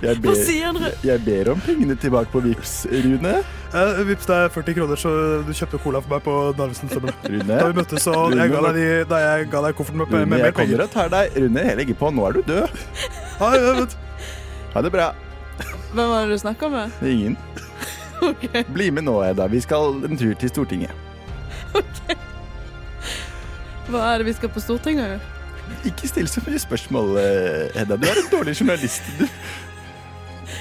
[SPEAKER 24] Jeg
[SPEAKER 12] Hva sier dere?
[SPEAKER 24] jeg ber om pengene tilbake på Vipps, Rune.
[SPEAKER 12] Eh, Vips, det er 40 kroner, så du kjøpte cola for meg på Narvesen Sømmel.
[SPEAKER 24] Rune?
[SPEAKER 12] Da vi møttes, og jeg ga deg, de, da jeg ga deg kofferten med,
[SPEAKER 24] Rune,
[SPEAKER 12] med mer
[SPEAKER 24] jeg
[SPEAKER 12] penger.
[SPEAKER 24] kommer og tar deg. Rune, jeg legger på. Nå er du død.
[SPEAKER 12] Ha,
[SPEAKER 24] ha det bra.
[SPEAKER 22] Hvem var det du snakka med?
[SPEAKER 24] Ingen. Bli med nå, Edda. Vi skal en tur til Stortinget.
[SPEAKER 22] Hva er det vi skal på Stortinget? gjøre?
[SPEAKER 24] Ikke still så mye spørsmål, eh, Hedda. Du er en dårlig journalist. Du,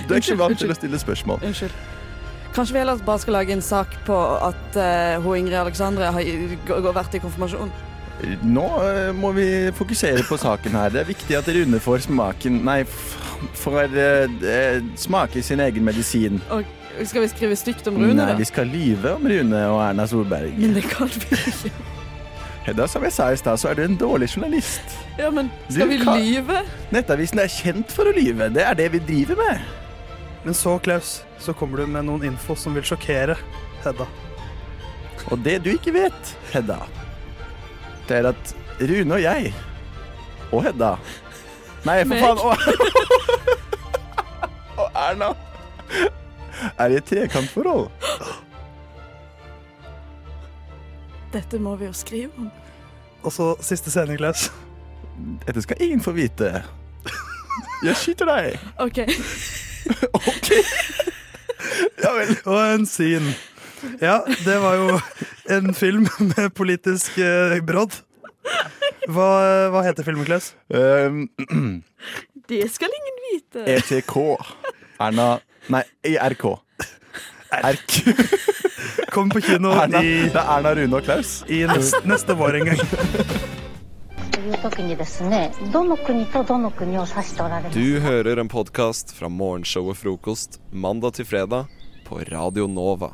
[SPEAKER 24] du er ikke vant til å stille spørsmål.
[SPEAKER 22] Unnskyld. Kanskje vi heller bare skal lage en sak på at eh, hun Ingrid Alexandre har g- g- vært i konfirmasjon.
[SPEAKER 24] Nå eh, må vi fokusere på saken her. Det er viktig at Rune får smaken Nei, f- får eh, eh, smake sin egen medisin.
[SPEAKER 22] Og skal vi skrive stygt om Rune,
[SPEAKER 24] Nei,
[SPEAKER 22] da?
[SPEAKER 24] vi skal lyve om Rune og Erna Solberg.
[SPEAKER 22] Men det kan vi ikke.
[SPEAKER 24] Hedda, som jeg sa i stad, så er du en dårlig journalist.
[SPEAKER 22] Ja, men
[SPEAKER 24] Du
[SPEAKER 22] skal vi
[SPEAKER 24] kan-
[SPEAKER 22] lyve?
[SPEAKER 24] Nettavisen er kjent for å lyve. Det er det vi driver med.
[SPEAKER 12] Men så, Klaus, så kommer du med noen info som vil sjokkere Hedda.
[SPEAKER 24] Og det du ikke vet, Hedda, det er at Rune og jeg og Hedda Nei, for
[SPEAKER 21] Meg.
[SPEAKER 24] faen! Og, og Erna er i et trekantforhold.
[SPEAKER 22] Dette må vi jo skrive om.
[SPEAKER 12] Og så siste sending, Klaus.
[SPEAKER 24] Dette skal ingen få vite. Jeg skyter deg.
[SPEAKER 22] OK.
[SPEAKER 24] Ja,
[SPEAKER 12] Og en sin. Ja, det var jo en film med politisk eh, brodd. Hva, hva heter filmen, Klaus?
[SPEAKER 24] Um,
[SPEAKER 22] Det skal ingen vite.
[SPEAKER 24] ETK. E Erna Nei, IRK. RK.
[SPEAKER 12] Kom på kino
[SPEAKER 24] Erna,
[SPEAKER 12] i-
[SPEAKER 24] Det er Erna Rune og Klaus.
[SPEAKER 12] I neste, neste vår en gang.
[SPEAKER 25] という時にですねどの国とどの国を指しておられます
[SPEAKER 26] Du hører en podkast fra morgenshowet Frokost mandag til fredag på Radio Nova.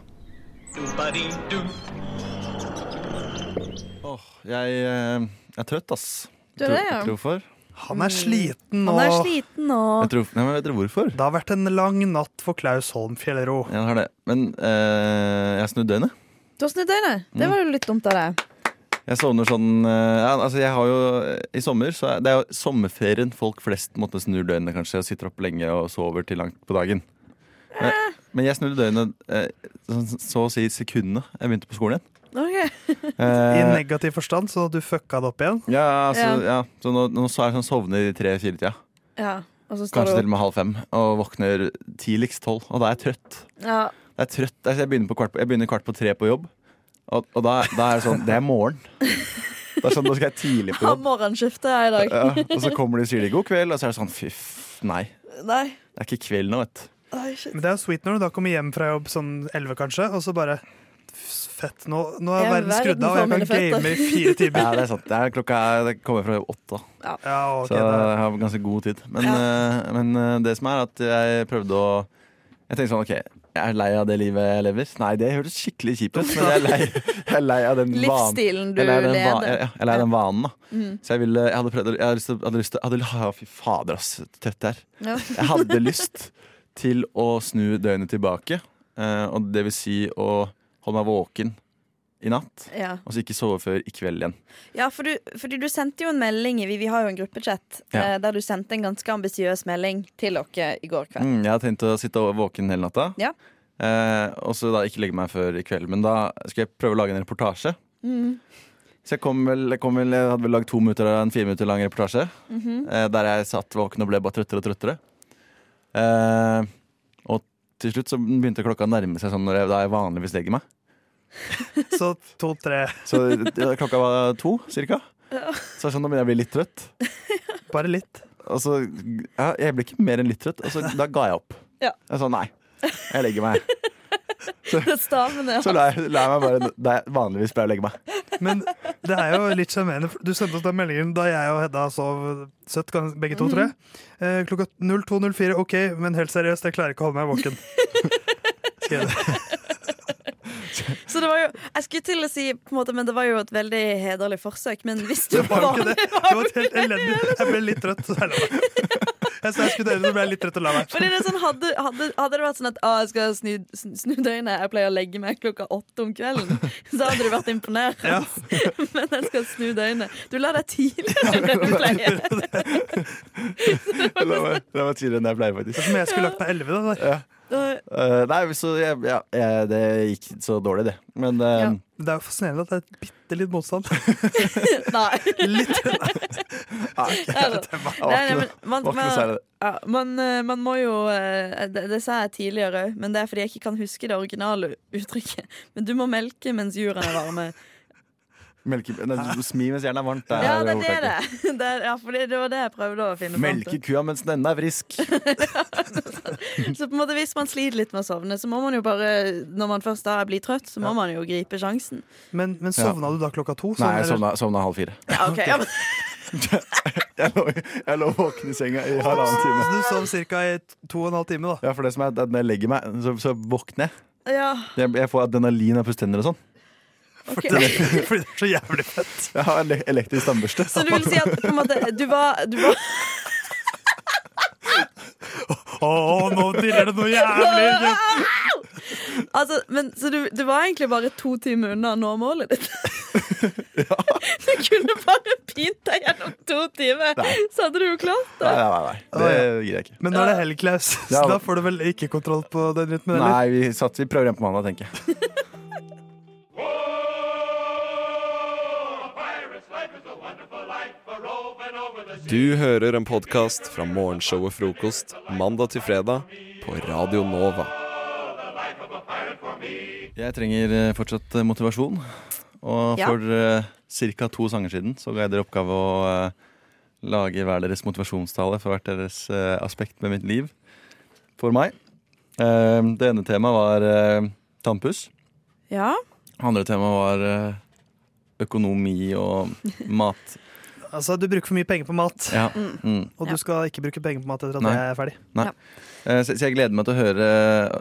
[SPEAKER 24] Jeg eh, er trøtt, ass.
[SPEAKER 22] Du er det, ja. Mm.
[SPEAKER 24] Jeg tror hvorfor.
[SPEAKER 12] Han er sliten
[SPEAKER 22] Han er sliten og
[SPEAKER 24] Jeg tror, nei, men vet dere hvorfor?
[SPEAKER 12] Det har vært en lang natt for Klaus Holm Fjellro.
[SPEAKER 24] Ja, det har det. Men eh, jeg har snudd døgnet.
[SPEAKER 22] Du har snudd døgnet. Det
[SPEAKER 24] Mm.
[SPEAKER 22] var jo litt dumt av deg.
[SPEAKER 24] Jeg sovner sånn eh, ja, altså jeg har jo, I sommer så er det er jo sommerferien folk flest måtte snu døgnet kanskje og sitter opp lenge og sover til langt på dagen.
[SPEAKER 22] Eh.
[SPEAKER 24] Men, men jeg snudde døgnet eh, sånn- så å si sekundene jeg begynte på skolen igjen.
[SPEAKER 12] I
[SPEAKER 24] Eh,
[SPEAKER 12] negativ forstand, så du fucka det opp igjen.
[SPEAKER 24] ja, altså,
[SPEAKER 22] Ja.
[SPEAKER 24] ja. Så nå, nå så er jeg sånn sovner i tre-fire-tida.
[SPEAKER 22] Ja, og så står
[SPEAKER 24] Kanskje til
[SPEAKER 22] du
[SPEAKER 24] og
[SPEAKER 22] opp.
[SPEAKER 24] med halv fem. Og våkner tidligst tolv. Og da er jeg trøtt.
[SPEAKER 22] Ja.
[SPEAKER 24] Det er trøtt. Altså, jeg, begynner på kvart på, jeg begynner kvart på tre på jobb, og, og da, da er det sånn Det er morgen. Det er sånn, Da skal jeg tidlig på
[SPEAKER 22] Ha
[SPEAKER 24] jobb.
[SPEAKER 22] morgenskiftet jeg i dag.
[SPEAKER 24] Ja, og så kommer de og sier de 'god kveld', og så er det sånn fy f- nei.
[SPEAKER 22] Nei.
[SPEAKER 24] Det er ikke kveld nå, vet du.
[SPEAKER 22] Oi, shit.
[SPEAKER 12] Men det er jo sweet når du da kommer hjem fra jobb sånn 11 kanskje, og så bare f- Fett, nå, nå er
[SPEAKER 22] Jeg er
[SPEAKER 12] verden skrudd
[SPEAKER 22] verden
[SPEAKER 12] av, og
[SPEAKER 22] for
[SPEAKER 12] jeg kan
[SPEAKER 22] mine
[SPEAKER 12] game
[SPEAKER 22] føtter.
[SPEAKER 12] i fire timer.
[SPEAKER 24] Ja, det er sant. Det er klokka er- det kommer fra jobb åtte.
[SPEAKER 22] Ja.
[SPEAKER 12] ok,
[SPEAKER 24] så
[SPEAKER 12] da-
[SPEAKER 24] jeg har ganske god tid. Men, eh, men eh, det som er, at jeg prøvde å Jeg tenkte sånn OK, jeg er lei av det livet jeg lever. Nei, det hørtes skikkelig kjipt ut, men jeg er lei, jeg er lei av den vanen.
[SPEAKER 22] Livsstilen du
[SPEAKER 24] Jeg er lei av den va-
[SPEAKER 22] leder.
[SPEAKER 24] Ja, jeg er lei av den vanen, da.
[SPEAKER 22] Mm.
[SPEAKER 24] Så jeg ville Jeg hadde prøvd å- Jeg hadde lyst til hadde lyst til- hadde, ah, Fy fader, ass. Tøtt det her.
[SPEAKER 22] Ja.
[SPEAKER 24] Jeg hadde lyst til å snu døgnet tilbake. eh, og det vil si å holde meg våken i natt.
[SPEAKER 22] Ja.
[SPEAKER 24] Og så ikke sove før i kveld igjen.
[SPEAKER 27] Ja, for du, fordi du sendte jo en melding i- Vi, vi har jo en gruppechat
[SPEAKER 24] Ja.
[SPEAKER 22] eh, der du sendte en ganske ambisiøs melding til dere i går kveld.
[SPEAKER 24] Mm, jeg har tenkt å sitte og- våken hele natta.
[SPEAKER 22] Ja.
[SPEAKER 24] Eh, og så da ikke legge meg før i kveld. Men da skal jeg prøve å lage en reportasje.
[SPEAKER 22] Mm.
[SPEAKER 24] Så jeg, kom vel, jeg, kom vel, jeg hadde vel lagd to minutter av en fire minutter lang reportasje.
[SPEAKER 22] Mhm.
[SPEAKER 24] eh, der jeg satt våken og ble bare trøttere og trøttere. Eh, og til slutt så begynte klokka å nærme seg sånn når jeg, da jeg vanligvis legger meg.
[SPEAKER 12] Så to-tre.
[SPEAKER 24] Så det- det- klokka var to, cirka. Så er det sånn, nå begynner jeg å bli litt trøtt.
[SPEAKER 12] Bare litt.
[SPEAKER 24] Og så, ja, jeg ble ikke mer enn litt trøtt, og så da ga jeg opp.
[SPEAKER 22] Ja.
[SPEAKER 24] Jeg sa nei, jeg legger meg.
[SPEAKER 22] Det stavene
[SPEAKER 24] Så la jeg, la jeg meg bare der jeg vanligvis pleier å legge meg.
[SPEAKER 12] Men det er jo litt sjarmerende. for Du sendte oss den meldingen da jeg og Hedda sov søtt, gans- begge to, tror jeg. Eh, klokka 02.04. OK, men helt seriøst, jeg klarer ikke å holde meg våken. Skrev det.
[SPEAKER 27] Så det var jo Jeg skulle til å si, på en måte, men det var jo et veldig hederlig forsøk. Men hvis du
[SPEAKER 12] Det var jo ikke det. Det var et helt elendig Jeg ble litt trøtt. så Jeg la meg. Jeg sa jeg skulle dele det, så ble jeg litt trøtt og la meg.
[SPEAKER 22] Fordi det er sånn, hadde, hadde, hadde det vært sånn at ah, jeg skal snu, snu, snu døgnet, jeg pleier å legge meg klokka åtte om kvelden, så hadde du vært imponert. Men jeg skal snu døgnet. Du la deg tidligere enn det du pleier.
[SPEAKER 24] La meg, la meg tidligere enn jeg pleier, faktisk.
[SPEAKER 12] Det er som jeg skulle lagt meg 11, da. der.
[SPEAKER 24] Ja. Eh, nei, så jeg, ja, jeg, det gikk så dårlig, det. Men eh,
[SPEAKER 12] Det er jo fascinerende at det er bitte litt motstand.
[SPEAKER 22] Nei. Nei, nei, men man,
[SPEAKER 24] Det var ikke noe
[SPEAKER 22] man,
[SPEAKER 24] særlig.
[SPEAKER 22] ja, man, eh, man må jo eh, Det, det sa jeg tidligere òg, men det er fordi jeg ikke kan huske det originale uttrykket. Men du må melke mens jordene er varme.
[SPEAKER 24] melke, nei, du- du smi mens jernet er varmt. det er
[SPEAKER 22] Ja, det er det
[SPEAKER 24] ordtaket.
[SPEAKER 22] det er. det er. Ja, for det, det var det jeg prøvde å finne fram
[SPEAKER 24] Melke
[SPEAKER 22] til.
[SPEAKER 24] kua mens den ennå er frisk.
[SPEAKER 22] Så på en måte hvis man sliter litt med å sovne, så må man jo bare Når man først da blir trøtt, så må man jo gripe sjansen.
[SPEAKER 12] Men, men sovna du da klokka to?
[SPEAKER 24] Nei, jeg
[SPEAKER 12] eller?
[SPEAKER 24] sovna, sovna halv fire.
[SPEAKER 22] Ja, ok, ja, men,
[SPEAKER 24] Jeg lå, jeg lå våken i senga i halvannen
[SPEAKER 12] Så
[SPEAKER 24] time.
[SPEAKER 12] du sov ca. i to og en halv time, da?
[SPEAKER 24] Ja, for det som er at Når jeg legger meg, så, så våkner jeg.
[SPEAKER 22] ja,
[SPEAKER 24] jeg. Jeg får adrenalin av pusstenner og sånn.
[SPEAKER 22] ok.
[SPEAKER 12] Fordi det er så jævlig fett.
[SPEAKER 24] Jeg har ele- elektrisk tannbørste.
[SPEAKER 22] Så du vil si at på en måte Du var, du var
[SPEAKER 12] Å, nå dirrer det noe jævlig!
[SPEAKER 22] Altså, men, så du, du var egentlig bare to timer unna å nå målet ditt? Du kunne bare pint deg gjennom to timer,
[SPEAKER 24] Nei.
[SPEAKER 22] så hadde du jo klart
[SPEAKER 24] Nei,
[SPEAKER 22] det.
[SPEAKER 24] nei, nei, nei. det gidder jeg ikke.
[SPEAKER 12] Men nå er det helg, Klaus, så
[SPEAKER 24] Ja.
[SPEAKER 12] da får du vel ikke kontroll på den rytmen, eller?
[SPEAKER 24] Nei, vi, satt, vi prøver igjen på mandag, tenker jeg.
[SPEAKER 26] Du hører en podkast fra morgenshowet Frokost mandag til fredag på Radio Nova.
[SPEAKER 24] Jeg trenger eh, fortsatt eh, motivasjon. Og
[SPEAKER 22] Ja.
[SPEAKER 24] for uh, ca. to sanger siden så ga jeg dere oppgave å eh, lage hver deres motivasjonstale for hvert deres eh, aspekt med mitt liv. For meg. Eh, det ene temaet var eh, tannpuss.
[SPEAKER 22] Ja.
[SPEAKER 24] Andre temaet var eh, økonomi og mat.
[SPEAKER 12] Altså, du bruker for mye penger på mat.
[SPEAKER 24] Ja. Mm.
[SPEAKER 12] Og du skal ikke bruke penger på mat etter at
[SPEAKER 24] Nei.
[SPEAKER 12] jeg er ferdig.
[SPEAKER 24] Nei. Eh, så, så jeg gleder meg til å høre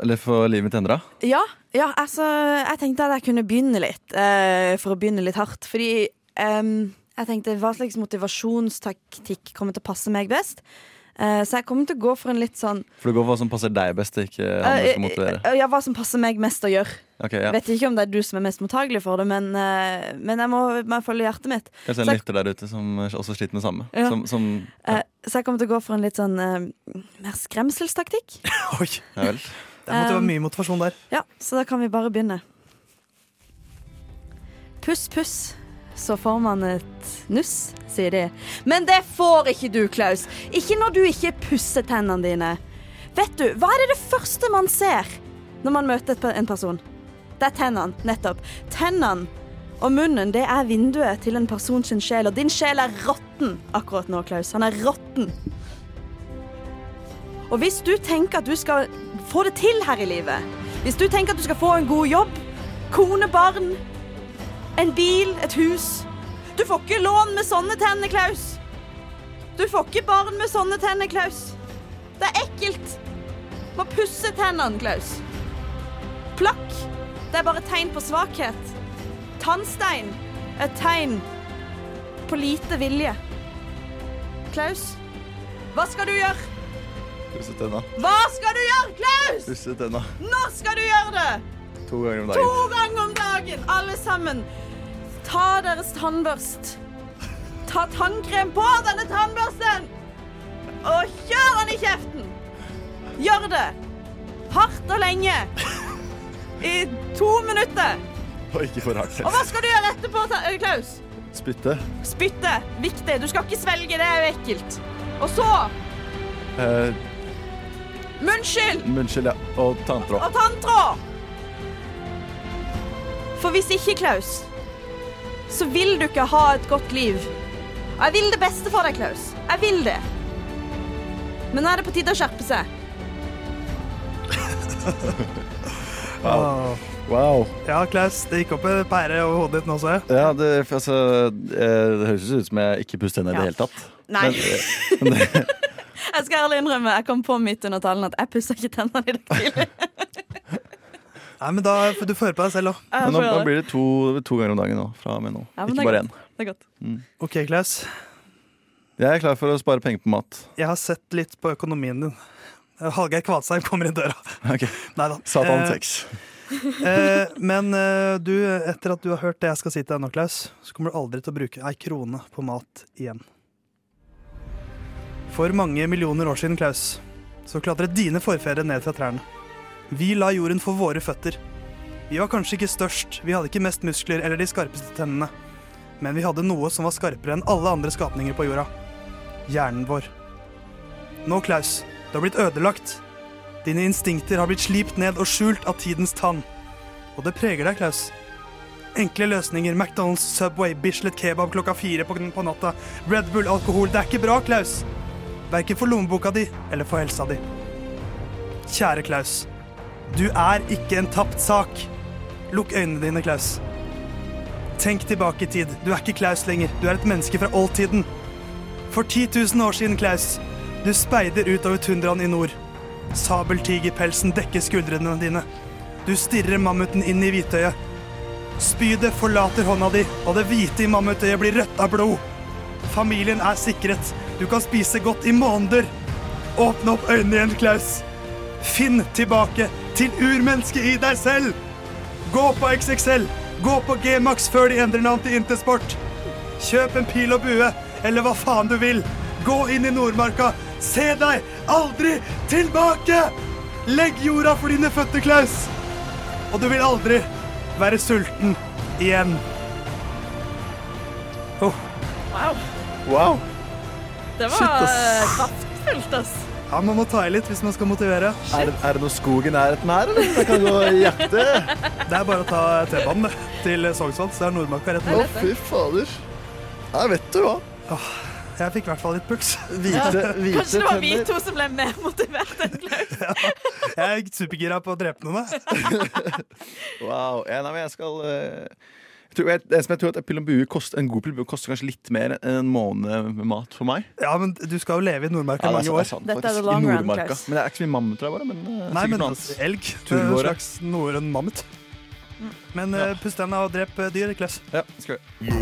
[SPEAKER 24] Eller få livet mitt endra.
[SPEAKER 22] Ja, ja, altså Jeg tenkte at jeg kunne begynne litt, eh, for å begynne litt hardt. Fordi em, jeg tenkte hva slags motivasjonstaktikk kommer til å passe meg best? Eh, så jeg kommer til å gå for en litt sånn
[SPEAKER 24] For det går for hva som passer deg best, og ikke han du
[SPEAKER 22] eh,
[SPEAKER 24] skal motivere.
[SPEAKER 22] eh, Ja, hva som passer meg mest å gjøre.
[SPEAKER 24] Ok, ja.
[SPEAKER 22] Vet ikke om det er du som er mest mottagelig for det, men, eh, men jeg må, må følge hjertet mitt.
[SPEAKER 24] Kanskje
[SPEAKER 22] Så
[SPEAKER 24] en
[SPEAKER 22] jeg-
[SPEAKER 24] lytter der ute som også sliter med det samme.
[SPEAKER 22] Ja.
[SPEAKER 24] Som, som
[SPEAKER 22] eh, så jeg kommer til å gå for en litt sånn eh, mer skremselstaktikk.
[SPEAKER 24] Ja vel.
[SPEAKER 12] Det måtte være
[SPEAKER 22] Um,
[SPEAKER 12] mye motivasjon der.
[SPEAKER 22] Ja, så da kan vi bare begynne. Puss, puss, så får man et nuss, sier de. Men det får ikke du, Klaus. Ikke når du ikke pusser tennene dine. Vet du, hva er det, det første man ser når man møter et pe- en person? Det er tennene, nettopp. Tennene og munnen, det er vinduet til en persons sjel, og din sjel er råtten akkurat nå, Klaus. Han er råtten. Og hvis du tenker at du skal få det til her i livet, hvis du tenker at du skal få en god jobb, kone, barn, en bil, et hus Du får ikke lån med sånne tenner, Klaus. Du får ikke barn med sånne tenner, Klaus. Det er ekkelt. Må pusse tennene, Klaus. Plakk. Det er bare tegn på svakhet. Tannstein. Et tegn på lite vilje. Klaus, hva skal du gjøre?
[SPEAKER 24] Pusse tenna.
[SPEAKER 22] Hva skal du gjøre, Klaus?
[SPEAKER 24] Pusse tenna
[SPEAKER 22] Når skal du gjøre det?
[SPEAKER 24] to ganger om
[SPEAKER 22] To
[SPEAKER 24] dagen.
[SPEAKER 22] ganger om dagen, alle sammen. Ta deres tannbørst. Ta tannkrem på denne tannbørsten! Og kjør den i kjeften! Gjør det. Hardt og lenge. I to minutter.
[SPEAKER 24] Og ikke for hardt.
[SPEAKER 22] Og hva skal du gjøre etterpå, Ta- eh, Klaus?
[SPEAKER 24] Spytte.
[SPEAKER 22] Spytte. Viktig. Du skal ikke svelge, det er jo ekkelt. Og så
[SPEAKER 24] Eh,
[SPEAKER 22] munnskyld.
[SPEAKER 24] munnskyld, ja. Og tanntråd.
[SPEAKER 22] og tanntråd. For hvis ikke, Klaus, så vil du ikke ha et godt liv. Og jeg vil det beste for deg, Klaus. Jeg vil det. Men nå er det på tide å skjerpe seg.
[SPEAKER 12] Wow.
[SPEAKER 24] Wow.
[SPEAKER 12] Ja, Klaus, det gikk opp en pære over hodet ditt nå, så jeg.
[SPEAKER 24] Ja, det, altså, eh, det høres ut som jeg ikke pusser tenna i det hele tatt.
[SPEAKER 22] Nei.
[SPEAKER 24] Men, eh,
[SPEAKER 22] Jeg skal ærlig innrømme, jeg kom på midt under talen at jeg pusser ikke tennene i dag tidlig.
[SPEAKER 12] Nei, men da får du få høre på deg selv òg.
[SPEAKER 22] Ja,
[SPEAKER 24] men nå,
[SPEAKER 22] får jeg
[SPEAKER 24] nå
[SPEAKER 22] det.
[SPEAKER 24] blir det to, to ganger om dagen nå, fra og med nå.
[SPEAKER 12] Ja, men
[SPEAKER 24] ikke
[SPEAKER 12] det
[SPEAKER 24] bare
[SPEAKER 12] er godt.
[SPEAKER 24] én.
[SPEAKER 22] Det er godt.
[SPEAKER 24] Mm.
[SPEAKER 12] OK, Klaus.
[SPEAKER 24] Jeg er klar for å spare penger på mat.
[SPEAKER 12] Jeg har sett litt på økonomien din. Hallgeir Kvadsheim kommer inn døra.
[SPEAKER 24] Ok.
[SPEAKER 12] Nei da.
[SPEAKER 24] Satan
[SPEAKER 12] Eh,
[SPEAKER 24] sex.
[SPEAKER 12] Eh, men eh, du, etter at du har hørt det jeg skal si til deg nå, Klaus, så kommer du aldri til å bruke ei krone på mat igjen. For mange millioner år siden, Klaus, så klatret dine forfedre ned fra trærne. Vi la jorden for våre føtter. Vi var kanskje ikke størst, vi hadde ikke mest muskler eller de skarpeste tennene, men vi hadde noe som var skarpere enn alle andre skapninger på jorda. Hjernen vår. Nå, Klaus, du har blitt ødelagt. Dine instinkter har blitt slipt ned og skjult av tidens tann. Og det preger deg, Klaus. Enkle løsninger. McDonald's, Subway, Bislett kebab klokka fire på, på natta. Red Bull, alkohol. Det er ikke bra, Klaus. Verken for lommeboka di eller for helsa di. Kjære Klaus. Du er ikke en tapt sak. Lukk øynene dine, Klaus. Tenk tilbake i tid. Du er ikke Klaus lenger. Du er et menneske fra oldtiden. For 10 000 år siden, Klaus, du speider utover tundraen i nord. Sabeltigerpelsen dekker skuldrene dine. Du stirrer mammuten inn i hvitøyet. Spydet forlater hånda di, og det hvite i mammutøyet blir rødt av blod. Familien er sikret. Du kan spise godt i måneder. Åpne opp øynene igjen, Klaus. Finn tilbake til urmennesket i deg selv. Gå på XXL. Gå på Gmax før de endrer navn til Intersport. Kjøp en pil og bue, eller hva faen du vil. Gå inn i Nordmarka. Se deg aldri tilbake! Legg jorda for dine føtter, Klaus. Og du vil aldri være sulten igjen. Oh,
[SPEAKER 22] Wow.
[SPEAKER 12] wow.
[SPEAKER 22] Det var
[SPEAKER 12] Shit, ass.
[SPEAKER 22] kraftfullt, ass.
[SPEAKER 12] Ja, Ja, Man må ta i litt hvis man skal motivere.
[SPEAKER 24] Er, er det noe skog i nærheten her, eller? Jeg kan gå og jakte.
[SPEAKER 12] Det er bare å ta T-banen det, til Sognsvann, så er Nordmarka rett
[SPEAKER 24] Å, fy fader. Nei, vet du hva.
[SPEAKER 12] Åh, Jeg fikk i hvert fall litt puls.
[SPEAKER 24] Hvite, hvite
[SPEAKER 22] Kanskje det var vi
[SPEAKER 24] tenner.
[SPEAKER 22] to som ble mer motivert enn Klaus.
[SPEAKER 12] Jeg er supergira på å drepe noen. jeg.
[SPEAKER 24] Wow. Ja, nei, men jeg skal eh, jeg tror, jeg, det som jeg tror at en pillembue kost, En god pillembue koster kanskje litt mer enn en måned med mat for meg.
[SPEAKER 12] Ja, men du skal jo leve i Nordmarka
[SPEAKER 24] Ja,
[SPEAKER 12] i
[SPEAKER 24] det er
[SPEAKER 12] mange
[SPEAKER 24] sant, det er sant, Dette
[SPEAKER 12] år.
[SPEAKER 24] er faktisk. the long I run, Nordmarka. Klaus. Men det er ikke så mye mammut der bare, men, eh,
[SPEAKER 12] Nei,
[SPEAKER 24] sikkert
[SPEAKER 12] men
[SPEAKER 24] noe annet.
[SPEAKER 12] elg. Det er En
[SPEAKER 24] Turbåre.
[SPEAKER 12] slags norrøn mammut. Men eh, pust deg ned og drep eh, dyr, Klaus.
[SPEAKER 24] Ja, skal vi.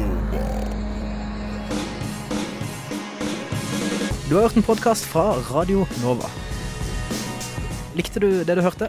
[SPEAKER 21] Du har hørt en podkast fra Radio Nova. Likte du det du hørte?